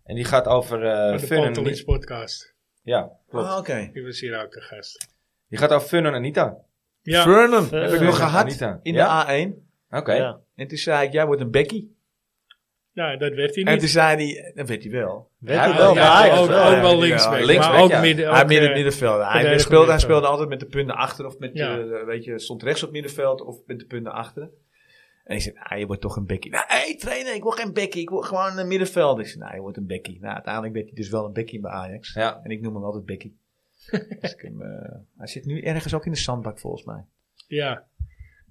Speaker 1: En die gaat over eh
Speaker 2: Van Oh, de
Speaker 1: Fun en
Speaker 2: Pantelits
Speaker 1: Anita.
Speaker 2: podcast.
Speaker 1: Ja, klopt.
Speaker 4: oké.
Speaker 2: Die was hier ook de gast.
Speaker 1: Die gaat over Fun en Anita.
Speaker 2: Ja,
Speaker 4: Eh, Vernon heb ik
Speaker 3: Vernon.
Speaker 4: nog gehad
Speaker 1: Anita.
Speaker 4: in
Speaker 1: Ja?
Speaker 4: de A1.
Speaker 1: Oké.
Speaker 3: Ja.
Speaker 4: En toen zei ik, jij wordt een Becky.
Speaker 2: ja, dat werd hij
Speaker 4: En
Speaker 2: niet.
Speaker 4: toen zei hij, dat weet hij wel.
Speaker 3: Weet
Speaker 1: Ja,
Speaker 3: je wel,
Speaker 1: ja,
Speaker 3: maar hij
Speaker 2: ook,
Speaker 3: is
Speaker 2: ook <laughs>
Speaker 3: wel-
Speaker 4: ja,
Speaker 2: wel
Speaker 4: ja,
Speaker 2: linksback,
Speaker 1: linksback,
Speaker 2: maar ook
Speaker 1: ja.
Speaker 2: midden.
Speaker 4: hij
Speaker 2: ook,
Speaker 4: midden
Speaker 2: eh,
Speaker 4: middenveld. Hij
Speaker 2: verdediger
Speaker 4: speelde, hij
Speaker 2: middenveld.
Speaker 4: speelde altijd met de punten achter. Of met
Speaker 2: Ja.
Speaker 4: de, weet je, stond rechts op middenveld of met de punten achter. En ik zei, nou, je wordt toch een Becky. Nou, hé trainer, ik wil geen Becky. Ik wil gewoon een middenveld. Ik zei, nou, je wordt een Becky. Nou, uiteindelijk werd hij dus wel een Becky bij Ajax.
Speaker 1: Ja.
Speaker 4: En ik noem hem altijd Becky. <laughs> dus ik hem, eh, hij zit nu ergens ook in de zandbak volgens mij.
Speaker 2: Ja,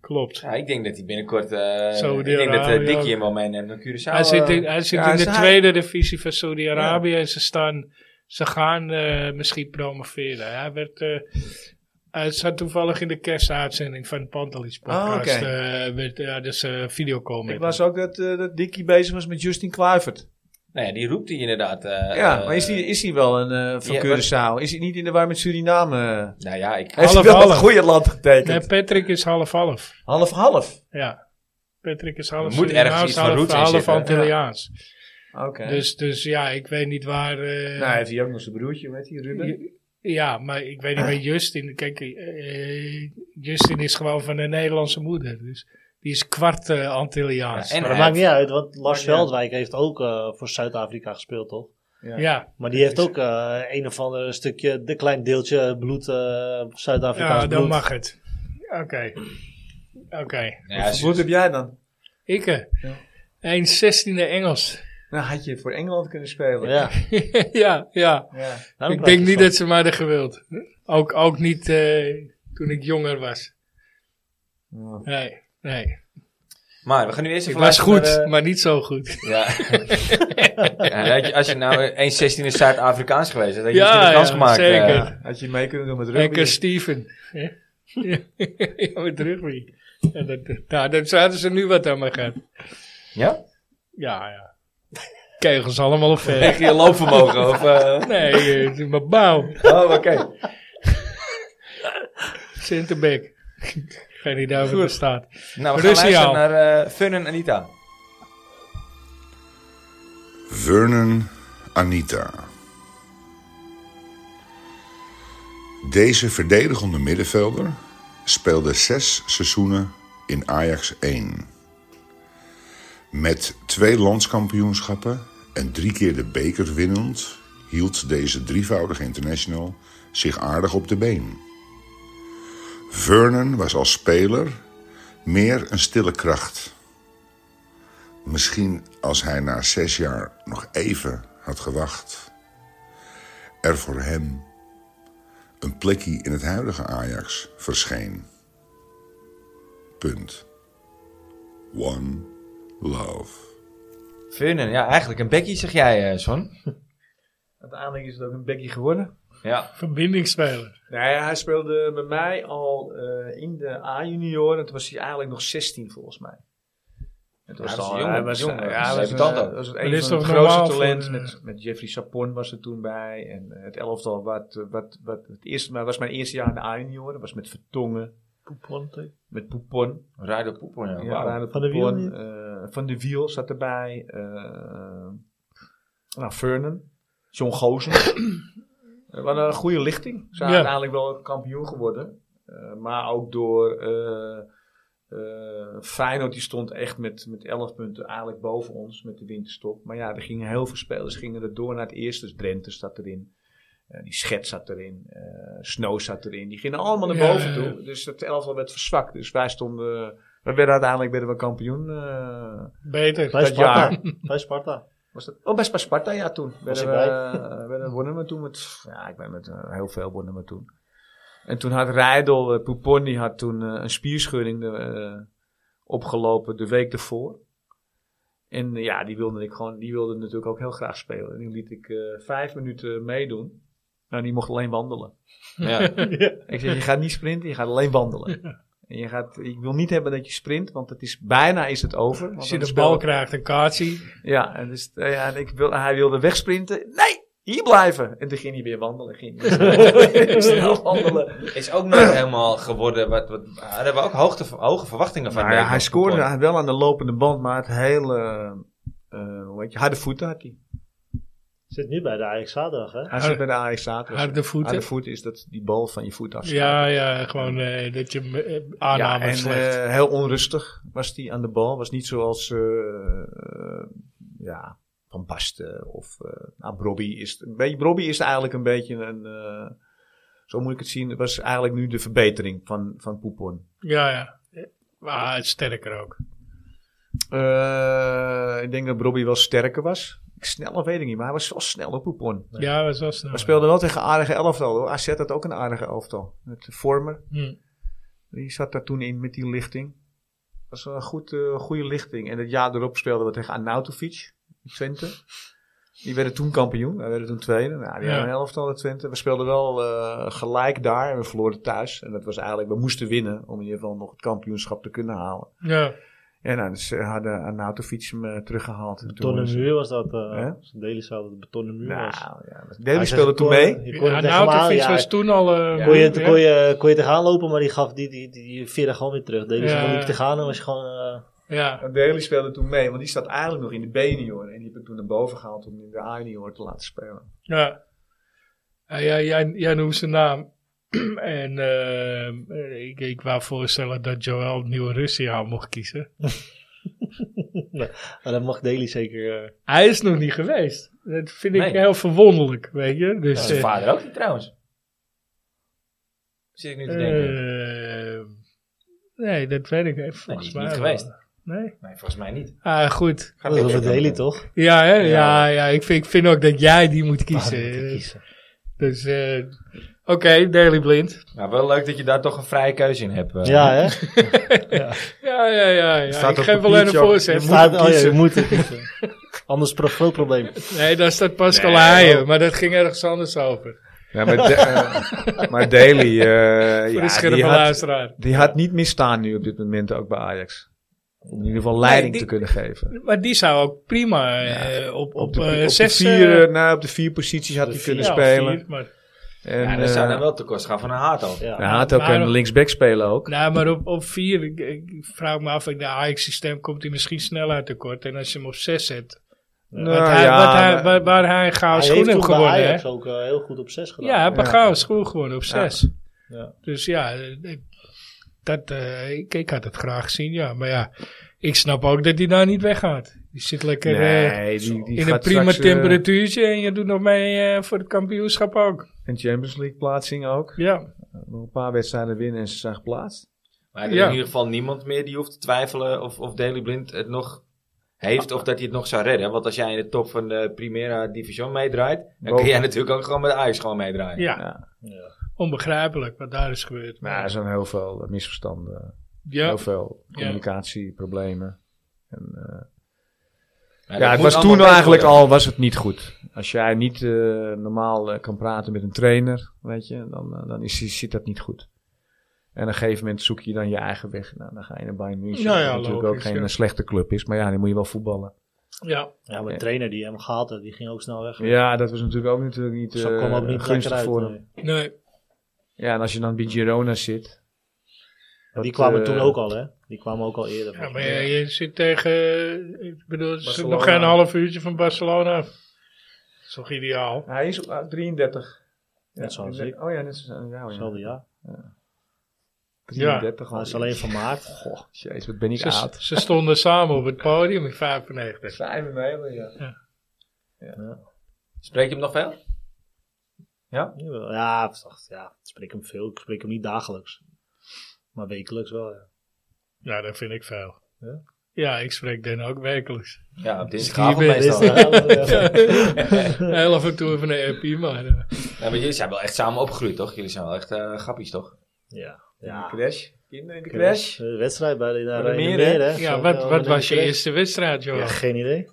Speaker 2: klopt.
Speaker 1: Ja, ik denk dat hij binnenkort. eh,
Speaker 2: Zo,
Speaker 1: ik
Speaker 2: die
Speaker 1: denk dat eh,
Speaker 2: Arabië
Speaker 1: Dickie
Speaker 2: ook.
Speaker 1: hem wel meeneemt naar Curaçao.
Speaker 2: hij zit in,
Speaker 1: eh,
Speaker 2: hij zit
Speaker 4: ja,
Speaker 2: in de
Speaker 4: is hij-
Speaker 2: tweede divisie van Saudi-Arabië en ze, staan, ze gaan eh, misschien promoveren. Hij, werd, eh, hij zat toevallig in de kerstuitzending van de Pantelis
Speaker 1: Ah,
Speaker 2: podcast.
Speaker 4: Oh, oké.
Speaker 2: eh, werd, ja, dus eh videocall met
Speaker 4: Ik was ook dat, eh, dat Dickie bezig was met Justin Kluivert.
Speaker 1: nou ja, die roept hij inderdaad. eh,
Speaker 4: Ja,
Speaker 1: eh,
Speaker 4: maar is hij is die wel een eh van
Speaker 1: ja,
Speaker 4: Curaçao? Is hij niet in de war met Suriname? eh,
Speaker 1: Nou ja, ik.
Speaker 4: Heeft hij
Speaker 2: Half-half.
Speaker 4: wel het goede land
Speaker 2: hem. Nee,
Speaker 4: getekend?
Speaker 2: Patrick is half-half.
Speaker 4: Half-half.
Speaker 2: Ja. Patrick is half
Speaker 1: Er moet ergens
Speaker 2: Surinaams,
Speaker 1: iets van
Speaker 2: half,
Speaker 1: roots in
Speaker 2: half
Speaker 1: zitten, hè?
Speaker 2: Antilliaans.
Speaker 4: Oké.
Speaker 2: Dus, dus ja, ik weet niet waar... eh,
Speaker 4: nou, heeft hij ook nog zijn broertje met die Ruben?
Speaker 2: Ja, maar ik weet niet bij Justin. Kijk, eh, Justin is gewoon van een Nederlandse moeder. Dus die is kwart eh, Antilliaans.
Speaker 1: Ja,
Speaker 2: Ja,
Speaker 1: en-
Speaker 3: Maar dat
Speaker 1: hij-
Speaker 3: maakt niet uit, want Lars
Speaker 4: Ja.
Speaker 3: Veldwijk heeft ook eh, voor Zuid-Afrika gespeeld, toch?
Speaker 2: ja,
Speaker 3: Maar die heeft ook eh, een of ander stukje, een klein deeltje bloed, eh Zuid-Afrikaans bloed.
Speaker 2: dan mag het. Oké. Oké.
Speaker 1: Ja,
Speaker 4: Wat heb jij dan?
Speaker 2: Ik, eh,
Speaker 4: Ja.
Speaker 2: 1,16e Engels. <laughs>
Speaker 4: Nou, had je voor Engeland kunnen spelen.
Speaker 3: Ja,
Speaker 2: ja, ja.
Speaker 4: Ja.
Speaker 3: daarom
Speaker 2: ik
Speaker 3: praat
Speaker 2: denk
Speaker 3: je
Speaker 2: niet
Speaker 3: zo.
Speaker 2: dat ze mij hadden gewild. Ook, ook niet eh, toen ik jonger was.
Speaker 4: Ja.
Speaker 2: Nee, nee.
Speaker 1: maar we gaan nu eerst
Speaker 2: Ik
Speaker 1: even
Speaker 2: was goed,
Speaker 1: luisteren naar, eh,
Speaker 2: maar niet zo
Speaker 1: <laughs>
Speaker 2: goed.
Speaker 1: ja. ja, had je- als je nou 1,16 in Zuid-Afrikaans geweest had, had je
Speaker 2: Ja,
Speaker 1: misschien een kans
Speaker 2: ja,
Speaker 1: gemaakt. eh.
Speaker 2: zeker.
Speaker 4: Ja, Had je mee kunnen doen met rugby?
Speaker 2: Lekker Steven. hè? <laughs> ja, met rugby. Ja, dat, nou, daar zaten ze nu wat aan me gehad.
Speaker 1: ja?
Speaker 2: Ja, ja. Kegels allemaal op ver.
Speaker 1: Echt je loopvermogen? Of, eh,
Speaker 2: Nee, eh, het is maar bouw.
Speaker 1: Oh, oké.
Speaker 2: Sinterbek. Geen idee of het bestaat.
Speaker 1: Nou, we gaan
Speaker 2: Curaçao.
Speaker 1: luisteren naar eh Fun en Anita.
Speaker 5: Vernon Anita. Deze verdedigende middenvelder speelde zes seizoenen in Ajax 1. Met twee landskampioenschappen en drie keer de beker winnend, hield deze drievoudige international zich aardig op de been. Vernon was als speler meer een stille kracht. Misschien als hij na zes jaar nog even had gewacht. Er voor hem een plekje in het huidige Ajax verscheen. Punt. One love.
Speaker 1: Fun en, ja, eigenlijk een Becky zeg jij, eh Son.
Speaker 4: Uiteindelijk is het ook een bekje geworden.
Speaker 1: Ja.
Speaker 2: Verbindingsspeler.
Speaker 4: Nou ja, hij speelde bij mij al eh, in de A-junioren. Toen was hij eigenlijk nog 16 volgens mij. Het
Speaker 1: Ja,
Speaker 4: was
Speaker 1: dat is
Speaker 4: al,
Speaker 1: jong,
Speaker 4: hij
Speaker 1: dat is
Speaker 4: was,
Speaker 1: jong,
Speaker 4: ja,
Speaker 1: dat is
Speaker 4: hij was,
Speaker 1: even
Speaker 4: een,
Speaker 1: tante.
Speaker 4: eh, was het
Speaker 2: is
Speaker 4: een van de
Speaker 2: toch
Speaker 4: grootste
Speaker 2: normaal voor
Speaker 4: talenten.
Speaker 2: een, eh,
Speaker 4: Met, met Jeffrey Sapon was er toen bij. En eh, het elftal wat, wat, wat het eerste, maar was mijn eerste jaar in de A-junioren. was met Vertongen,
Speaker 3: Poepante.
Speaker 4: Met Poupon.
Speaker 1: Rijden op Poepon, ja.
Speaker 4: Ja,
Speaker 1: nou. Wauw.
Speaker 4: Reinhard
Speaker 3: Van der Wiel
Speaker 4: Poupon,
Speaker 3: niet?
Speaker 4: eh, van de Wiel zat erbij. eh, nou, Vernon. John
Speaker 3: <coughs>
Speaker 4: Gozen. Eh, Wat een goede lichting. Ze zijn
Speaker 2: Ja.
Speaker 4: uiteindelijk wel kampioen geworden. Eh, maar ook door eh, eh, Feyenoord. Die stond echt met, met 11 punten eigenlijk boven ons met de winterstop. Maar ja, er gingen heel veel spelers gingen er door naar het eerste. Dus Drenthe zat erin. Eh, die Schet zat erin. eh Snow zat erin. Die gingen allemaal naar
Speaker 2: Ja,
Speaker 4: boven
Speaker 2: ja, ja.
Speaker 4: toe. Dus het elftal werd verzwakt. Dus wij stonden... We werden uiteindelijk werden we kampioen. eh,
Speaker 2: Beter.
Speaker 4: Dat
Speaker 3: Bij Sparta.
Speaker 4: jaar.
Speaker 3: Bij Sparta.
Speaker 4: was dat? Oh, best bij Sparta, ja, toen. Werden we,
Speaker 3: je bij?
Speaker 4: eh, werden, wonnen we toen met... Ja, ik ben met eh, heel veel wonnen we toen. En toen had Rijdel, eh, Poupon, die had toen eh, een spierschudding eh, opgelopen de week ervoor. En eh, ja, die wilde ik gewoon, die wilde natuurlijk ook heel graag spelen. En die liet ik eh, vijf minuten meedoen. Nou, die mocht alleen wandelen.
Speaker 1: Ja.
Speaker 4: Ik zeg, je gaat niet sprinten, je gaat alleen wandelen. En je gaat, ik wil niet hebben dat je sprint, want het is, bijna is het over. Want
Speaker 2: Als je
Speaker 4: dan
Speaker 2: de
Speaker 4: speel-
Speaker 2: bal krijgt, een kaartje.
Speaker 4: ja, en, dus, eh, ja, en ik wil, hij wilde wegsprinten. Nee, hier blijven. En toen ging hij weer wandelen. Ging hij
Speaker 2: <laughs>
Speaker 4: <laughs> weer snel wandelen.
Speaker 1: Is ook nooit helemaal geworden. Wat, wat, daar hebben we ook hoogte, hoge verwachtingen van.
Speaker 4: Nou ja,
Speaker 1: Nederland
Speaker 4: hij scoorde
Speaker 1: Poupon.
Speaker 4: wel aan de lopende band, maar het hele... eh hoe heet je, harde voeten had hij.
Speaker 3: Zit nu bij de Ajax zaterdag, hè?
Speaker 4: Hij zit bij de E Ajax zaterdag.
Speaker 2: Harde voeten.
Speaker 4: Harde voeten is dat die bal van je voet afstaat.
Speaker 2: Ja, ja, gewoon eh, dat je hem, eh,
Speaker 4: Ja,
Speaker 2: aanname
Speaker 4: en
Speaker 2: slecht.
Speaker 4: eh, heel onrustig was hij aan de bal. Was niet zoals eh, eh, ja, Van Basten of eh nou, Brobby. Is, een beetje, Brobby is eigenlijk een beetje een... eh, zo moet ik het zien. Het was eigenlijk nu de verbetering van, van Poupon.
Speaker 2: ja, ja. Maar hij is sterker ook.
Speaker 4: Eh, ik denk dat Brobby wel sterker was. Sneller weet ik niet, maar hij was wel sneller Poupon.
Speaker 2: Ja, dat was snel.
Speaker 4: Maar speelde wel tegen een aardige elftal. Hoor. AZ had ook een aardige elftal. Met Vormer.
Speaker 2: Hm.
Speaker 4: Die zat daar toen in met die lichting. Dat was wel een goed, eh, goede lichting. En het jaar erop speelden we tegen Arnautovic, Twente. Die werden toen kampioen. Wij werden toen tweede. Nou, die
Speaker 2: Ja.
Speaker 4: hadden een elftal de Twente. We speelden wel eh, gelijk daar en we verloren thuis. En dat was eigenlijk, we moesten winnen om in ieder geval nog het kampioenschap te kunnen halen.
Speaker 2: Ja,
Speaker 4: En nou, dus eh, hadden Arnautovic hem eh, teruggehaald. En toen
Speaker 3: Betonnen
Speaker 4: was-
Speaker 3: muur was dat. eh
Speaker 4: Hè?
Speaker 3: Als Deli zou dat het betonnen muur was.
Speaker 4: Nou, ja.
Speaker 3: Hij
Speaker 4: Deli
Speaker 3: zegt,
Speaker 4: speelde
Speaker 3: ik
Speaker 4: toen
Speaker 3: kon-
Speaker 4: mee.
Speaker 3: ik kon
Speaker 2: ja
Speaker 3: er tegenaan,
Speaker 2: Nautovic
Speaker 3: ja,
Speaker 2: was toen al... eh,
Speaker 4: Ja.
Speaker 3: Kon je,
Speaker 2: goed, hè?
Speaker 3: kon, je, kon je tegenaan lopen, maar die gaf die, die, die, die veerde gewoon weer terug. Deli
Speaker 2: Ja.
Speaker 3: ja. gewoon niet tegenaan en was je gewoon... eh,
Speaker 2: Ja.
Speaker 4: Deli speelde toen mee, want die staat eigenlijk nog in de B-junior. En die heb ik toen naar boven gehaald om in de A-junior te laten spelen.
Speaker 2: Ja. Ja, jij, jij, jij noemt zijn naam. <clears throat> en ehm, eh, ik, ik wou voorstellen dat Joel nieuwe Russia mocht kiezen.
Speaker 3: maar oh, dat mag Deli zeker... eh,
Speaker 2: Hij is nog niet geweest. Dat vind ik
Speaker 1: Nee.
Speaker 2: heel verwonderlijk, weet je.
Speaker 1: Ja,
Speaker 2: Dus,
Speaker 1: Zijn
Speaker 2: eh,
Speaker 1: vader ook niet trouwens. Zit ik nu
Speaker 2: Eh.
Speaker 1: te denken.
Speaker 2: ehm, nee, dat weet ik even.
Speaker 1: nee, die
Speaker 2: Volgens
Speaker 1: is
Speaker 2: mij
Speaker 1: niet
Speaker 2: wel.
Speaker 1: geweest.
Speaker 2: Nee.
Speaker 1: Nee, volgens mij niet.
Speaker 2: Ah, goed.
Speaker 1: Gaat
Speaker 3: dat is over
Speaker 1: lekker.
Speaker 3: Deli, toch?
Speaker 2: Ja, hè? Ja, ja,
Speaker 1: Ja.
Speaker 2: ik, vind, ik vind ook dat jij die moet
Speaker 3: Ah,
Speaker 2: kiezen.
Speaker 3: dan moet ik kiezen.
Speaker 2: Dus, eh, oké, Daily Blind.
Speaker 1: Nou, wel leuk dat je daar toch een vrije keuze in hebt. eh.
Speaker 3: Ja,
Speaker 2: <laughs>
Speaker 3: hè?
Speaker 2: Ja, ja, ja. ja.
Speaker 4: Staat
Speaker 2: Ik
Speaker 4: op
Speaker 2: geef alleen een
Speaker 4: papiertje ook.
Speaker 2: voorzet.
Speaker 3: Staat, oh ja, je moet het kiezen. Anders pro groot probleem.
Speaker 2: Nee, daar staat Pascal
Speaker 4: Nee, oh.
Speaker 2: Haaien, maar dat ging ergens anders over.
Speaker 4: Ja, maar, de, eh, maar Daly, eh,
Speaker 2: Voor de
Speaker 4: ja,
Speaker 2: scherpe
Speaker 4: die, had,
Speaker 2: luisteraar.
Speaker 4: die had niet misstaan nu op dit moment ook bij Ajax. Om in ieder geval leiding
Speaker 2: Nee, die-
Speaker 4: te kunnen geven.
Speaker 2: Maar die zou ook prima eh, op, op,
Speaker 4: Op de,
Speaker 2: eh,
Speaker 4: op de
Speaker 2: zes...
Speaker 4: vier,
Speaker 2: eh,
Speaker 4: eh, nou, op de vier posities had
Speaker 3: de
Speaker 4: hij
Speaker 3: vier,
Speaker 4: kunnen
Speaker 2: ja,
Speaker 4: spelen.
Speaker 2: vier, maar,
Speaker 4: En,
Speaker 1: Ja, dat zou
Speaker 4: eh,
Speaker 1: dan wel te kost gaan van een haat al.
Speaker 3: Ja.
Speaker 4: hij had ook
Speaker 2: Maar-
Speaker 4: een linksback spelen ook.
Speaker 2: nou, maar op, op vier, ik, ik vraag me af, in de Ajax-systeem komt hij misschien snelheid tekort. En als je hem op zes zet,
Speaker 4: Nou,
Speaker 2: wat hij,
Speaker 4: ja,
Speaker 2: wat hij,
Speaker 4: maar-
Speaker 2: waar, waar hij een gouden schoen
Speaker 3: Hij heeft
Speaker 2: heeft
Speaker 3: toen bij
Speaker 2: gewonnen, hè?
Speaker 3: Ajax ook eh, heel goed op 6 gedaan.
Speaker 2: Ja, hij heeft een
Speaker 4: Ja.
Speaker 2: gouden schoen gewonnen op zes.
Speaker 3: Ja.
Speaker 2: Dus ja, eh, ik- dat, eh, ik, ik had het graag gezien, ja. Maar ja, ik snap ook dat hij daar niet weggaat. Die zit lekker... eh,
Speaker 4: Nee, die, die
Speaker 2: In een
Speaker 4: gaat
Speaker 2: prima
Speaker 4: straks, eh,
Speaker 2: temperatuurtje en je doet nog mee eh, voor het kampioenschap ook.
Speaker 4: een Champions League plaatsing ook.
Speaker 2: Ja,
Speaker 4: Nog een paar wedstrijden winnen en ze zijn geplaatst.
Speaker 1: Maar er is
Speaker 2: Ja.
Speaker 1: in ieder geval niemand meer die hoeft te twijfelen of, of Daily Blind het nog heeft of dat hij het nog zou redden. Want als jij in de top van de Primera Division meedraait, dan
Speaker 4: Boven.
Speaker 1: kun jij natuurlijk ook gewoon met Ajax gewoon meedraaien.
Speaker 2: ja.
Speaker 4: Ja.
Speaker 3: Ja.
Speaker 2: onbegrijpelijk wat daar is gebeurd.
Speaker 4: Maar er zijn heel veel eh, misverstanden.
Speaker 2: ja,
Speaker 4: Heel veel
Speaker 2: Ja.
Speaker 4: communicatieproblemen. En, eh,
Speaker 1: Maar dat
Speaker 4: ja, het
Speaker 1: moet
Speaker 4: was
Speaker 1: allemaal
Speaker 4: toen
Speaker 1: beter
Speaker 4: eigenlijk
Speaker 1: worden.
Speaker 4: al was het niet goed. Als jij niet eh, normaal eh, kan praten met een trainer, weet je, dan, eh, dan is, zit dat niet goed. En op een gegeven moment zoek je dan je eigen weg. Nou, dan ga je naar Bayern München.
Speaker 2: Ja, ja,
Speaker 4: wat natuurlijk
Speaker 2: logisch,
Speaker 4: ook geen
Speaker 2: ja.
Speaker 4: eh, slechte club is. Maar ja, dan moet je wel voetballen.
Speaker 2: ja.
Speaker 3: Ja, maar de trainer die hem gehaald had, die ging ook snel weg.
Speaker 4: Ja, dat was natuurlijk ook natuurlijk niet,
Speaker 3: Zo kwam
Speaker 4: eh,
Speaker 3: ook niet
Speaker 4: gunstig
Speaker 3: lekker uit.
Speaker 4: voor hem.
Speaker 3: nee.
Speaker 2: nee.
Speaker 4: Ja, en als je dan bij Girona zit.
Speaker 3: die
Speaker 4: Dat,
Speaker 3: kwamen
Speaker 4: eh,
Speaker 3: toen ook al, hè? Die kwamen ook al eerder.
Speaker 2: Ja,
Speaker 3: volgens
Speaker 2: maar
Speaker 3: mij.
Speaker 2: je, je zit tegen, eh, ik bedoel, het is
Speaker 4: Barcelona.
Speaker 2: nog geen half uurtje van Barcelona. af. Dat is toch ideaal?
Speaker 4: Hij is eh, 33. Ja,
Speaker 3: Net zoals ik.
Speaker 4: Oh ja, net zoals aan jou.
Speaker 3: Hetzelfde
Speaker 4: Ja.
Speaker 3: jaar.
Speaker 4: 33
Speaker 3: Maar
Speaker 4: al.
Speaker 3: het is alleen
Speaker 4: <laughs>
Speaker 3: van maart.
Speaker 4: Goh, jezus, wat ben ik
Speaker 2: Ze,
Speaker 4: oud.
Speaker 2: ze stonden <laughs> samen op het podium in 95.
Speaker 4: 95, ja.
Speaker 1: Spreek je hem nog veel?
Speaker 3: Jawel. Ja, ik dacht, ja, ik spreek hem veel. Ik spreek hem niet dagelijks. Maar wekelijks wel, ja.
Speaker 2: Ja, dat vind ik veel.
Speaker 3: Ja?
Speaker 2: Ja, ik spreek Den ook wekelijks.
Speaker 1: Ja, op
Speaker 2: Hier
Speaker 1: dinsdagavond
Speaker 2: ben-
Speaker 1: meestal.
Speaker 3: Ja, dat, <laughs> ja.
Speaker 2: <laughs> Heel af en toe even een appie, maar... eh,
Speaker 1: Ja, maar jullie zijn wel echt samen opgegroeid, toch? Jullie zijn wel echt eh grappies, toch?
Speaker 3: Ja.
Speaker 4: In de
Speaker 3: ja.
Speaker 4: crash. Kinderen in de crash.
Speaker 3: De wedstrijd bij de, daar
Speaker 4: Bij de
Speaker 3: in de
Speaker 4: meer, hè?
Speaker 3: meer, hè?
Speaker 2: ja,
Speaker 3: Zo,
Speaker 2: wat,
Speaker 3: eh,
Speaker 2: wat
Speaker 3: in
Speaker 2: was
Speaker 3: de
Speaker 2: je
Speaker 3: crash.
Speaker 2: eerste wedstrijd, joh?
Speaker 3: Ja, geen idee.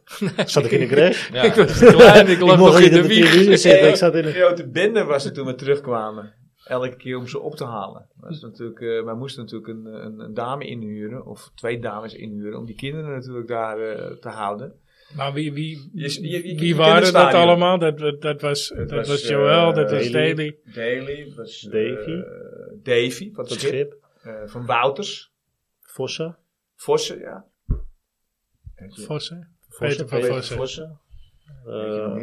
Speaker 3: Zat ik in de crash?
Speaker 1: Ja.
Speaker 2: <laughs>
Speaker 4: <laughs>
Speaker 2: Ik was klein, ik lag
Speaker 3: <laughs>
Speaker 2: nog
Speaker 3: ik mocht
Speaker 2: in
Speaker 3: niet
Speaker 2: de
Speaker 3: op de
Speaker 2: wieg.
Speaker 3: tribune zitten. Ik
Speaker 2: <laughs>
Speaker 3: zat in
Speaker 4: Een
Speaker 3: de...
Speaker 4: grote bende was het toen we terugkwamen. Elke keer om ze op te halen. Dat is natuurlijk, eh, wij moesten natuurlijk een, een, een dame inhuren, of twee dames inhuren, om die kinderen natuurlijk daar eh, te houden.
Speaker 2: Maar Nou, wie, wie,
Speaker 4: Je- je- je- je
Speaker 2: wie waren dat
Speaker 4: kinderstadion.
Speaker 2: allemaal? Dat, dat, dat was, dat was,
Speaker 4: was,
Speaker 2: Joël,
Speaker 4: eh,
Speaker 2: dat was
Speaker 3: Daley.
Speaker 2: Daley.
Speaker 4: Daly was. eh,
Speaker 3: Davy.
Speaker 4: Davy van het
Speaker 3: Op het
Speaker 4: schip.
Speaker 3: schip.
Speaker 4: Eh, van Wouters.
Speaker 3: Vossen.
Speaker 4: Vossen, ja.
Speaker 2: Vossen.
Speaker 3: Vossen.
Speaker 2: Peter van
Speaker 3: Peter
Speaker 2: Vossen.
Speaker 3: Vossen. Eh,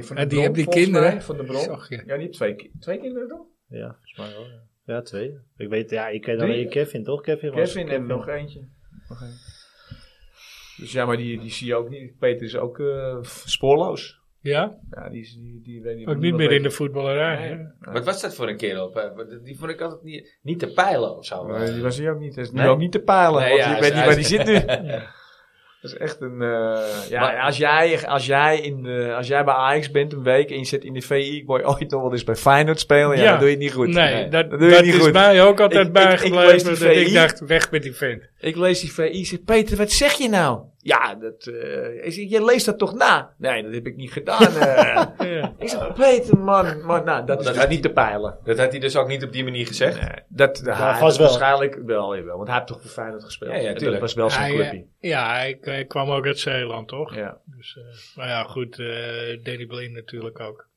Speaker 4: Van
Speaker 2: en die
Speaker 4: de Bron,
Speaker 2: heb die
Speaker 4: volgens
Speaker 2: kinderen.
Speaker 4: mij, van de bron.
Speaker 2: Zag je.
Speaker 4: Ja, die heeft twee, ki- twee kinderen toch?
Speaker 3: Ja, volgens mij wel. Ja, ja twee. Ik weet, ja, ik ken
Speaker 4: Drie?
Speaker 3: alleen Kevin, toch? Kevin, was-
Speaker 4: Kevin en nog eentje. Nog een. Dus ja, maar die, die zie je ook niet. Peter is ook eh, f- spoorloos.
Speaker 2: Ja,
Speaker 4: Ja, die, is, die, die weet niet.
Speaker 2: ook niet
Speaker 4: niemand
Speaker 2: meer in de
Speaker 4: weet-
Speaker 2: voetballerij. hè?
Speaker 1: Wat was dat voor een kerel? Eh, Die vond ik altijd niet, niet te peilen of zo.
Speaker 4: Nee, die was hij ook niet. Hij is nu
Speaker 1: Nee?
Speaker 4: ook niet te peilen.
Speaker 1: Nee,
Speaker 4: want
Speaker 1: ja, hij
Speaker 4: ik weet
Speaker 1: is-
Speaker 4: niet waar
Speaker 1: hij
Speaker 4: die
Speaker 1: is-
Speaker 4: zit <laughs> nu. Dat is echt een. eh, ja,
Speaker 1: Maar-
Speaker 4: als, jij, als, jij in de, als jij bij Ajax bent een week en je zit in de VI, ik word ooit nog wel eens bij Feyenoord spelen. Ja,
Speaker 2: Ja.
Speaker 4: dan doe je het niet goed.
Speaker 2: Nee,
Speaker 1: Nee,
Speaker 2: dat,
Speaker 4: dat
Speaker 2: dat,
Speaker 4: doe je niet
Speaker 2: is
Speaker 4: goed.
Speaker 2: mij ook altijd
Speaker 4: Ik- ik- ik
Speaker 2: bijgebleven.
Speaker 4: lees de
Speaker 2: dat ik
Speaker 4: VI.
Speaker 2: dacht, weg met die vent.
Speaker 4: <laughs> Ik lees die VI, zeg Peter, wat zeg je nou? Ja, dat, eh, ik zeg, je leest dat toch na? Nee, dat heb ik niet gedaan. <laughs> eh.
Speaker 2: Ja.
Speaker 4: ik zeg, Peter, man, man nou, dat is
Speaker 1: Dat
Speaker 4: dus
Speaker 1: had-
Speaker 4: niet te peilen.
Speaker 1: Dat had hij dus ook niet op die manier gezegd.
Speaker 4: Nee, dat, hij-
Speaker 3: vast wel.
Speaker 4: Waarschijnlijk wel, jawel, want hij heeft toch voor Feyenoord gespeeld.
Speaker 1: Ja, ja,
Speaker 4: En dat
Speaker 1: tuurlijk.
Speaker 4: was wel zijn
Speaker 2: Hij,
Speaker 4: clubje.
Speaker 2: eh, ja, hij, hij kwam ook uit Zeeland, toch?
Speaker 4: Ja.
Speaker 2: Dus, eh, maar ja, goed, eh Danny Blind natuurlijk ook.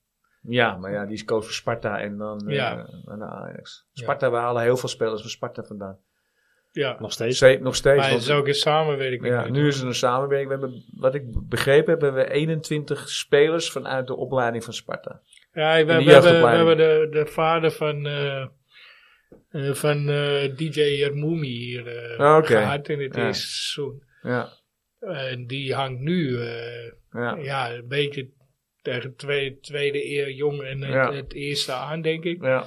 Speaker 4: ja, maar ja, die is coach voor Sparta en dan eh,
Speaker 2: Ja.
Speaker 4: naar de Ajax. Sparta, we halen heel veel spelers van Sparta vandaan.
Speaker 2: Ja,
Speaker 3: Nog steeds.
Speaker 4: Steeds, nog steeds.
Speaker 2: maar het
Speaker 4: want-
Speaker 2: is ook in samenwerking.
Speaker 4: Ja, nu is er een samenwerking. We hebben, wat ik begrepen heb, hebben we 21 spelers vanuit de opleiding van Sparta.
Speaker 2: Ja, we,
Speaker 4: de
Speaker 2: we hebben, we
Speaker 4: jeugdopleiding.
Speaker 2: hebben de, de vader van, eh, eh, van eh, DJ Yermoumi hier eh,
Speaker 4: Ah, oké.
Speaker 2: gehad in het
Speaker 4: Ja.
Speaker 2: eerste seizoen.
Speaker 4: Ja,
Speaker 2: En die hangt nu eh,
Speaker 4: ja.
Speaker 2: ja, een beetje tegen tweede, tweede eer jong en het,
Speaker 4: Ja.
Speaker 2: het eerste aan, denk ik.
Speaker 4: ja.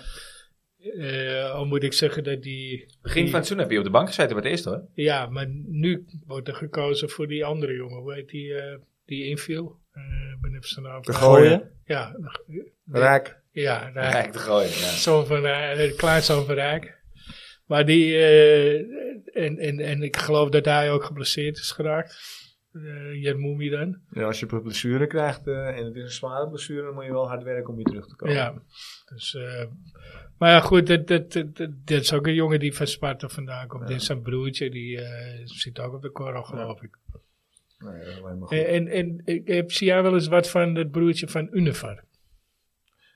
Speaker 2: Eh, al moet ik zeggen dat die...
Speaker 1: Begin van het seizoen heb je op de bank gezeten bij het eerste hoor.
Speaker 2: Ja, maar nu wordt er gekozen voor die andere jongen. Hoe heet die, eh, die inviel? Eh, Ik ben even zijn naam.
Speaker 4: De
Speaker 2: kwijt.
Speaker 4: gooien.
Speaker 2: Ja,
Speaker 4: Raak.
Speaker 2: ja, daar-
Speaker 1: Kijk te gooien. Ja.
Speaker 2: Zoon van Rijk, eh, kleinzoon van Rijk. Maar die, eh, en, en, en ik geloof dat hij ook geblesseerd is geraakt. Uh, Jermoumi dan.
Speaker 4: Ja, als je blessure krijgt eh, en het is een zware blessure, dan moet je wel hard werken om weer terug te komen.
Speaker 2: Ja. Dus, eh, maar ja, goed, dat, dat, dat, dat- dat is ook een jongen die van Sparta vandaan komt. Dit is zijn broertje, die eh, zit ook op de korrel, geloof ik. Eh,
Speaker 4: Nee, dat is alleen maar goed.
Speaker 2: En, en, en ik heb, zie jij wel eens wat van het broertje van Univar?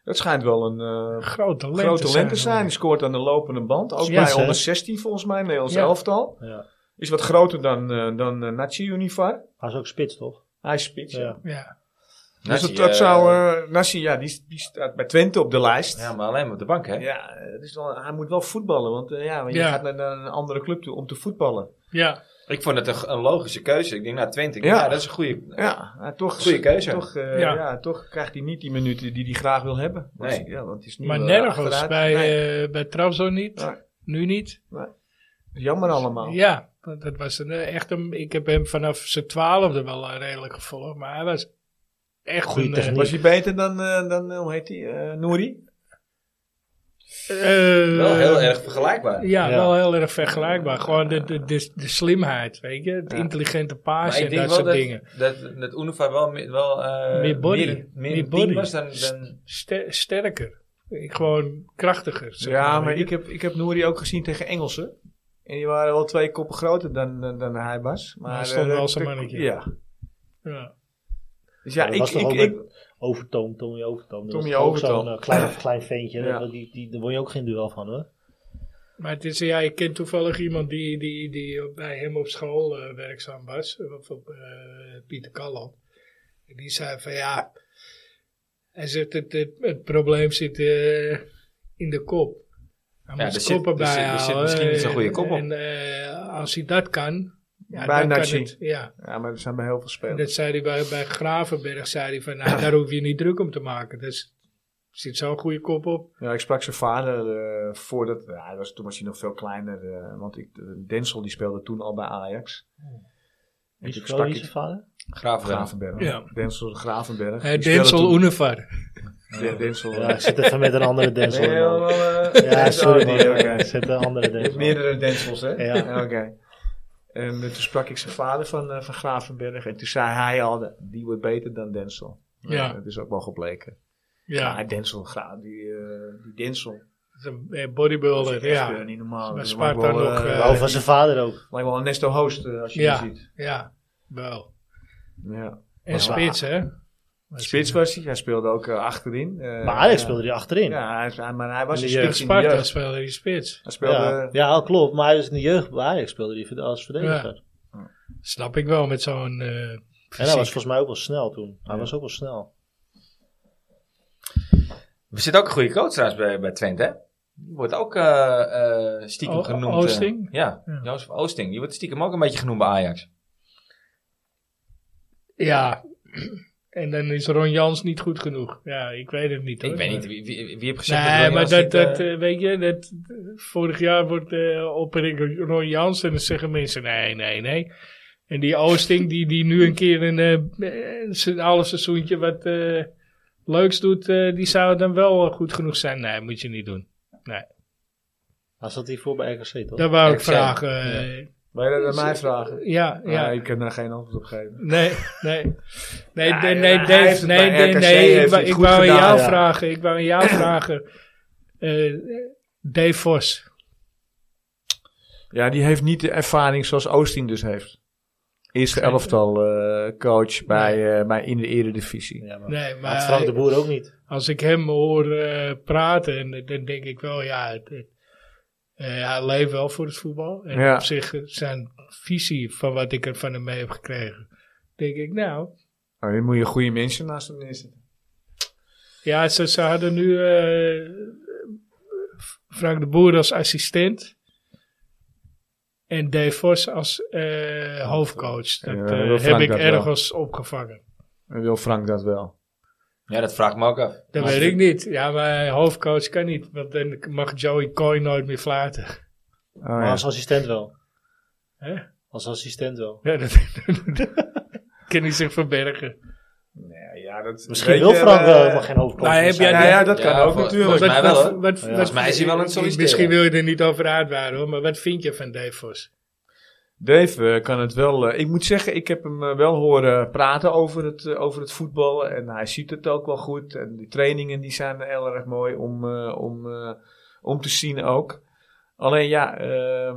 Speaker 4: Het schijnt wel een eh
Speaker 2: Groot talent.
Speaker 4: groot
Speaker 2: te
Speaker 4: talent te zijn. Die
Speaker 2: hoor.
Speaker 4: scoort aan de lopende band. Ook
Speaker 2: Spits,
Speaker 4: bij
Speaker 3: hè?
Speaker 4: onder 16 volgens mij, Nederlands
Speaker 2: Ja.
Speaker 4: elftal.
Speaker 3: Ja.
Speaker 4: Is wat groter dan, eh, dan eh, Nachi Univar.
Speaker 3: Hij is ook spits, toch?
Speaker 4: Hij is spits. ja.
Speaker 3: Ja.
Speaker 2: Ja.
Speaker 4: Dus
Speaker 1: Nassi,
Speaker 4: dat, dat
Speaker 1: eh,
Speaker 4: zou... eh Nassi, ja, die, die staat bij Twente op de lijst.
Speaker 1: Ja, maar alleen maar op de bank hè.
Speaker 4: Ja, het is wel, hij moet wel voetballen, want eh, ja, want je
Speaker 2: Ja.
Speaker 4: gaat naar, naar een andere club toe om te voetballen.
Speaker 2: ja,
Speaker 1: Ik vond het een, een logische keuze. Ik denk nou Twente. Ik
Speaker 4: Ja.
Speaker 1: denk, Ja. dat is een goede.
Speaker 4: Ja, maar toch,
Speaker 1: Goeie keuze.
Speaker 4: Toch, eh,
Speaker 2: Ja.
Speaker 4: ja. toch krijgt hij niet die minuten die hij graag wil hebben. Want,
Speaker 1: Nee.
Speaker 4: ja, want het is nu
Speaker 2: maar
Speaker 4: wel
Speaker 2: nergens.
Speaker 4: achteruit.
Speaker 2: Bij,
Speaker 4: Nee,
Speaker 2: eh, bij Trabzon niet.
Speaker 4: Nee.
Speaker 2: Nu niet.
Speaker 4: jammer allemaal.
Speaker 2: eh, Ja, want dat was een, eh, echt een. Ik heb hem vanaf zijn twaalfde wel eh, redelijk gevolgd, maar hij was echt
Speaker 3: Goeie
Speaker 2: een.
Speaker 3: techniek.
Speaker 4: Was hij beter dan, eh, dan eh, hoe heet hij, eh Nouri?
Speaker 2: eh, eh,
Speaker 1: Wel heel erg vergelijkbaar.
Speaker 2: Ja,
Speaker 3: Ja.
Speaker 2: wel heel erg vergelijkbaar. Gewoon de, de, de, de slimheid, weet je, het intelligente
Speaker 1: Maar
Speaker 2: paasje
Speaker 1: ik
Speaker 2: en
Speaker 1: denk
Speaker 2: dat
Speaker 1: wel
Speaker 2: soort
Speaker 1: dat,
Speaker 2: dingen.
Speaker 1: dat, dat Unifar wel, meer- wel eh,
Speaker 2: Meer body.
Speaker 1: meer, meer,
Speaker 2: Meer
Speaker 1: een
Speaker 2: body.
Speaker 1: team was dan, dan...
Speaker 2: Ster- sterker, Ik- gewoon krachtiger. zeg
Speaker 4: Ja, maar
Speaker 2: weet je.
Speaker 4: ik heb, ik heb Nouri ook gezien tegen Engelsen. En die waren wel twee koppen groter dan, dan, dan hij was. Maar,
Speaker 2: hij stond
Speaker 4: eh,
Speaker 2: wel
Speaker 4: dat-
Speaker 2: zijn
Speaker 4: dat-
Speaker 2: mannetje.
Speaker 4: Ja.
Speaker 2: Ja.
Speaker 4: Dus ja,
Speaker 3: dat
Speaker 4: ik,
Speaker 3: was toch
Speaker 4: ik,
Speaker 3: ook
Speaker 4: ik,
Speaker 3: met Overtoom, Tommy Overtoom. Dat
Speaker 4: Tommy
Speaker 3: was ook
Speaker 4: Overtoom. <clears throat>
Speaker 3: Zo'n eh, klein, klein veentje.
Speaker 4: Ja.
Speaker 3: dat- die, die, daar word je ook geen duel van, hoor.
Speaker 2: Maar het is, ja, ik ken toevallig iemand die, die, die bij hem op school eh, werkzaam was, of op, eh, Pieter Kalland. En die zei van ja, hij zegt het, het, het probleem zit eh, in de kop. Hij
Speaker 1: Ja,
Speaker 2: moet
Speaker 1: er
Speaker 2: zijn
Speaker 1: zit-
Speaker 2: koppen
Speaker 1: er zit- er
Speaker 2: bijhouden.
Speaker 1: zit misschien niet zo'n goede
Speaker 2: en-
Speaker 1: kop op.
Speaker 2: En eh, als hij dat kan, ja,
Speaker 4: Bij
Speaker 2: dan kan
Speaker 4: Natsi.
Speaker 2: het. Dus- Ja,
Speaker 4: Ja, maar er zijn bij heel veel
Speaker 2: en
Speaker 4: spelers.
Speaker 2: dat zei hij bij, bij Gravenberg, zei hij van nou, daar hoef je niet druk om te maken. Dus er zit zo'n goede kop op.
Speaker 4: Ja, ik sprak zijn vader eh, voordat. Ja, hij was, toen was hij nog veel kleiner. eh, want ik, Denzel die speelde toen al bij Ajax. En
Speaker 3: Wie
Speaker 4: toen
Speaker 3: is
Speaker 4: sprak
Speaker 3: wie is
Speaker 4: ik-
Speaker 3: zijn vader?
Speaker 1: Graaf
Speaker 4: Gravenberg.
Speaker 2: Ja.
Speaker 4: Denzel Gravenberg.
Speaker 2: Eh,
Speaker 4: Die speelde
Speaker 2: Denzel
Speaker 4: toen-
Speaker 2: Unevar.
Speaker 4: Den- Denzel. eh,
Speaker 3: Ja, ik zit even met een
Speaker 4: <laughs>
Speaker 3: andere Denzel. in, man. Ja, sorry man.
Speaker 4: eh,
Speaker 3: Ik zit een andere
Speaker 4: Je hebt
Speaker 3: Denzel. in.
Speaker 4: meerdere Densels, hè?
Speaker 3: Ja.
Speaker 4: Oké. En eh, toen sprak ik zijn vader van, eh, van Gravenberg. En toen zei hij al, die wordt beter dan Denzel. Nou,
Speaker 2: Ja.
Speaker 4: Dat is ook wel gebleken.
Speaker 2: Ja,
Speaker 4: Maar Denzel, Gra- die, eh, die Denzel.
Speaker 2: dat is een eh,
Speaker 4: Dat
Speaker 2: bodybuilder.
Speaker 4: is echt, eh,
Speaker 2: Ja,
Speaker 4: niet normaal.
Speaker 2: Bij
Speaker 4: Dat
Speaker 2: Sparta
Speaker 4: lijkt wel,
Speaker 2: nog,
Speaker 4: eh,
Speaker 2: eh,
Speaker 4: lijkt
Speaker 3: Of was zijn vader ook.
Speaker 4: wel een Nesto Host eh, als je
Speaker 2: Ja.
Speaker 4: die ziet.
Speaker 2: ja, wel.
Speaker 4: Ja.
Speaker 2: En
Speaker 3: Maar-
Speaker 2: spits, hè? Was-
Speaker 4: Spits was hij. Hij speelde ook eh, achterin. Eh,
Speaker 3: Maar Ajax
Speaker 4: ja.
Speaker 3: speelde die achterin.
Speaker 4: Ja, hij, hij- maar hij was
Speaker 3: In
Speaker 4: een
Speaker 3: de
Speaker 2: Tegen
Speaker 3: jeugd.
Speaker 4: spits
Speaker 2: eh,
Speaker 4: in de
Speaker 2: Sparta
Speaker 4: jeugd.
Speaker 2: speelde hij spits.
Speaker 4: Hij speelde... eh,
Speaker 3: Ja, ja, klopt. Maar hij is in de jeugd bij Ajax speelde hij als verdediger.
Speaker 2: Snap ik wel met zo'n. eh
Speaker 3: En hij
Speaker 2: fysiek.
Speaker 3: was volgens mij ook wel snel toen. Hij was ook wel snel.
Speaker 1: Er zit ook een goede coach trouwens bij, bij Twente, hè? Die wordt ook eh, eh, stiekem
Speaker 2: O-
Speaker 1: genoemd. eh,
Speaker 2: Oosting?
Speaker 1: ja,
Speaker 2: Ja.
Speaker 1: Jozef Oosting. Die wordt stiekem ook een beetje genoemd bij Ajax.
Speaker 2: Ja. En dan is Ron Jans niet goed genoeg. Ja, ik weet het niet.
Speaker 1: Ik
Speaker 2: hoor.
Speaker 1: weet niet, wie, wie, wie heeft gezegd
Speaker 2: Nee,
Speaker 1: Ron
Speaker 2: maar
Speaker 1: Jans
Speaker 2: dat,
Speaker 1: niet, eh,
Speaker 2: dat eh, weet je, dat, vorig jaar wordt eh opgericht Ron Jans en dan zeggen mensen nee, nee, nee. En die Oosting, die, die nu een keer een, eh, een se- half seizoentje wat eh, leuks doet, eh, die zou dan wel eh, goed genoeg zijn. Nee, moet je niet doen.
Speaker 3: Hij zat hiervoor bij RKC toch?
Speaker 2: Daar wou ik
Speaker 1: Ik
Speaker 2: vragen. eh,
Speaker 4: Wil je dat aan mij vragen?
Speaker 2: ja, ja.
Speaker 4: Ah, ik kan daar geen antwoord op geven.
Speaker 2: Nee, nee. Nee,
Speaker 4: <laughs> Ja,
Speaker 2: nee,
Speaker 4: ja,
Speaker 2: nee,
Speaker 4: hij
Speaker 2: Dave,
Speaker 4: heeft het
Speaker 2: nee,
Speaker 4: bij
Speaker 2: nee,
Speaker 4: RKC
Speaker 2: nee, Ik
Speaker 4: heeft
Speaker 2: wou,
Speaker 4: het
Speaker 2: ik
Speaker 4: goed
Speaker 2: wou aan
Speaker 4: gedaan,
Speaker 2: jou
Speaker 4: ja.
Speaker 2: vragen. Ik wou aan
Speaker 4: <coughs>
Speaker 2: jou vragen. Eh, Dave Vos.
Speaker 4: Ja, die heeft niet de ervaring zoals Oosting dus heeft. Eerste elftal eh, coach bij, eh, bij in de eredivisie.
Speaker 3: Ja, maar
Speaker 2: Nee, maar
Speaker 3: had Frank de Boer ook
Speaker 4: Oh,
Speaker 3: niet.
Speaker 2: als ik hem hoor eh, praten, en, dan denk ik wel, ja, het, het- eh, hij leeft wel voor het voetbal. En
Speaker 4: Ja.
Speaker 2: op zich eh, zijn visie van wat ik er van hem mee heb gekregen. Denk ik, nou,
Speaker 4: Nou, dan moet je goede mensen naast hem neerzetten.
Speaker 2: Ja, ze, ze hadden nu eh, Frank de Boer als assistent. En Dave Vos als eh, hoofdcoach. Dat
Speaker 4: Ja,
Speaker 2: eh,
Speaker 4: wil
Speaker 2: heb
Speaker 4: Frank
Speaker 2: ik
Speaker 4: dat wel.
Speaker 2: ergens opgevangen.
Speaker 4: En Eh, wil Frank dat wel?
Speaker 1: Ja, dat vraag ik me ook af.
Speaker 2: Dat
Speaker 1: Maar-
Speaker 2: weet ik niet. Ja, maar hoofdcoach kan niet. Want dan mag Joey Coy nooit meer flaten.
Speaker 4: Oh,
Speaker 3: Maar
Speaker 4: ja.
Speaker 3: als assistent wel.
Speaker 2: Hè?
Speaker 3: Als assistent wel.
Speaker 2: <laughs> Ja, dat <laughs> kan hij zich verbergen.
Speaker 4: Nee, ja, dat,
Speaker 3: Misschien
Speaker 4: weet
Speaker 3: wil
Speaker 4: je,
Speaker 3: Frank
Speaker 4: eh,
Speaker 3: wel helemaal geen hoofdcoach
Speaker 2: Nou, heb
Speaker 3: meer zijn.
Speaker 2: jij-
Speaker 4: Ja, ja, dat
Speaker 1: Ja,
Speaker 4: kan ook
Speaker 1: voor-
Speaker 4: natuurlijk.
Speaker 1: volgens mij
Speaker 2: wat-
Speaker 1: wel, hoor.
Speaker 2: wat-
Speaker 3: Ja.
Speaker 2: wat-
Speaker 1: Volgens mij is hij wel aan het solliciteren.
Speaker 2: Misschien wil je er niet over uitwaren hoor. Maar wat vind je van Dave Vos?
Speaker 4: Dave eh, kan het wel. eh, ik moet zeggen, ik heb hem eh, wel horen praten over het, eh, over het voetbal. En hij ziet het ook wel goed. En die trainingen die zijn heel erg mooi om, eh, om, eh, om te zien ook. Alleen ja, ehm,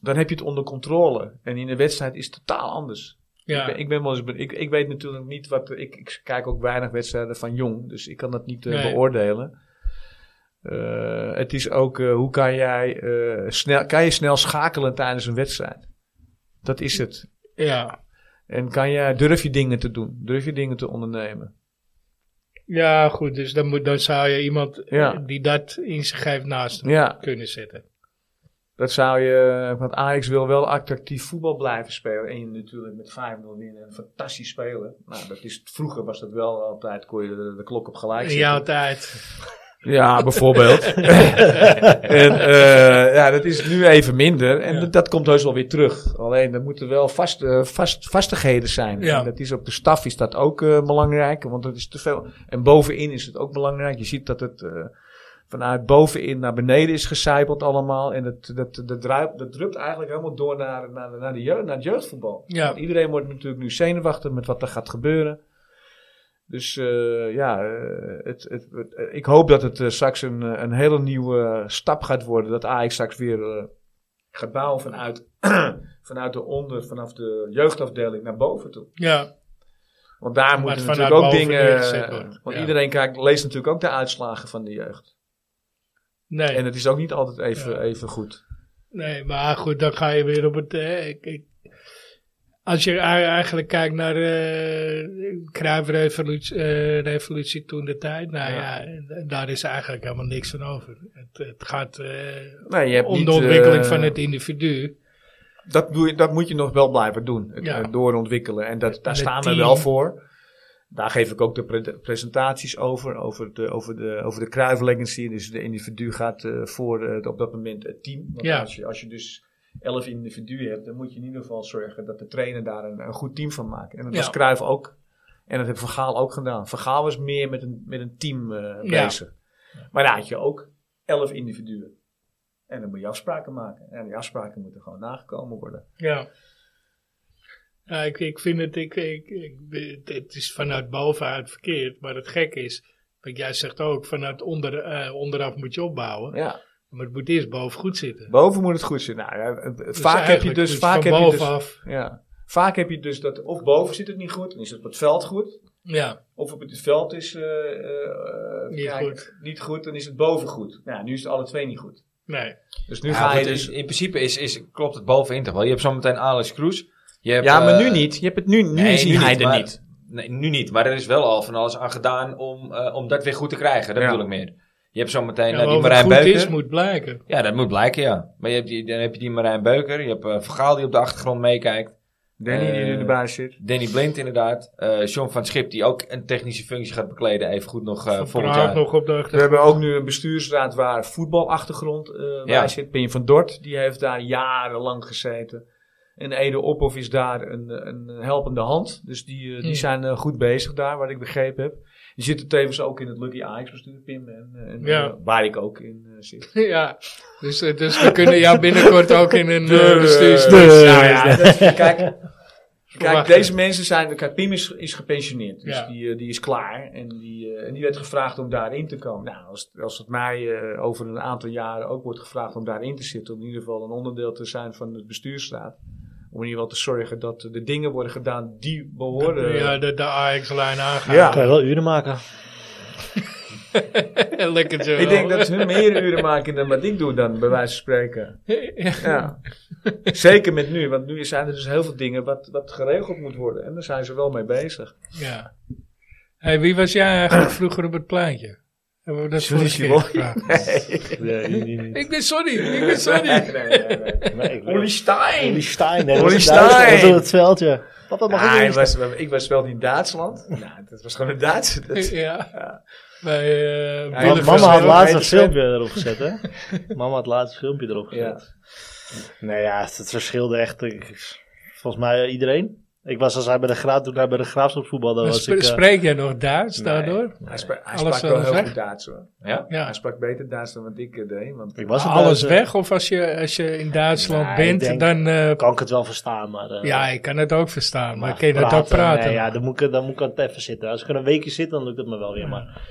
Speaker 4: dan heb je het onder controle. En in de wedstrijd is het totaal anders. Ik,
Speaker 2: Ja,
Speaker 4: ben, ik, ben wel eens, ben- ik, ik weet natuurlijk niet wat. Ik, ik kijk ook weinig wedstrijden van jong, dus ik kan dat niet eh,
Speaker 2: Nee.
Speaker 4: beoordelen. Eh, het is ook eh, hoe kan jij eh, snel, kan je snel schakelen tijdens een wedstrijd? Dat is het.
Speaker 2: ja.
Speaker 4: En kan jij, durf je dingen te doen? Durf je dingen te ondernemen?
Speaker 2: ja goed. Dus dan, moet, dan zou je iemand
Speaker 4: Ja.
Speaker 2: eh, die dat in zich geeft naast hem
Speaker 4: Ja,
Speaker 2: kunnen zetten.
Speaker 4: dat zou je. eh, Want Ajax wil wel attractief voetbal blijven spelen. En je natuurlijk met 5-0 winnen en fantastisch spelen. Nou, dat is, vroeger was dat wel altijd. kon je de, de klok op gelijk
Speaker 2: In
Speaker 4: zetten.
Speaker 2: jouw tijd.
Speaker 4: Ja, bijvoorbeeld.
Speaker 2: <laughs>
Speaker 4: en eh, ja, dat is nu even minder. En
Speaker 2: Ja.
Speaker 4: dat, dat komt heus wel weer terug. Alleen, er moeten wel vast, eh, vast, vastigheden zijn.
Speaker 2: Ja.
Speaker 4: En dat is op de staf is dat ook eh, belangrijk. Want dat is te veel. En bovenin is het ook belangrijk. Je ziet dat het eh, vanuit bovenin naar beneden is gecijpeld allemaal. En dat, dat, dat, druipt, dat drupt eigenlijk helemaal door naar, naar, naar, de jeugd, naar het jeugdvoetbal.
Speaker 2: Ja.
Speaker 4: Want Nou, iedereen wordt natuurlijk nu zenuwachtig met wat er gaat gebeuren. Dus eh, ja, eh, het, het, het- eh, ik hoop dat het eh, straks een, eh, een hele nieuwe stap gaat worden. Dat Ajax straks weer eh, gaat bouwen vanuit, <clears throat> vanuit de onder, vanaf de jeugdafdeling naar boven toe.
Speaker 2: Ja,
Speaker 4: Want daar
Speaker 2: het
Speaker 4: moeten
Speaker 2: vanuit
Speaker 4: natuurlijk ook
Speaker 2: boven
Speaker 4: dingen.
Speaker 2: neergezet wordt,
Speaker 4: Want
Speaker 2: ja.
Speaker 4: iedereen kijkt, leest natuurlijk ook de uitslagen van de jeugd.
Speaker 2: Nee.
Speaker 4: En het is ook niet altijd even,
Speaker 2: Ja.
Speaker 4: even goed.
Speaker 2: Nee, maar goed, dan ga je weer op het. eh, ik- ik- als je ei- eigenlijk kijkt naar de kruifrevolutie revolutie toen de tijd, nou ja. daar is eigenlijk helemaal niks van over. Het, het gaat eh,
Speaker 4: Nee, je hebt
Speaker 2: om
Speaker 4: niet,
Speaker 2: de ontwikkeling
Speaker 4: eh,
Speaker 2: van het individu.
Speaker 4: Dat, doe je, dat moet je nog wel blijven doen. Het,
Speaker 2: Ja.
Speaker 4: eh, doorontwikkelen. En dat, daar
Speaker 2: het
Speaker 4: staan we
Speaker 2: team.
Speaker 4: wel voor. Daar geef ik ook de pre- presentaties over. Over de, over de, over de Cruyff Legacy. Dus de individu gaat eh, voor eh, op dat moment het team. Want
Speaker 2: Ja.
Speaker 4: als, je, als je dus elf individuen hebt, dan moet je in ieder geval zorgen dat de trainer daar een, een goed team van maakt. En dat
Speaker 2: Ja.
Speaker 4: was Cruijff ook. En dat heeft Van Gaal ook gedaan. Van Gaal was meer met een, met een team eh,
Speaker 2: Ja.
Speaker 4: bezig. Maar daar had je ook elf individuen. En dan moet je afspraken maken. En die afspraken moeten gewoon nagekomen worden.
Speaker 2: Ja. Ja, ik, ik vind het, ik, ik, ik, het is vanuit bovenuit verkeerd, maar het gekke is, wat jij zegt ook, vanuit onder, eh, onderaf moet je opbouwen,
Speaker 4: Ja.
Speaker 2: maar het moet eerst boven goed zitten.
Speaker 4: Boven moet het goed zijn. Nou, ja, het- het-
Speaker 2: Dus
Speaker 4: vaak heb je
Speaker 2: eigenlijk
Speaker 4: dus,
Speaker 2: moet
Speaker 4: vaak
Speaker 2: van
Speaker 4: heb je dus,
Speaker 2: bovenaf,
Speaker 4: ja, vaak heb je dus dat of boven zit het niet goed, dan is het op het veld goed.
Speaker 2: ja.
Speaker 4: Of op het veld is eh, eh, eh,
Speaker 2: Niet goed.
Speaker 4: niet goed, dan is het boven goed. Nou, nu is het alle twee niet goed.
Speaker 2: Nee.
Speaker 4: Dus nu
Speaker 1: Ja,
Speaker 4: ga je
Speaker 1: goed,
Speaker 4: dus.
Speaker 1: in, in principe is, is, klopt het bovenin toch wel. Je hebt zometeen Alex Kroes. Je hebt,
Speaker 4: Ja, maar
Speaker 1: eh,
Speaker 4: nu niet. Je hebt het nu, nu
Speaker 1: nee,
Speaker 4: zie
Speaker 1: nu
Speaker 4: hij
Speaker 1: niet,
Speaker 4: er
Speaker 1: maar-
Speaker 4: niet.
Speaker 1: Nee, nu niet. Maar er is wel al van alles aan gedaan om, eh, om dat weer goed te krijgen. Dat
Speaker 4: Ja.
Speaker 1: bedoel ik meer. Je hebt zometeen
Speaker 2: Ja,
Speaker 1: eh,
Speaker 2: maar
Speaker 1: die
Speaker 2: of het
Speaker 1: Marijn
Speaker 2: goed
Speaker 1: Beuker.
Speaker 2: is, moet blijken.
Speaker 1: Ja, dat moet blijken, ja. Maar je hebt die, dan heb je die Marijn Beuker. Je hebt eh Van Gaal die op de achtergrond meekijkt.
Speaker 4: Danny die nu
Speaker 1: Eh,
Speaker 4: erbij zit.
Speaker 1: Danny Blind inderdaad. eh John van Schip die ook een technische functie gaat bekleden. Even goed nog eh
Speaker 2: Van
Speaker 1: volgend
Speaker 2: Praag
Speaker 1: jaar.
Speaker 2: nog op de
Speaker 4: We
Speaker 2: achter-
Speaker 4: hebben ook nu een bestuursraad waar voetbalachtergrond eh bij
Speaker 1: Ja.
Speaker 4: zit. Benje van Dort, die heeft daar jarenlang gezeten. En Ede Ophoff is daar een, een helpende hand. Dus die, eh, die
Speaker 2: Ja.
Speaker 4: zijn eh, goed bezig daar, wat ik begrepen heb. Die zitten tevens ook in het Lucky Ajax bestuur, Pim. En, eh, en,
Speaker 2: Ja.
Speaker 4: eh, waar ik ook in eh, zit.
Speaker 2: <laughs> Ja, dus, eh, dus we kunnen jou binnenkort ook in een eh, bestuurs...
Speaker 4: Nou ja, dat-
Speaker 2: <laughs>
Speaker 4: kijk, kijk,
Speaker 2: Verwacht.
Speaker 4: deze mensen zijn... Kijk, Pim is, is gepensioneerd. Dus
Speaker 2: Ja.
Speaker 4: die, eh, die is klaar. En die, eh, en die werd gevraagd om daarin te komen. Nou, als, als het mij eh, over een aantal jaren ook wordt gevraagd om daarin te zitten... om in ieder geval een onderdeel te zijn van het bestuursraad... om in ieder geval te zorgen dat de dingen worden gedaan die behoren...
Speaker 2: Ja, de, de Ajax-lijn aangaan. <laughs>
Speaker 4: Ja.
Speaker 3: Kan je wel uren maken.
Speaker 2: Lekker zo.
Speaker 4: Ik denk
Speaker 2: <laughs>
Speaker 4: dat ze meer uren maken dan wat ik doe dan, bij wijze van spreken. Ja. <laughs> Zeker met nu, want nu zijn er dus heel veel dingen wat, wat geregeld moet worden. En daar zijn ze wel mee bezig.
Speaker 2: Ja. hey, wie was jij
Speaker 3: <clears throat>
Speaker 2: eigenlijk vroeger op het plaatje? Hebben we dat
Speaker 4: Johnny
Speaker 2: vorige keer
Speaker 4: Simon.
Speaker 2: gevraagd?
Speaker 3: <laughs> Nee, die- die niet.
Speaker 2: Ik ben sorry, ik ben sorry.
Speaker 3: Nee, ik weet
Speaker 4: Olly
Speaker 3: het. Olly
Speaker 4: Stein!
Speaker 3: Stein, nee, dat
Speaker 4: Olly
Speaker 3: was duidelijk. Dat was
Speaker 4: Stein.
Speaker 3: op het veldje. Papa mag
Speaker 4: Ah,
Speaker 3: ik
Speaker 4: ik,
Speaker 3: niet.
Speaker 4: was, ik was wel in Duitsland. <laughs> Nou, dat was gewoon een Duitse. Dat,
Speaker 2: ja. Bij eh
Speaker 4: Ja,
Speaker 2: Willem
Speaker 4: was
Speaker 3: Mama had
Speaker 4: heel
Speaker 3: laatst een
Speaker 4: wetenschap.
Speaker 3: filmpje erop gezet, hè?
Speaker 2: <laughs>
Speaker 3: Mama had laatst een filmpje erop gezet.
Speaker 4: ja.
Speaker 3: Nee, ja, het, het verschilde echt. ik- volgens mij eh, iedereen. Ik was als hij bij de graaf, toen hij bij de graafschap voetbalde,
Speaker 2: Sp-
Speaker 3: was ik... eh,
Speaker 2: Spreek jij nog Duits daardoor?
Speaker 4: Hij, spra- hij
Speaker 2: Alles
Speaker 4: sprak
Speaker 2: wel
Speaker 4: wel heel
Speaker 2: gezegd?
Speaker 4: goed Duits hoor.
Speaker 1: Ja?
Speaker 2: Ja.
Speaker 4: Hij sprak beter Duits dan wat ik eh, deed. Want,
Speaker 3: ik was een
Speaker 2: Alles
Speaker 3: Duitser.
Speaker 2: weg? Of als je, als je in Duitsland
Speaker 3: eh, Nee, ik
Speaker 2: bent,
Speaker 3: denk-
Speaker 2: dan... eh,
Speaker 3: Kan ik het wel verstaan, maar... eh,
Speaker 2: ja, ik kan het ook verstaan, maar, kun je dat ook praten?
Speaker 3: nee, ja, dan moet, ik, dan moet ik het even zitten. Als ik er een weekje zit, dan lukt het me wel weer, maar...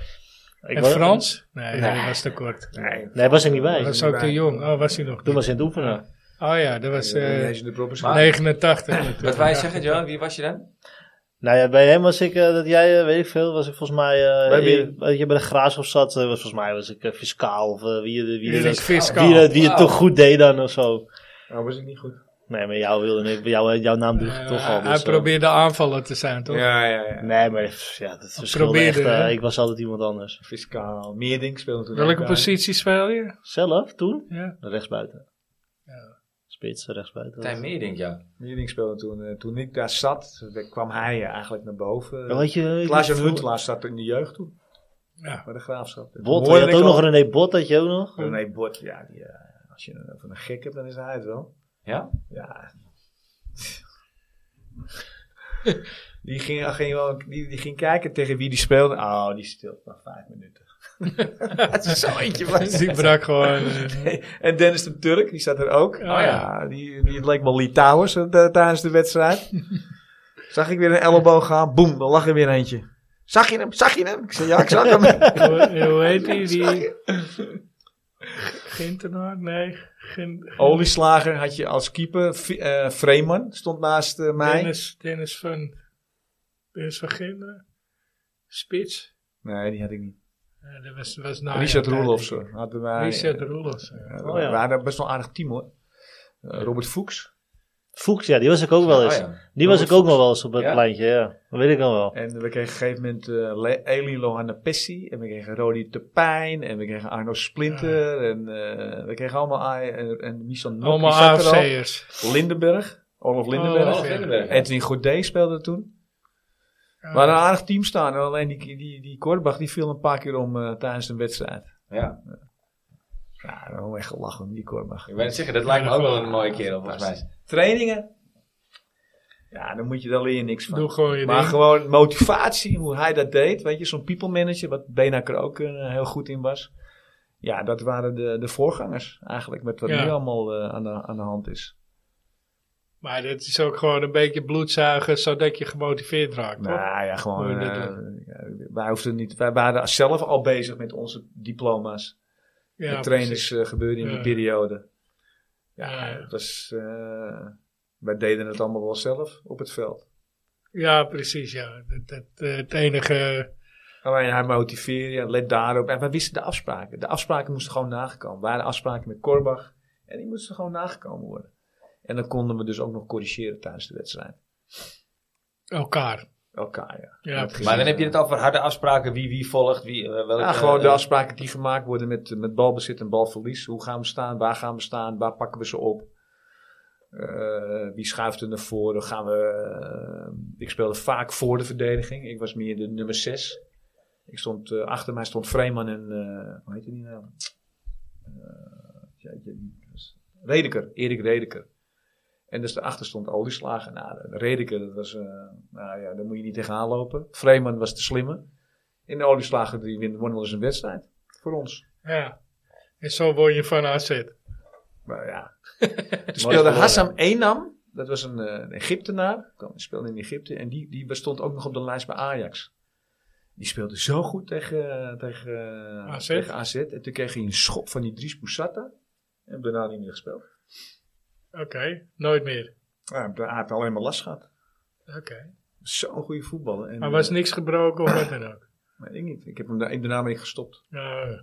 Speaker 3: Ik
Speaker 2: en
Speaker 3: was-
Speaker 2: Frans? Nee,
Speaker 3: Nee.
Speaker 2: dat was te kort.
Speaker 4: nee,
Speaker 3: Nee, was ik niet bij.
Speaker 2: Dat was ook te
Speaker 4: bij.
Speaker 2: jong. Oh, was hij nog?
Speaker 3: Toen was hij in het oefenen.
Speaker 2: Oh ja, dat was eh,
Speaker 4: deze de proppen
Speaker 1: maar-
Speaker 2: 89. natuurlijk.
Speaker 1: Wat wij zeggen, Johan, wie was je dan?
Speaker 3: Nou ja, bij hem was ik, eh, dat jij, eh, weet ik veel, was ik volgens mij... eh,
Speaker 4: Bij wie?
Speaker 3: dat je bij de graafschap zat, eh, was volgens mij was ik eh, fiscaal of eh, wie, wie, wie,
Speaker 2: Jullie
Speaker 3: dat-
Speaker 2: fiscaal.
Speaker 3: wie, dat- wie het
Speaker 1: Wauw.
Speaker 3: toch goed deed dan of zo.
Speaker 4: Oh, was ik niet goed?
Speaker 3: Nee, maar jou wilde ik, jou, jouw naam doe ik
Speaker 2: Eh,
Speaker 3: <clears throat> toch
Speaker 2: hij-
Speaker 3: al.
Speaker 2: hij
Speaker 3: Dus, eh,
Speaker 2: probeerde aanvallen te zijn, toch?
Speaker 4: Ja, ja, ja.
Speaker 3: Nee, maar pff, ja, dat verschilde echt.
Speaker 2: probeerde,
Speaker 3: eh,
Speaker 2: hè?
Speaker 3: ik was altijd iemand anders.
Speaker 4: Fiscaal. Meerding speelde toen ook eh,
Speaker 2: Welke
Speaker 4: bij.
Speaker 2: positie speel je?
Speaker 3: Zelf,
Speaker 2: <laughs>
Speaker 3: toen?
Speaker 2: Ja.
Speaker 3: Rechtsbuiten. Spits, rechtsbuiten.
Speaker 1: Tijn Meerdink, ja.
Speaker 4: Meerding speelde toen. eh, toen ik daar zat, daar kwam hij eh, eigenlijk naar boven.
Speaker 3: Ja, weet je, weet je,
Speaker 4: Klaas-Jan
Speaker 3: vroeger-
Speaker 4: Huntelaar zat in de jeugd toen.
Speaker 2: Ja.
Speaker 4: Bij de graafschap.
Speaker 3: Bot, je
Speaker 4: Moordelijk
Speaker 3: had ook
Speaker 4: al-
Speaker 3: nog René Bot, had je ook nog?
Speaker 4: René Bot, ja. Die, eh, als je een, van een gek hebt, dan is hij het wel.
Speaker 1: Ja?
Speaker 4: <laughs> Ja. die, ging, ging wel, die, die ging kijken tegen wie die speelde. Oh, die stilt maar vijf minuten. <laughs> Dat is zo eentje <laughs> van.
Speaker 2: Die brak gewoon. eh,
Speaker 4: En Dennis de Turk, die zat er ook. Oh
Speaker 2: ja.
Speaker 4: ja, die, die het leek wel Litouwers eh, da- tijdens de
Speaker 2: <laughs>
Speaker 4: wedstrijd. Zag ik weer een elleboog gaan, boem, dan lag er weer eentje. Zag je hem? Zag je hem? Ik zei ja, ik zag
Speaker 2: <laughs>
Speaker 4: hem.
Speaker 2: hoe, hoe heet die? die... Ginternaar? Nee. Gin,
Speaker 4: Olieslager had je als keeper. V- eh, Vreeman stond naast eh, mij.
Speaker 2: Dennis, Dennis van. Dennis van Ginderen. Spits.
Speaker 4: Nee, die had ik niet.
Speaker 2: Eh, dat was, was na
Speaker 4: Richard
Speaker 2: jouw tijd,
Speaker 4: Roelofs
Speaker 2: denk ik.
Speaker 4: hadden wij.
Speaker 2: Richard Roelofs. ja.
Speaker 4: eh,
Speaker 3: Oh, ja.
Speaker 4: We hadden best wel een aardig team hoor. Eh, Robert Fuchs.
Speaker 3: Fuchs, ja, die was ik ook wel eens.
Speaker 1: Ah, ja.
Speaker 3: Die was ik ook nog wel eens op het
Speaker 1: Ja?
Speaker 3: pleintje, ja. Dat weet ik nog wel.
Speaker 4: En we kregen op een gegeven moment eh, Le- Elie Lohanna Pessi. En we kregen Rodi Tepijn. En we kregen Arno Splinter. En eh, we kregen allemaal... A- en, en Michel Nok,
Speaker 2: Allemaal
Speaker 4: die zat er al.
Speaker 2: AFC'ers.
Speaker 4: Lindenberg.
Speaker 2: Oh,
Speaker 4: Olaf Lindenberg.
Speaker 1: Oh,
Speaker 2: Olaf Lindenberg,
Speaker 4: Edwin Godet speelde toen.
Speaker 2: Ja.
Speaker 4: We hadden een aardig team staan. en Alleen die, die, die, Korbach die viel een paar keer om eh, tijdens een wedstrijd.
Speaker 1: Ja.
Speaker 4: Ja, dan echt gelachen om die Korbach.
Speaker 1: Ik ben het zeggen, dat lijkt me ook wel een mooie kerel volgens mij.
Speaker 4: Trainingen. Ja, dan moet je, daar leer je niks van.
Speaker 2: Doe gewoon je
Speaker 4: Maar
Speaker 2: ding.
Speaker 4: gewoon motivatie, hoe hij dat deed. Weet je, zo'n people manager, wat Benak er ook eh, heel goed in was. Ja, dat waren de, de voorgangers eigenlijk, met wat
Speaker 2: Ja.
Speaker 4: nu allemaal eh, aan, de, aan de hand is.
Speaker 2: Maar dat is ook gewoon een beetje bloedzuigen, zodat je gemotiveerd raakt. hoor.
Speaker 4: Nou ja, gewoon,
Speaker 2: Hoe je dat
Speaker 4: eh, ja, wij, hoefden niet, wij waren zelf al bezig met onze diploma's.
Speaker 2: Ja,
Speaker 4: de trainers eh, gebeurden in
Speaker 2: Ja.
Speaker 4: die periode. Ja,
Speaker 2: Ja.
Speaker 4: het was, eh, wij deden het allemaal wel zelf op het veld.
Speaker 2: Ja, precies. Ja. Dat, dat, eh, het enige.
Speaker 4: Alleen Oh, hij motiveerde, ja, let daarop. En wij wisten de afspraken. De afspraken moesten gewoon nagekomen. Er waren afspraken met Korbach en die moesten gewoon nagekomen worden. En dan konden we dus ook nog corrigeren tijdens de wedstrijd.
Speaker 2: elkaar.
Speaker 4: Elkaar, ja.
Speaker 2: Ja,
Speaker 4: Dat
Speaker 2: precies.
Speaker 1: Maar dan heb je het over harde afspraken, wie wie volgt, wie eh, welke...
Speaker 4: Ja, gewoon de
Speaker 1: eh,
Speaker 4: afspraken die gemaakt worden met, met balbezit en balverlies. Hoe gaan we staan? Waar gaan we staan? Waar pakken we ze op? Eh, wie schuift er naar voren? Gaan we, eh, ik speelde vaak voor de verdediging. Ik was meer de nummer 6. Ik stond, eh, achter mij stond Vreeman en... eh, hoe heet die nou? Eh, jeetje, die was- Redeker, Erik Redeker. En dus daarachter stond Olieslager. Nou, Redeker, dat was, eh, nou ja, daar moet je niet tegenaan lopen. Vreeman was de slimme. In de olieslager die winnen wonnen wel eens een wedstrijd. Voor ons.
Speaker 2: Ja. En zo word je van AZ.
Speaker 4: Maar <laughs> ja. Toen speelde
Speaker 3: verloren.
Speaker 4: Hassam Enam. Dat was een, eh, een Egyptenaar. kwam- Die speelde in Egypte. En die, die stond ook nog op de lijst bij Ajax. Die speelde zo goed tegen, eh, tegen, eh,
Speaker 2: AZ.
Speaker 4: tegen AZ. En toen kreeg hij een schop van die Dries Boussata. En daarna niet meer gespeeld.
Speaker 2: Oké, nooit meer.
Speaker 4: Ja, hij heeft alleen maar last gehad.
Speaker 2: Oké.
Speaker 4: Zo'n goede voetballer. En,
Speaker 2: Maar was
Speaker 4: eh,
Speaker 2: niks gebroken of wat dan ook.
Speaker 4: weet ik niet. Ik heb hem daar, ik ben daarmee gestopt.
Speaker 2: Nou,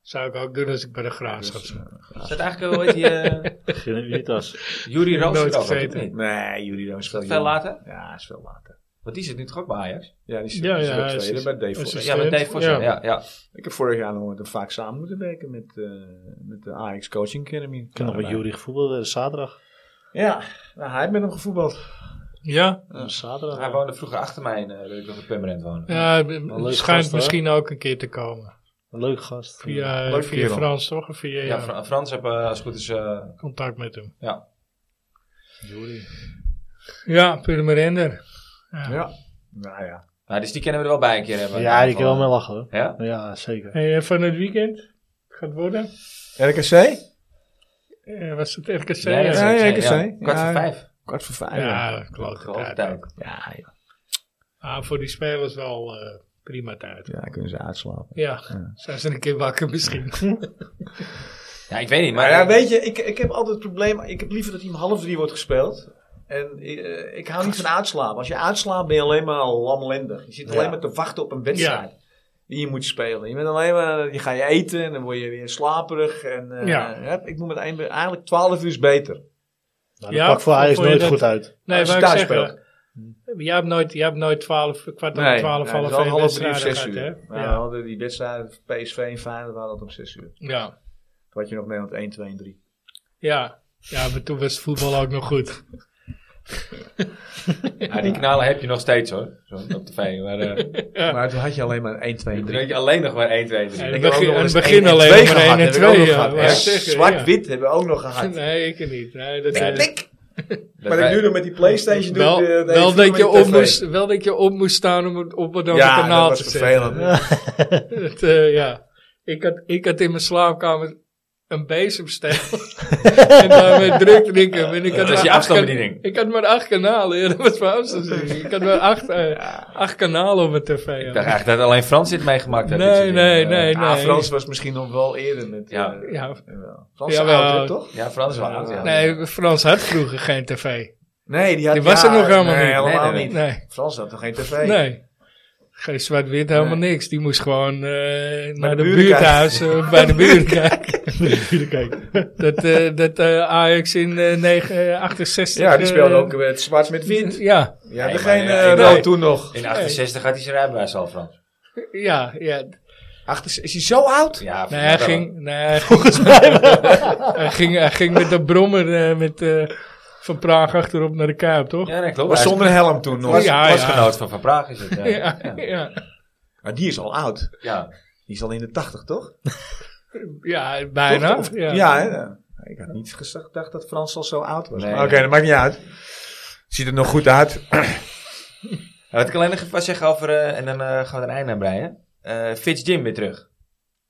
Speaker 2: zou ik ook doen als ik bij de graafschap
Speaker 4: Dus,
Speaker 2: zat.
Speaker 4: eh,
Speaker 1: Is dat eigenlijk wel, weet je, eh,
Speaker 3: Unitas.
Speaker 1: Juri
Speaker 2: Ik heb
Speaker 1: Roos
Speaker 2: nooit
Speaker 1: er ook,
Speaker 2: gegeten.
Speaker 1: of niet?
Speaker 4: eh, nee, jullie dan
Speaker 1: Is dat
Speaker 4: spelen.
Speaker 1: veel later?
Speaker 4: Ja, is veel later.
Speaker 1: Want die zit nu toch ook bij Ajax?
Speaker 4: Ja, die zit
Speaker 2: Ja,
Speaker 4: die zit
Speaker 2: ja, hij
Speaker 4: tweede
Speaker 2: zit-
Speaker 4: bij Deventer.
Speaker 2: hij zit-
Speaker 1: Ja, met Dave
Speaker 2: Stemmt,
Speaker 1: Vossen, ja.
Speaker 2: ja.
Speaker 1: ja.
Speaker 4: Ik heb vorig jaar nog wat- vaak samen moeten werken met, eh, met de Ajax Coaching Academy.
Speaker 3: Ik heb nog met Jury gevoetbald, eh, zaterdag.
Speaker 4: Ja, nou, hij heeft met hem gevoetbald.
Speaker 2: Ja,
Speaker 4: Ja.
Speaker 3: Zaterdag.
Speaker 1: Hij woonde vroeger achter mij, in, eh, weet ik nog, in Permanent woonde.
Speaker 2: ja het
Speaker 3: leuk
Speaker 2: schijnt
Speaker 3: gast, hoor.
Speaker 2: misschien ook een keer te komen.
Speaker 3: Een leuke gast.
Speaker 2: Via,
Speaker 4: Leuk
Speaker 2: via
Speaker 4: kerel.
Speaker 2: Frans toch? Of via
Speaker 1: Ja,
Speaker 2: jou?
Speaker 1: Fra- Frans heb eh, als het goed is... eh,
Speaker 2: contact met hem.
Speaker 1: ja.
Speaker 3: Jury.
Speaker 2: Ja, Purmerender. Ja.
Speaker 4: Ja. Nou ja.
Speaker 1: Nou, dus die kunnen we er wel bij een keer hebben.
Speaker 3: Ja, die kan wel mee lachen hoor.
Speaker 1: Ja?
Speaker 3: Ja, zeker.
Speaker 2: Hey, eh, van het weekend gaat worden.
Speaker 4: RKC?
Speaker 2: Eh, was het RKC?
Speaker 1: Ja, dat is
Speaker 4: Ja,
Speaker 1: het,
Speaker 4: ja,
Speaker 1: ja.
Speaker 4: ik zei.
Speaker 1: Kwart voor
Speaker 4: Ja.
Speaker 1: vijf.
Speaker 4: Kwart voor vijf. Ja,
Speaker 2: ja klote
Speaker 1: Grote
Speaker 2: tijd.
Speaker 1: tijd.
Speaker 4: ja, ja.
Speaker 2: Ah, voor die spelers wel eh, prima tijd.
Speaker 4: Ja, kunnen ze uitslapen.
Speaker 2: Ja, zijn ze een keer wakker misschien.
Speaker 1: Ja, ik weet niet, maar... eh,
Speaker 4: Maar ja, weet je, ik, ik heb altijd het probleem. Ik heb liever dat hij om half drie wordt gespeeld. En eh, ik hou niet van uitslapen. Als je uitslaapt ben je alleen maar lamlendig. Je zit alleen
Speaker 1: Ja.
Speaker 4: maar te wachten op een wedstrijd. Die je moet spelen. Je bent alleen maar, je gaat je eten en dan word je weer slaperig. En, eh,
Speaker 2: Ja.
Speaker 4: ja, ik moet met één, eigenlijk 12 uur is beter.
Speaker 3: Nou, dat
Speaker 2: Ja,
Speaker 3: pakt voor
Speaker 2: vond-
Speaker 3: Ajax
Speaker 2: vond je
Speaker 3: nooit
Speaker 2: dat-
Speaker 3: goed
Speaker 2: <laughs>
Speaker 3: uit.
Speaker 2: Nee,
Speaker 4: Als je
Speaker 2: maar ik
Speaker 4: thuis
Speaker 2: zeg,
Speaker 4: speelt.
Speaker 2: eh, jij hebt nooit, jij hebt nooit 12, kwart over 12,
Speaker 4: nee, het
Speaker 2: half
Speaker 4: is wel
Speaker 2: één
Speaker 4: half drie of
Speaker 2: wedstrijden
Speaker 4: zes uur.
Speaker 2: gehad, hè?
Speaker 4: Ja, we
Speaker 2: Ja.
Speaker 4: hadden die wedstrijden PSV en Feyenoord waren dat om zes uur.
Speaker 2: Ja.
Speaker 4: Toen had je nog Nederland 1, 2 en 3.
Speaker 2: ja. Ja, maar toen was het voetbal ook nog goed.
Speaker 1: Ja, die kanalen heb je nog steeds hoor. Zo op tv. Maar eh,
Speaker 4: Maar toen had je alleen maar 1, 2 en
Speaker 1: dan
Speaker 4: 3.
Speaker 1: heb je alleen nog maar 1, 2,
Speaker 2: Ja,
Speaker 1: 3.
Speaker 2: het
Speaker 4: heb ook
Speaker 2: begin,
Speaker 4: nog
Speaker 2: het
Speaker 4: eens
Speaker 2: begin
Speaker 4: één en
Speaker 2: alleen
Speaker 4: twee
Speaker 2: maar
Speaker 4: gehad,
Speaker 2: 1 en
Speaker 4: heb ik ook
Speaker 2: 2.
Speaker 4: nog
Speaker 2: Ja,
Speaker 4: gehad.
Speaker 2: wou
Speaker 4: Ja,
Speaker 2: ik zeggen, ja.
Speaker 4: Zwart-wit hebben we ook nog gehad.
Speaker 2: <laughs> Nee, ik niet. Nee, dat
Speaker 4: Ja,
Speaker 2: eh,
Speaker 4: dik. Maar ik doe dat eh, met die Playstation. doe
Speaker 2: wel,
Speaker 4: ik de- de hele
Speaker 2: wel,
Speaker 4: film
Speaker 2: dat
Speaker 4: met
Speaker 2: je
Speaker 4: de
Speaker 2: op
Speaker 4: tv.
Speaker 2: moest, wel dat je op moest staan om het op een ander
Speaker 4: Ja,
Speaker 2: kanaal
Speaker 4: dat was
Speaker 2: te zetten.
Speaker 4: vervelend.
Speaker 2: <laughs> Het, eh, ja. ik, had, ik had in mijn slaapkamer een
Speaker 4: <laughs>
Speaker 2: bezemstijl. en daarmee druk drinken. En ik
Speaker 1: Dat
Speaker 2: had
Speaker 1: is
Speaker 2: maar
Speaker 1: je
Speaker 2: acht
Speaker 1: afstandsbediening.
Speaker 2: kan- Ik had maar acht kanalen. Ja, dat was mijn afstandsbediening. Ik had maar acht, eh, acht kanalen op mijn tv. ja.
Speaker 1: Ik dacht eigenlijk dat alleen Frans dit meegemaakt heeft. dit
Speaker 2: Nee,
Speaker 1: soort dingen.
Speaker 2: nee, nee, nee.
Speaker 4: Ah, Frans was misschien nog wel eerder met...
Speaker 1: Ja.
Speaker 4: eh,
Speaker 2: Ja.
Speaker 4: jawel. Frans is
Speaker 2: Jawel.
Speaker 4: oud, hè, toch?
Speaker 1: Ja, Frans is wel oud, ja.
Speaker 2: Nee, Frans had vroeger geen tv.
Speaker 4: Nee, die, had,
Speaker 2: Die was er nog helemaal
Speaker 4: nee,
Speaker 2: niet.
Speaker 4: Helemaal
Speaker 1: Nee, nee,
Speaker 4: niet.
Speaker 2: Nee,
Speaker 4: Frans had nog geen tv.
Speaker 2: nee. Geen zwart-wit, helemaal niks. Die moest gewoon eh, naar de,
Speaker 4: buren
Speaker 2: buurthuis eh, bij de buren kijken.
Speaker 3: Kijk,
Speaker 2: Dat, eh, dat eh, Ajax in eh, negen- eh, 68...
Speaker 4: Ja, die speelde
Speaker 2: eh,
Speaker 4: ook met zwart met wit.
Speaker 2: Ja,
Speaker 4: Je had
Speaker 1: Nee,
Speaker 4: er geen
Speaker 1: maar, eh,
Speaker 4: eh, rood
Speaker 2: nee.
Speaker 4: toen nog.
Speaker 1: In 68 had hij zijn rijbewijs al, Frans.
Speaker 2: ja, ja.
Speaker 4: Achter, is hij zo oud?
Speaker 1: Ja,
Speaker 2: Nee, hij
Speaker 1: wel.
Speaker 2: ging, nee, hij ging, <laughs> hij ging, hij ging met de brommer eh, met, eh, van Praag achterop naar de Kuip, toch?
Speaker 1: Ja, nee, klopt.
Speaker 4: Was
Speaker 1: Hij is-
Speaker 4: zonder helm toen nog.
Speaker 1: was,
Speaker 2: Ja, ja.
Speaker 1: was genoot van Van Praag is het. Ja. ja.
Speaker 2: <laughs> Ja, ja.
Speaker 4: Maar die is al oud. Die is al in de tachtig, toch?
Speaker 2: ja bijna.
Speaker 4: Toch? Of-
Speaker 2: ja.
Speaker 4: ja, hè? Ja. Ik had niet gez- gedacht dat Frans al zo oud was.
Speaker 1: Nee,
Speaker 4: Maar
Speaker 1: nee.
Speaker 4: Oké, dat maakt niet uit. Ziet er nog goed uit.
Speaker 1: Ja, Wat ik alleen nog even wat zeggen over, eh, en dan eh, gaan we er een einde aan breien. Eh Fitz Jim weer terug.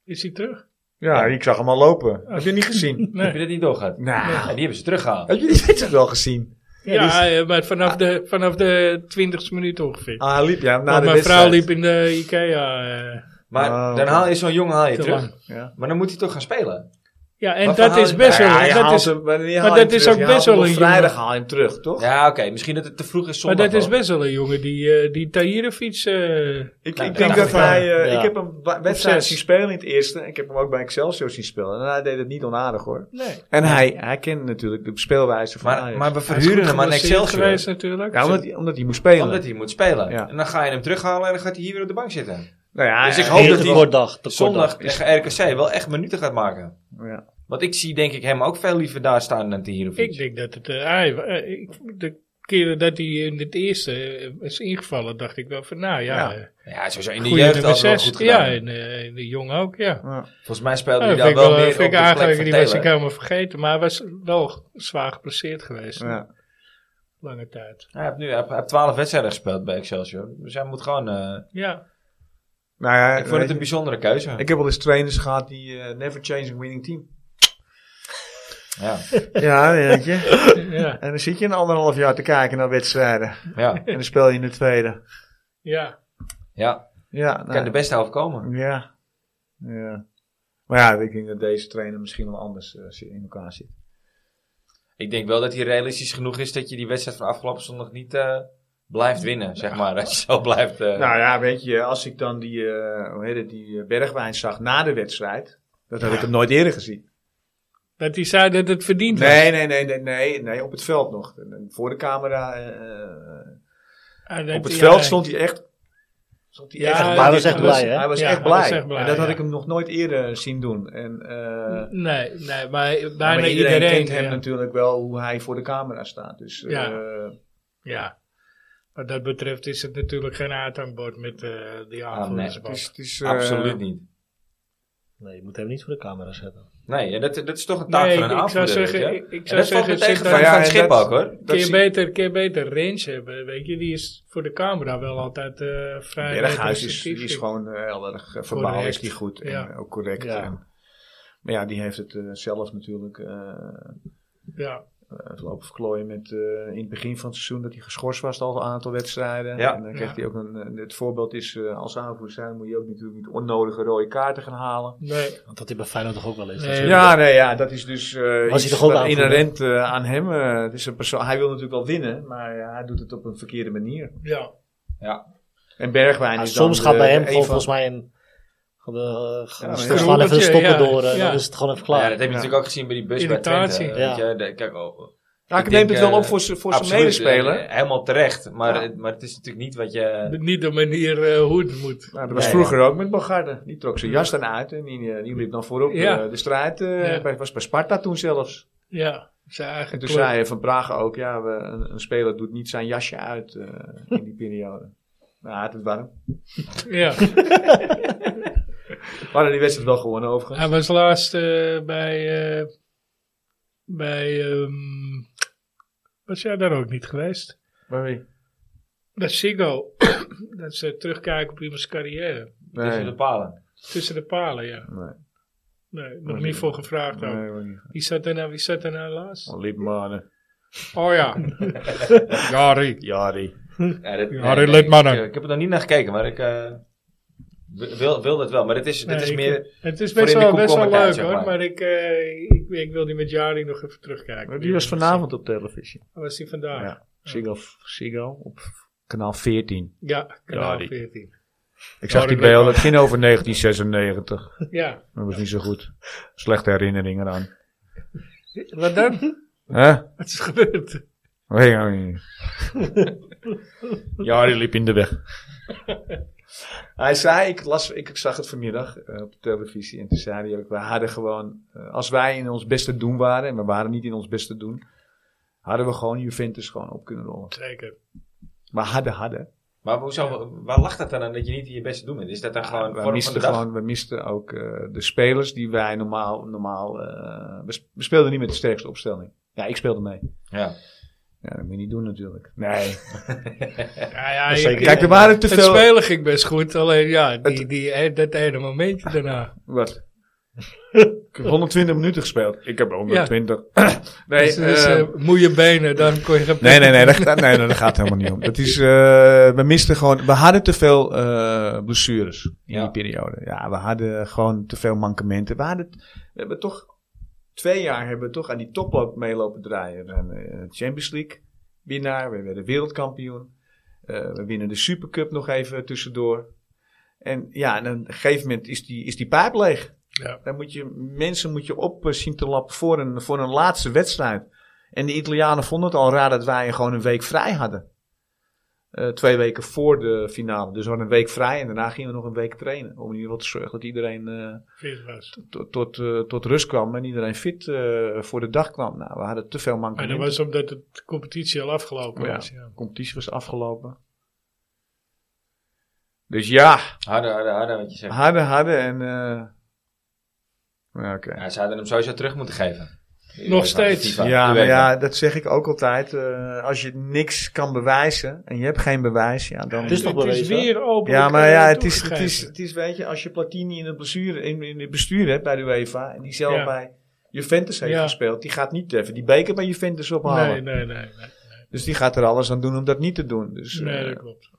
Speaker 2: Is hij terug?
Speaker 4: Ja, ik zag hem al lopen. Heb je niet gezien?
Speaker 2: <laughs> Nee.
Speaker 1: Heb je dat niet doorgehad?
Speaker 4: Nou,
Speaker 1: Ja, die hebben ze teruggehaald.
Speaker 4: heb je die wedstrijd wel gezien?
Speaker 2: Ja, eh, maar vanaf de, vanaf de twintigste minuut ongeveer.
Speaker 4: Ah, hij liep ja, na
Speaker 2: Want
Speaker 4: de
Speaker 2: mijn vrouw
Speaker 4: wedstrijd.
Speaker 2: liep in de Ikea eh,
Speaker 1: Maar
Speaker 4: Oh.
Speaker 1: dan haal je zo'n jongen haal je
Speaker 2: te
Speaker 1: terug.
Speaker 2: lang.
Speaker 1: Maar dan moet hij toch gaan spelen.
Speaker 2: Ja, en
Speaker 1: Wat
Speaker 2: dat
Speaker 1: verhaal-
Speaker 2: is best
Speaker 4: Nou
Speaker 2: wel...
Speaker 4: ja, je
Speaker 2: dat
Speaker 4: haalt
Speaker 2: is,
Speaker 4: hem- wanneer haal
Speaker 2: maar
Speaker 4: je
Speaker 2: dat
Speaker 4: hem
Speaker 2: is
Speaker 4: terug?
Speaker 2: ook
Speaker 4: Je haalt
Speaker 2: best
Speaker 4: hem
Speaker 2: wel
Speaker 4: op
Speaker 2: een
Speaker 4: vrijdag
Speaker 2: jongen.
Speaker 4: haal je hem terug, toch?
Speaker 1: Ja, oké. Misschien dat het te vroeg is
Speaker 2: maar
Speaker 1: zondag.
Speaker 2: dat is
Speaker 1: hoor.
Speaker 2: best wel een jongen die, eh die Tahirevits... eh,
Speaker 4: Ik,
Speaker 1: Nou,
Speaker 4: ik
Speaker 1: ja,
Speaker 4: denk
Speaker 1: dat
Speaker 4: dat hij...
Speaker 3: kan.
Speaker 4: eh,
Speaker 3: Ja.
Speaker 4: Ik heb hem wa- wedstrijd
Speaker 2: zes.
Speaker 4: zien spelen in het eerste. Ik heb hem ook bij Excelsior zien spelen. En hij deed het niet onaardig, hoor.
Speaker 2: nee.
Speaker 4: En hij, hij kent natuurlijk de speelwijze van
Speaker 1: Maar,
Speaker 4: Ajax.
Speaker 1: maar we
Speaker 2: Hij is
Speaker 1: verhuren
Speaker 2: goed
Speaker 1: hem aan
Speaker 2: geblesseerd
Speaker 1: Excelsior.
Speaker 2: geweest natuurlijk.
Speaker 4: ja, omdat, omdat hij moest spelen.
Speaker 1: Omdat hij moet spelen.
Speaker 4: Ja.
Speaker 1: En dan ga je hem terughalen en dan gaat hij hier weer op de bank zitten.
Speaker 4: nou ja,
Speaker 1: Dus ik
Speaker 4: hij-
Speaker 1: hoop dat
Speaker 3: te
Speaker 1: hij
Speaker 3: kort dag. te kort dag.
Speaker 1: Zondag tegen RKC wel echt minuten gaat maken.
Speaker 4: Ja.
Speaker 1: Want ik zie denk ik hem ook veel liever daar staan dan hier of
Speaker 2: Ik denk dat het... eh, hij, eh, ik- de keren dat hij in het eerste eh, is ingevallen, dacht ik wel van nou ja...
Speaker 4: Ja.
Speaker 2: eh,
Speaker 1: Ja, sowieso in de
Speaker 2: goede
Speaker 1: jeugd
Speaker 2: nummer
Speaker 1: al wel
Speaker 2: zes.
Speaker 1: goed
Speaker 2: Ja,
Speaker 1: gedaan.
Speaker 2: en eh, in de jong ook, ja.
Speaker 1: Volgens mij speelde
Speaker 2: Ja,
Speaker 1: hij
Speaker 2: dat
Speaker 1: daar
Speaker 2: vind ik
Speaker 1: wel,
Speaker 2: wel, eh,
Speaker 1: meer
Speaker 2: vind ik
Speaker 1: op de plek
Speaker 2: eigenlijk,
Speaker 1: van
Speaker 2: die was ik
Speaker 1: Taylor.
Speaker 2: helemaal vergeten. Maar hij was wel zwaar geblesseerd geweest.
Speaker 4: Ja.
Speaker 2: Lange tijd.
Speaker 1: Hij heeft nu hij heeft- hij heeft 12 wedstrijden gespeeld bij Excelsior. Dus hij moet gewoon... eh,
Speaker 2: Ja,
Speaker 4: Nou ja,
Speaker 1: ik vond het
Speaker 4: weet
Speaker 1: een bijzondere keuze.
Speaker 4: je, ik heb wel eens trainers gehad die eh, never change a winning team.
Speaker 1: Ja,
Speaker 4: Ja, weet je.
Speaker 2: ja,
Speaker 4: <laughs> En dan zit je een anderhalf jaar te kijken naar wedstrijden.
Speaker 1: ja,
Speaker 4: En dan speel je in de tweede.
Speaker 2: ja.
Speaker 4: <laughs>
Speaker 1: ja.
Speaker 4: Ja, nou
Speaker 1: Kan de beste helft komen.
Speaker 4: ja. ja. Maar ja, ik denk dat deze trainer misschien wel anders eh, in elkaar zit.
Speaker 1: Ik denk wel dat hij realistisch genoeg is dat je die wedstrijd van afgelopen zondag niet eh, blijft winnen, zeg maar. <laughs> Als je zo blijft... eh,
Speaker 4: Nou ja, weet je, als ik dan die, eh, hoe heet het, die eh, Bergwijn zag na de wedstrijd. Dat had ik hem nooit eerder gezien.
Speaker 2: Dat hij zei dat het verdiend was.
Speaker 4: Nee, nee, nee, nee, nee, nee, op het veld nog. Voor de camera. eh, eh,
Speaker 2: Ah, dat-
Speaker 4: Op het
Speaker 2: ja,
Speaker 4: veld stond hij echt. Stond hij
Speaker 2: Ja,
Speaker 4: echt
Speaker 2: hij
Speaker 4: blij.
Speaker 3: was echt blij, hè?
Speaker 4: Hij was
Speaker 2: Ja,
Speaker 4: echt
Speaker 2: hij
Speaker 4: blij.
Speaker 2: was echt blij,
Speaker 4: En dat had
Speaker 2: ja.
Speaker 4: ik hem nog nooit eerder zien doen. En, eh,
Speaker 2: Nee, nee, maar bijna
Speaker 4: maar
Speaker 2: iedereen.
Speaker 4: iedereen, kent hem
Speaker 2: ja.
Speaker 4: natuurlijk wel hoe hij voor de camera staat. Dus eh,
Speaker 2: Ja. Ja. Wat dat betreft is het natuurlijk geen uithangbord met eh die aanvoerdersband.
Speaker 4: Ah, het is, het is, eh,
Speaker 1: Absoluut niet.
Speaker 3: Nee, je moet hem niet voor de camera zetten.
Speaker 1: Nee, en dat, dat is toch een taak
Speaker 2: Nee,
Speaker 1: van een
Speaker 2: ik zou
Speaker 1: aanvoerder. weet
Speaker 2: zeggen,
Speaker 1: je?
Speaker 2: ik- ik
Speaker 1: En
Speaker 2: zou
Speaker 1: dat valt
Speaker 2: zeggen,
Speaker 1: me tegen
Speaker 2: zit
Speaker 1: van
Speaker 4: daar-
Speaker 1: Van
Speaker 4: Ja, en
Speaker 1: Schip
Speaker 4: dat-
Speaker 1: ook, hoor.
Speaker 4: dat
Speaker 2: Kun je,
Speaker 4: zie-
Speaker 2: beter, kun je beter range hebben, weet je. Die is voor de camera wel altijd eh vrij
Speaker 4: Berghuis
Speaker 2: representatief,
Speaker 4: is, die is
Speaker 2: vind ik.
Speaker 4: gewoon eh, heel erg eh, verbaal is
Speaker 2: Correct.
Speaker 4: die goed en
Speaker 2: Ja.
Speaker 4: eh, ook correct.
Speaker 3: Ja.
Speaker 4: En, maar ja, die heeft het eh, zelf natuurlijk eh
Speaker 2: Ja,
Speaker 4: het lopen verklooien met eh, in het begin van het seizoen dat hij geschorst was al een aantal wedstrijden.
Speaker 1: Ja.
Speaker 4: En dan
Speaker 2: Ja.
Speaker 4: kreeg hij ook een, eh, het voorbeeld is eh, als aanvoerder zijn moet je ook natuurlijk niet onnodige rode kaarten gaan halen.
Speaker 2: nee.
Speaker 3: Want dat hij bij Feyenoord toch ook wel is.
Speaker 2: Nee.
Speaker 3: natuurlijk.
Speaker 4: Ja, nee, ja, dat is dus eh iets
Speaker 3: Was hij toch ook
Speaker 4: wat
Speaker 3: aanvoerder?
Speaker 4: inherent eh, aan hem. eh, het is een persoon, hij wil natuurlijk wel winnen, maar eh, hij doet het op een verkeerde manier.
Speaker 2: Ja.
Speaker 4: En Bergwijn
Speaker 3: Maar
Speaker 4: is
Speaker 3: Ah, soms
Speaker 4: dan
Speaker 3: gaat
Speaker 4: de-
Speaker 3: bij hem
Speaker 4: een
Speaker 3: gewoon
Speaker 4: van-
Speaker 3: volgens mij een... Uh,
Speaker 4: maar
Speaker 3: stopt
Speaker 4: ja.
Speaker 3: gewoon even de
Speaker 2: Ja,
Speaker 3: stoppen
Speaker 2: ja.
Speaker 3: door en
Speaker 2: Ja.
Speaker 3: dan is het gewoon even
Speaker 1: Ja, dat
Speaker 3: klaar.
Speaker 1: heb je
Speaker 4: Ja.
Speaker 1: natuurlijk ook gezien bij die bus
Speaker 2: Irritatie.
Speaker 1: bij Twente.
Speaker 3: Ja.
Speaker 1: Weet je, de- kijk, oh,
Speaker 4: Nou,
Speaker 1: Ik
Speaker 4: ik neem
Speaker 1: denk,
Speaker 4: het wel
Speaker 1: eh,
Speaker 4: op voor, z'n- voor zijn
Speaker 1: absoluut,
Speaker 4: medespeler.
Speaker 1: eh, helemaal terecht. Maar,
Speaker 4: Ja.
Speaker 1: het, maar het is natuurlijk niet wat je...
Speaker 2: Niet de manier eh, hoe het moet.
Speaker 4: Nou, dat was
Speaker 3: Ja, ja.
Speaker 4: vroeger ook met Bogarde. Die trok zijn jas dan uit en die, eh, die liep dan voorop
Speaker 2: Ja.
Speaker 4: eh, de strijd. eh,
Speaker 2: Ja.
Speaker 4: bij, was bij Sparta toen zelfs.
Speaker 2: Ja, zijn eigen
Speaker 4: En toen
Speaker 2: club.
Speaker 4: zei hij Van Praag ook, ja, we, een, een speler doet niet zijn jasje uit eh,
Speaker 2: <laughs>
Speaker 4: in die periode. Nou, hij had het warm.
Speaker 2: Ja,
Speaker 4: We hadden die wedstrijd wel gewonnen overigens.
Speaker 2: hij was laatst eh, bij. eh, bij. ehm, was jij daar ook niet geweest?
Speaker 4: Maar wie?
Speaker 2: Bij Siggo. <coughs> dat ze terugkijken op iemands carrière.
Speaker 4: Dus
Speaker 1: Tussen de palen.
Speaker 2: Tussen de palen, ja.
Speaker 4: Nee.
Speaker 2: Nee, nog niet voor gevraagd ook.
Speaker 4: Nee, maar niet.
Speaker 2: Wie zat er nou, wie zat er nou laatst?
Speaker 4: Oh, lieve mannen.
Speaker 2: Oh ja. Jari.
Speaker 4: <laughs> Jari.
Speaker 1: Ja, dat,
Speaker 2: Harry Lidmannen.
Speaker 1: Ik, eh, ik heb er nog niet naar gekeken, maar ik eh, wi- wil, wil dat wel. Maar het is,
Speaker 2: Nee,
Speaker 1: dit is
Speaker 2: ik-
Speaker 1: meer...
Speaker 2: Het is
Speaker 1: Voor
Speaker 2: best
Speaker 1: in de
Speaker 2: wel, best wel
Speaker 1: komkommertijd,
Speaker 2: leuk
Speaker 1: zeg
Speaker 2: hoor,
Speaker 1: maar.
Speaker 2: maar ik, eh, ik, ik wil die met Jari nog even terugkijken. Oh,
Speaker 4: Die was vanavond op televisie.
Speaker 2: Was die vandaag?
Speaker 4: Ja. Ziggo, Ziggo op kanaal 14.
Speaker 2: Ja, kanaal
Speaker 4: Ja, die-
Speaker 2: 14.
Speaker 6: Ik zag die
Speaker 2: Ja, dat weet ik
Speaker 6: beelden. Het ging over 1996.
Speaker 2: Ja,
Speaker 6: Dat was niet zo goed. Slechte herinneringen aan.
Speaker 2: wat
Speaker 4: <laughs>
Speaker 2: dan?
Speaker 6: Hè?
Speaker 2: Wat is gebeurd?
Speaker 6: Weet ik ook niet. Ja, die liep in de weg.
Speaker 4: <laughs> Hij zei, ik, las, ik zag het vanmiddag eh, op de televisie en toen zei hij ook, we hadden gewoon, eh, als wij in ons beste doen waren, en we waren niet in ons beste doen, hadden we gewoon Juventus gewoon op kunnen rollen.
Speaker 2: Zeker.
Speaker 4: Maar hadden, hadden.
Speaker 1: Maar hoezo, waar lag dat dan aan dat je niet je best doen bent? Is dat dan gewoon
Speaker 4: we,
Speaker 1: vorm van de
Speaker 4: misten
Speaker 1: dag?
Speaker 4: gewoon, we misten ook eh, de spelers die wij normaal, normaal eh, we, sp- we speelden niet met de sterkste opstelling. Ja, ik speelde mee.
Speaker 1: Ja.
Speaker 4: Ja, dat moet je niet doen natuurlijk. Nee.
Speaker 2: Ja, ja,
Speaker 3: is
Speaker 2: ik-
Speaker 3: zeker.
Speaker 4: Kijk, er waren te
Speaker 2: het
Speaker 4: veel...
Speaker 2: spelen ging best goed, alleen ja, die, die, eh, dat ene momentje daarna.
Speaker 4: Wat? Ik heb 120 minuten gespeeld. Ik heb 120. <clears throat> nee,
Speaker 2: dus dus
Speaker 4: eh,
Speaker 2: eh, moeie benen, dan kon je geen
Speaker 4: nee, nee, nee, dat, dat- nee, nee, dat gaat helemaal niet om. Dat is, eh, we misten gewoon, we hadden te veel eh, blessures in
Speaker 1: Ja.
Speaker 4: die periode. Ja, we hadden gewoon te veel mankementen. We, hadden, we hebben toch, twee jaar hebben we toch aan die toploop meelopen draaien. We zijn eh, Champions League winnaar, we werden wereldkampioen. Eh, we winnen de Supercup nog even tussendoor. En ja, en op een gegeven moment is die, is die pijp leeg.
Speaker 2: Ja.
Speaker 4: Dan moet je, mensen moet je op eh, zien te lappen voor een, voor een laatste wedstrijd. En de Italianen vonden het al raar dat wij gewoon een week vrij hadden. Eh, twee weken voor de finale. Dus we hadden een week vrij en daarna gingen we nog een week trainen. Om in ieder geval te zorgen dat iedereen eh,
Speaker 2: Fit was.
Speaker 4: tot- tot, eh, tot rust kwam en iedereen fit eh, voor de dag kwam. Nou, we hadden te veel
Speaker 2: Maar dat
Speaker 4: mankementen.
Speaker 2: was omdat de competitie al afgelopen
Speaker 4: Ja.
Speaker 2: was. Ja.
Speaker 4: De competitie was afgelopen. Dus ja,
Speaker 1: Harder, harder, harder wat je zegt.
Speaker 4: hadden, hadden en... eh, ja, Oké.
Speaker 1: Ja, ze hadden hem sowieso terug moeten geven.
Speaker 2: Nog steeds.
Speaker 1: FIFA,
Speaker 4: Ja, maar
Speaker 1: UEFA.
Speaker 4: ja, dat zeg ik ook altijd. eh, als je niks kan bewijzen en je hebt geen bewijs, ja, dan...
Speaker 3: Het is toch
Speaker 2: het is
Speaker 3: bewezen?
Speaker 2: weer open.
Speaker 4: ja, maar ja, het is, het, is, het is, weet je, als je Platini in het, blessure, in, in het bestuur hebt bij de UEFA, en die zelf
Speaker 2: Ja.
Speaker 4: bij Juventus heeft
Speaker 2: Ja.
Speaker 4: gespeeld, die gaat niet even die beker bij Juventus ophalen.
Speaker 2: Nee, nee, nee. nee.
Speaker 4: Dus die gaat er alles aan doen om dat niet te doen. Dus, eh,
Speaker 2: Nee, dat klopt.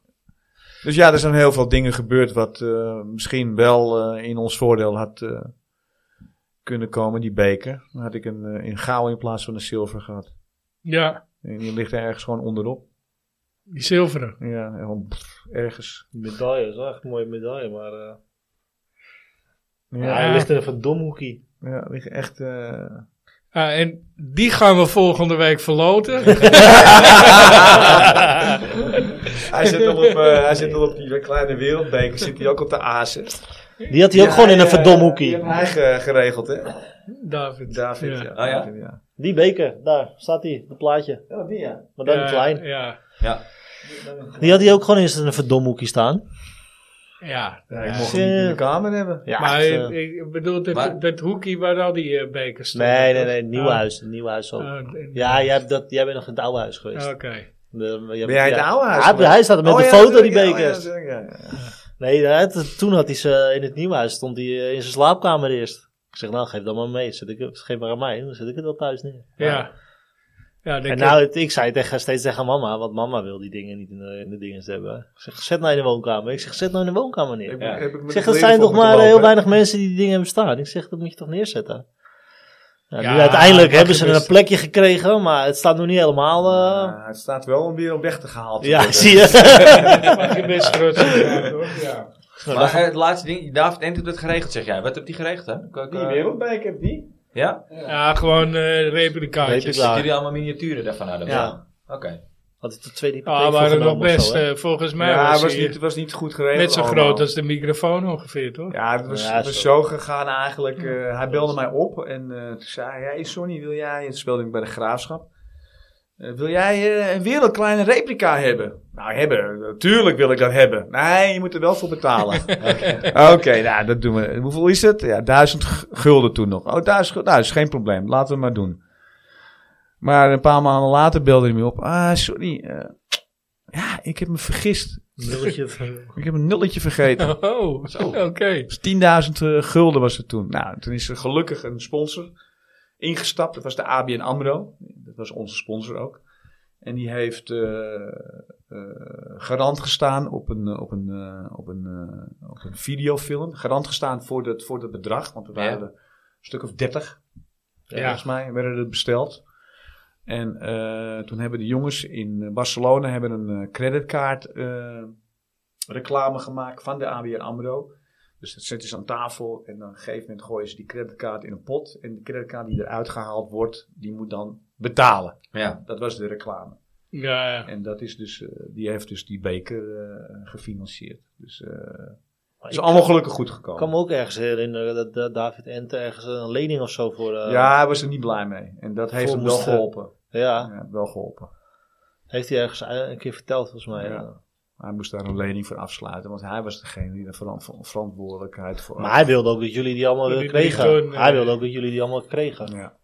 Speaker 4: dus ja, er zijn heel veel dingen gebeurd wat eh, misschien wel eh, in ons voordeel had eh, kunnen komen, die beker. Dan had ik een, eh, een gouden in plaats van een zilver gehad.
Speaker 2: Ja,
Speaker 4: En die ligt ergens gewoon onderop.
Speaker 2: die zilveren.
Speaker 4: Ja, gewoon pff, ergens.
Speaker 3: Die medaille is wel echt een mooie medaille, maar eh ja.
Speaker 4: Ja,
Speaker 3: hij ligt in een verdomhoekie.
Speaker 4: ja ligt echt. eh,
Speaker 2: Ah, en die gaan we volgende week verloten.
Speaker 4: hij, zit al op, eh, hij zit al op die kleine wereldbeker, zit hij ook op de azen.
Speaker 3: Die had hij ook gewoon in een
Speaker 4: Die
Speaker 3: verdomhoekie.
Speaker 4: heeft hij ge- geregeld, hè?
Speaker 2: David.
Speaker 4: David,
Speaker 2: Ja.
Speaker 4: ja.
Speaker 1: Oh, ja?
Speaker 4: David, ja.
Speaker 3: Die beker, daar staat hij, dat plaatje.
Speaker 4: Oh, die ja.
Speaker 3: Maar dan
Speaker 2: Ja,
Speaker 3: in klein.
Speaker 2: Ja,
Speaker 3: Die had hij ook gewoon in een verdomhoekie staan.
Speaker 2: ja.
Speaker 4: Hij
Speaker 2: Ja.
Speaker 4: mocht hem niet in de
Speaker 3: Shit.
Speaker 4: kamer hebben.
Speaker 3: Ja,
Speaker 2: maar
Speaker 3: het, eh,
Speaker 2: ik, ik bedoel, dat,
Speaker 1: Maar-
Speaker 2: dat hoekje waar al die eh, bekers stonden.
Speaker 3: nee, nee, nee, nieuw
Speaker 2: Ah.
Speaker 3: huis, nieuw huis ook.
Speaker 2: Ah, en-
Speaker 3: Ja, jij, hebt dat, jij bent nog in het oude huis geweest.
Speaker 2: Oké.
Speaker 3: De- je-
Speaker 4: Ben jij het
Speaker 3: ja.
Speaker 4: oude huis?
Speaker 3: Hij-
Speaker 4: geweest?
Speaker 3: hij staat er met
Speaker 4: Oh,
Speaker 3: de
Speaker 4: ja,
Speaker 3: foto, die
Speaker 4: natuurlijk, ja,
Speaker 3: bekers.
Speaker 4: oh, ja, natuurlijk, ja, ja.
Speaker 3: Nee, hij had- toen had hij ze in het nieuwhuis, stond hij eh, in zijn slaapkamer eerst. Ik zeg, nou geef dat maar mee, zet ik, geef maar aan mij, dan zet ik het wel thuis neer.
Speaker 2: Ja. Ja, denk
Speaker 3: En nou, het- ik zei tegen, steeds tegen mama, want mama wil die dingen niet in de, in de dingen hebben. Ik zeg, zet nou in de woonkamer. Ik zeg, zet nou in de woonkamer neer.
Speaker 4: Ik-
Speaker 1: Ja.
Speaker 4: heb ik met
Speaker 3: Ik zeg,
Speaker 4: de
Speaker 3: dat
Speaker 4: kleren
Speaker 3: zijn
Speaker 4: voor
Speaker 3: toch
Speaker 4: moeten
Speaker 3: maar eh, heel
Speaker 4: lopen, hè?
Speaker 3: weinig mensen die die dingen hebben staan. Ik zeg, dat moet je toch neerzetten. Nou,
Speaker 2: Ja,
Speaker 3: nu uiteindelijk
Speaker 2: mag
Speaker 3: hebben
Speaker 2: je
Speaker 3: ze een
Speaker 2: best.
Speaker 3: plekje gekregen, maar het staat nog niet helemaal... eh,
Speaker 4: Ja, het staat wel om weer om weg te gehaald te
Speaker 3: ja,
Speaker 4: worden.
Speaker 3: zie <laughs> je.
Speaker 2: mag je best rustig zijn,
Speaker 4: <laughs>
Speaker 2: hoor. Ja.
Speaker 1: Maar eh, het laatste ding, David Ent heeft dat geregeld, zeg jij. Wat heb die geregeld, hè? K- k-
Speaker 4: Die wereldbeker, heb die?
Speaker 1: Ja?
Speaker 2: ja, gewoon eh replicaatjes.
Speaker 3: Replica- Ja.
Speaker 1: Zitten jullie allemaal miniaturen daarvan uit?
Speaker 3: Ja.
Speaker 1: Oké.
Speaker 3: Had het de tweede hypotheek
Speaker 2: Ah, waren
Speaker 3: voorgenomen
Speaker 2: nog
Speaker 3: of
Speaker 2: best,
Speaker 3: zo, hè?
Speaker 2: eh, volgens mij.
Speaker 4: Ja,
Speaker 2: was
Speaker 4: het was
Speaker 2: die
Speaker 4: niet, het was niet goed geregeld.
Speaker 2: Net zo
Speaker 4: allemaal.
Speaker 2: groot als de microfoon ongeveer, toch?
Speaker 4: Ja, het was,
Speaker 3: Ja,
Speaker 4: het was
Speaker 3: zo.
Speaker 4: zo gegaan eigenlijk. Eh, hij belde mij op en eh, toen zei hij, hey Sonny, wil jij, het speelde ik bij de Graafschap, Eh, wil jij eh, een wereldkleine replica hebben? Nou, hebben, natuurlijk wil ik dat hebben. Nee, je moet er wel voor betalen. <laughs> Oké, nou, dat doen we. Hoeveel is het? Ja, duizend g- gulden toen nog. Oh, duizend gulden, nou, is geen probleem, laten we het maar doen. Maar een paar maanden later belde hij me op, ah, sorry, eh, ja, ik heb me vergist.
Speaker 3: Nulletje <laughs> van-
Speaker 4: Ik heb een nulletje vergeten.
Speaker 2: <laughs> Oh, oké.
Speaker 4: Dus 10.000 eh, gulden was het toen. Nou, toen is er gelukkig een sponsor ingestapt. Dat was de ABN AMRO. Dat was onze sponsor ook. En die heeft eh, eh, garant gestaan op een, eh, op, een, eh, op, een, eh, op een videofilm. Garant gestaan voor dat, voor dat bedrag. Want we
Speaker 1: Ja.
Speaker 4: waren er een stuk of 30.
Speaker 2: Ja.
Speaker 4: Volgens mij werden er besteld. En eh, toen hebben de jongens in Barcelona hebben een eh, creditkaart eh, reclame gemaakt van de ABR AMRO. Dus dat zetten ze aan tafel en dan op een gegeven moment gooien ze die creditcard in een pot. En de creditcard die eruit gehaald wordt, die moet dan betalen.
Speaker 1: Ja.
Speaker 4: Dat was de reclame.
Speaker 2: Ja,
Speaker 4: En dat is dus, eh, die heeft dus die beker eh, gefinancierd. Dus eh, het
Speaker 3: Maar
Speaker 4: is
Speaker 3: ik
Speaker 4: allemaal gelukkig goed
Speaker 3: Ik kan
Speaker 4: gekomen.
Speaker 3: me ook ergens herinneren dat eh, David Ente ergens een lening of zo voor... eh,
Speaker 4: Ja, hij was er niet blij mee. En dat heeft
Speaker 3: Voor
Speaker 4: hem wel
Speaker 3: moest, eh,
Speaker 4: geholpen.
Speaker 3: ja.
Speaker 4: Ja, wel geholpen.
Speaker 3: Heeft hij ergens eh, een keer verteld volgens mij.
Speaker 4: Ja.
Speaker 3: eh.
Speaker 4: Hij moest daar een lening voor afsluiten, want hij was degene die de veran- verantwoordelijkheid voor
Speaker 3: Maar hij wilde ook dat jullie die allemaal
Speaker 2: Die-
Speaker 3: weer
Speaker 2: die
Speaker 3: kregen.
Speaker 2: toen, eh,
Speaker 3: hij wilde ook dat jullie die allemaal kregen.
Speaker 4: Ja.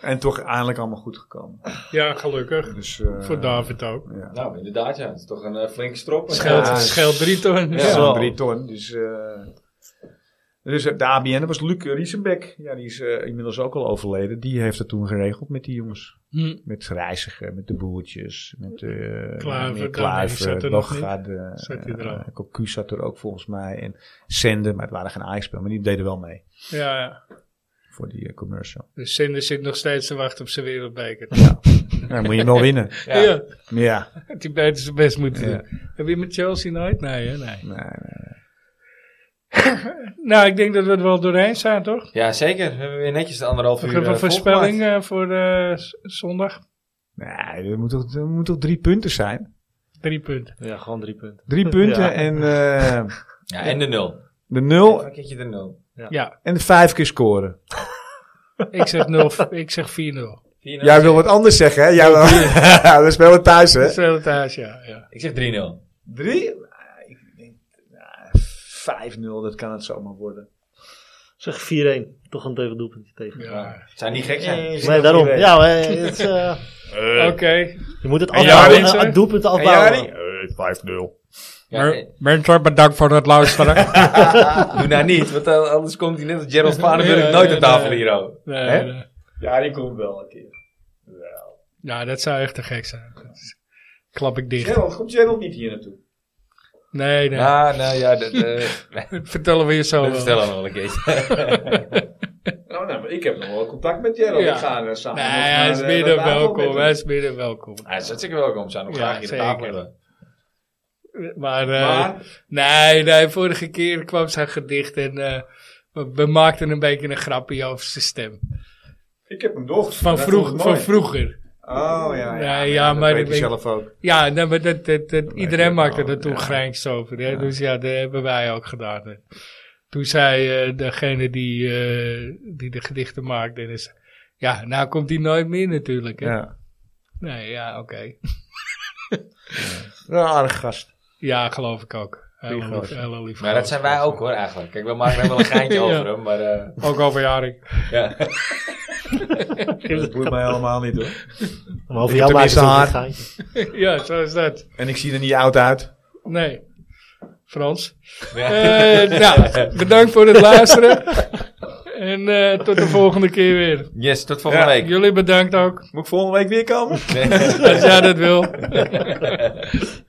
Speaker 4: En toch eindelijk allemaal goed gekomen.
Speaker 2: ja gelukkig.
Speaker 4: Dus, eh,
Speaker 2: Voor David ook.
Speaker 4: Ja.
Speaker 1: Nou, inderdaad, ja. Het is toch een eh, flinke strop.
Speaker 2: Scheelt,
Speaker 4: Ja,
Speaker 2: scheelt drie ton.
Speaker 4: Ja,
Speaker 3: Zo.
Speaker 4: zo'n drie ton. Dus, eh, dus de ABN, dat was Luc Riesenbeck. Ja, die is eh, inmiddels ook al overleden. Die heeft dat toen geregeld met die jongens.
Speaker 2: Hm.
Speaker 4: Met Reiziger, met de Boertjes, met eh
Speaker 2: Kluivert,
Speaker 4: meneer
Speaker 2: nee, die zat
Speaker 4: Kluivert,
Speaker 2: er nog
Speaker 4: Loggaard, eh,
Speaker 2: Zat hij er al?
Speaker 4: eh, Cocu zat er ook volgens mij. En Sende, maar het waren geen Ajax-spelers, maar die deden wel mee
Speaker 2: Ja, ja.
Speaker 4: voor die eh, commercial.
Speaker 2: Dus Zinder zit nog steeds te wachten op zijn wereldbeker.
Speaker 4: Ja, Nou, dan moet je <laughs> wel winnen.
Speaker 2: Ja.
Speaker 4: Ja.
Speaker 2: die beter zijn best moeten
Speaker 4: Ja.
Speaker 2: doen. Heb je met Chelsea nooit? Nee, hè? nee.
Speaker 4: Nee,
Speaker 2: Nou, ik denk dat we er wel doorheen zijn, toch?
Speaker 1: Ja, zeker. We hebben weer netjes de anderhalf uur
Speaker 2: Ik heb een
Speaker 1: eh,
Speaker 2: voorspelling
Speaker 1: volgemaakt.
Speaker 2: eh, voor eh, z- zondag.
Speaker 4: Nee, er moet, toch, er moet toch drie punten zijn?
Speaker 2: Drie punten.
Speaker 3: Ja, gewoon drie punten.
Speaker 4: Drie punten en eh,
Speaker 1: Ja, en de nul.
Speaker 4: de nul
Speaker 1: Een keertje de nul.
Speaker 2: Ja,
Speaker 4: en de vijf keer scoren.
Speaker 2: ik zeg, 0,
Speaker 4: <laughs>
Speaker 2: ik zeg 4-0.
Speaker 1: Vier
Speaker 4: Jij wil wat anders zeggen, hè? Jij wil, <laughs> we spelen thuis,
Speaker 2: Dat
Speaker 4: hè?
Speaker 2: is wel het huis, ja. ja.
Speaker 1: Ik zeg 3-0.
Speaker 4: Drie? Ah, Ik denk, ah, 5-0, dat kan het zomaar worden.
Speaker 3: Zeg 4-1. Toch een tegen doelpuntje tegen.
Speaker 2: ja.
Speaker 1: Zou niet gek zijn.
Speaker 3: Nee, daarom. Ja, maar, eh, het, is, <laughs> eh,
Speaker 2: Oké. Eh,
Speaker 3: je moet het
Speaker 2: En
Speaker 3: afbouwen.
Speaker 2: Jari,
Speaker 3: eh,
Speaker 2: hè?
Speaker 3: Het doelpunt afbouwen.
Speaker 6: Eh, 5-0.
Speaker 1: Ja, eh,
Speaker 2: Mensen, bedankt voor het luisteren.
Speaker 1: <laughs> doe nou niet, want eh, anders komt hij net als Gerald Sparenburg
Speaker 2: Ja,
Speaker 1: nooit
Speaker 2: ja,
Speaker 1: aan tafel
Speaker 2: ja.
Speaker 1: hier. oh.
Speaker 2: Nee,
Speaker 4: Hè?
Speaker 2: nee.
Speaker 4: Ja, die komt wel een keer.
Speaker 2: eh, Nou, dat zou echt te gek zijn. Dat is- Klap ik dicht.
Speaker 4: Gerald, komt Gerald niet hier naartoe?
Speaker 2: Nee, nee.
Speaker 1: Nou, nou ja, dat,
Speaker 2: <laughs>
Speaker 1: eh,
Speaker 2: Dat vertellen we je zo
Speaker 1: dat
Speaker 2: wel.
Speaker 1: vertellen we nog wel een keertje.
Speaker 4: Nou, nee, maar ik heb nog wel contact met Gerald.
Speaker 2: Ja.
Speaker 4: Ik ga eh, samen
Speaker 2: Nee,
Speaker 4: nog
Speaker 2: hij is
Speaker 4: naar, eh,
Speaker 2: binnen
Speaker 4: naar tafel met
Speaker 2: welkom.
Speaker 4: hem.
Speaker 2: Hij is binnen welkom.
Speaker 1: Hij is hartstikke welkom, zou nog
Speaker 2: Ja,
Speaker 1: graag hier aan
Speaker 2: zeker.
Speaker 1: tafel hebben.
Speaker 2: Maar, eh,
Speaker 4: Maar,
Speaker 2: nee, nee, vorige keer kwam zijn gedicht en eh, we, we maakten een beetje een grapje over zijn stem.
Speaker 4: ik heb hem doorgestuurd.
Speaker 2: Van,
Speaker 4: dat
Speaker 2: vroeg,
Speaker 4: vond ik
Speaker 2: van
Speaker 4: mooi.
Speaker 2: vroeger.
Speaker 4: Oh, ja, ja.
Speaker 2: Nee, ja, maar
Speaker 4: dat
Speaker 2: dat
Speaker 4: weet je
Speaker 2: weet-
Speaker 4: zelf ook.
Speaker 2: Ja, nee, maar dat, dat, dat- iedereen
Speaker 4: ik
Speaker 2: maakte
Speaker 4: wel,
Speaker 2: er toen
Speaker 4: ja.
Speaker 2: grijns over. Hè? Dus ja, dat hebben wij ook gedaan. hè. Toen zei eh, degene die, eh, die de gedichten maakt, Dennis, ja, nou komt hij nooit meer natuurlijk. Hè?
Speaker 4: Ja.
Speaker 2: Nee, ja, oké.
Speaker 4: Een aardig gast.
Speaker 2: Ja, geloof ik ook. Hele lief,
Speaker 4: gozer.
Speaker 2: hele lief
Speaker 1: Maar dat zijn wij ook hoor, eigenlijk. Kijk, we maken er wel een geintje
Speaker 2: <laughs> Ja.
Speaker 1: over hem, maar eh,
Speaker 2: Ook over Jarik. <laughs>
Speaker 1: ja.
Speaker 4: Dat boeit mij helemaal niet, hoor.
Speaker 3: Maar over
Speaker 4: Ik
Speaker 3: jou
Speaker 4: heb
Speaker 3: maakt
Speaker 4: tenminste
Speaker 3: het ook
Speaker 4: haar.
Speaker 3: een geintje.
Speaker 2: ja, zo is dat.
Speaker 4: En ik zie er niet oud uit.
Speaker 2: Nee. Frans.
Speaker 1: ja.
Speaker 2: Eh, nou, bedankt voor het luisteren. en eh, tot de volgende keer weer.
Speaker 1: <laughs> Yes, tot volgende
Speaker 4: Ja.
Speaker 1: week.
Speaker 2: Jullie bedankt ook. <laughs>
Speaker 4: Moet ik volgende week weer komen?
Speaker 2: Als jij dat wil.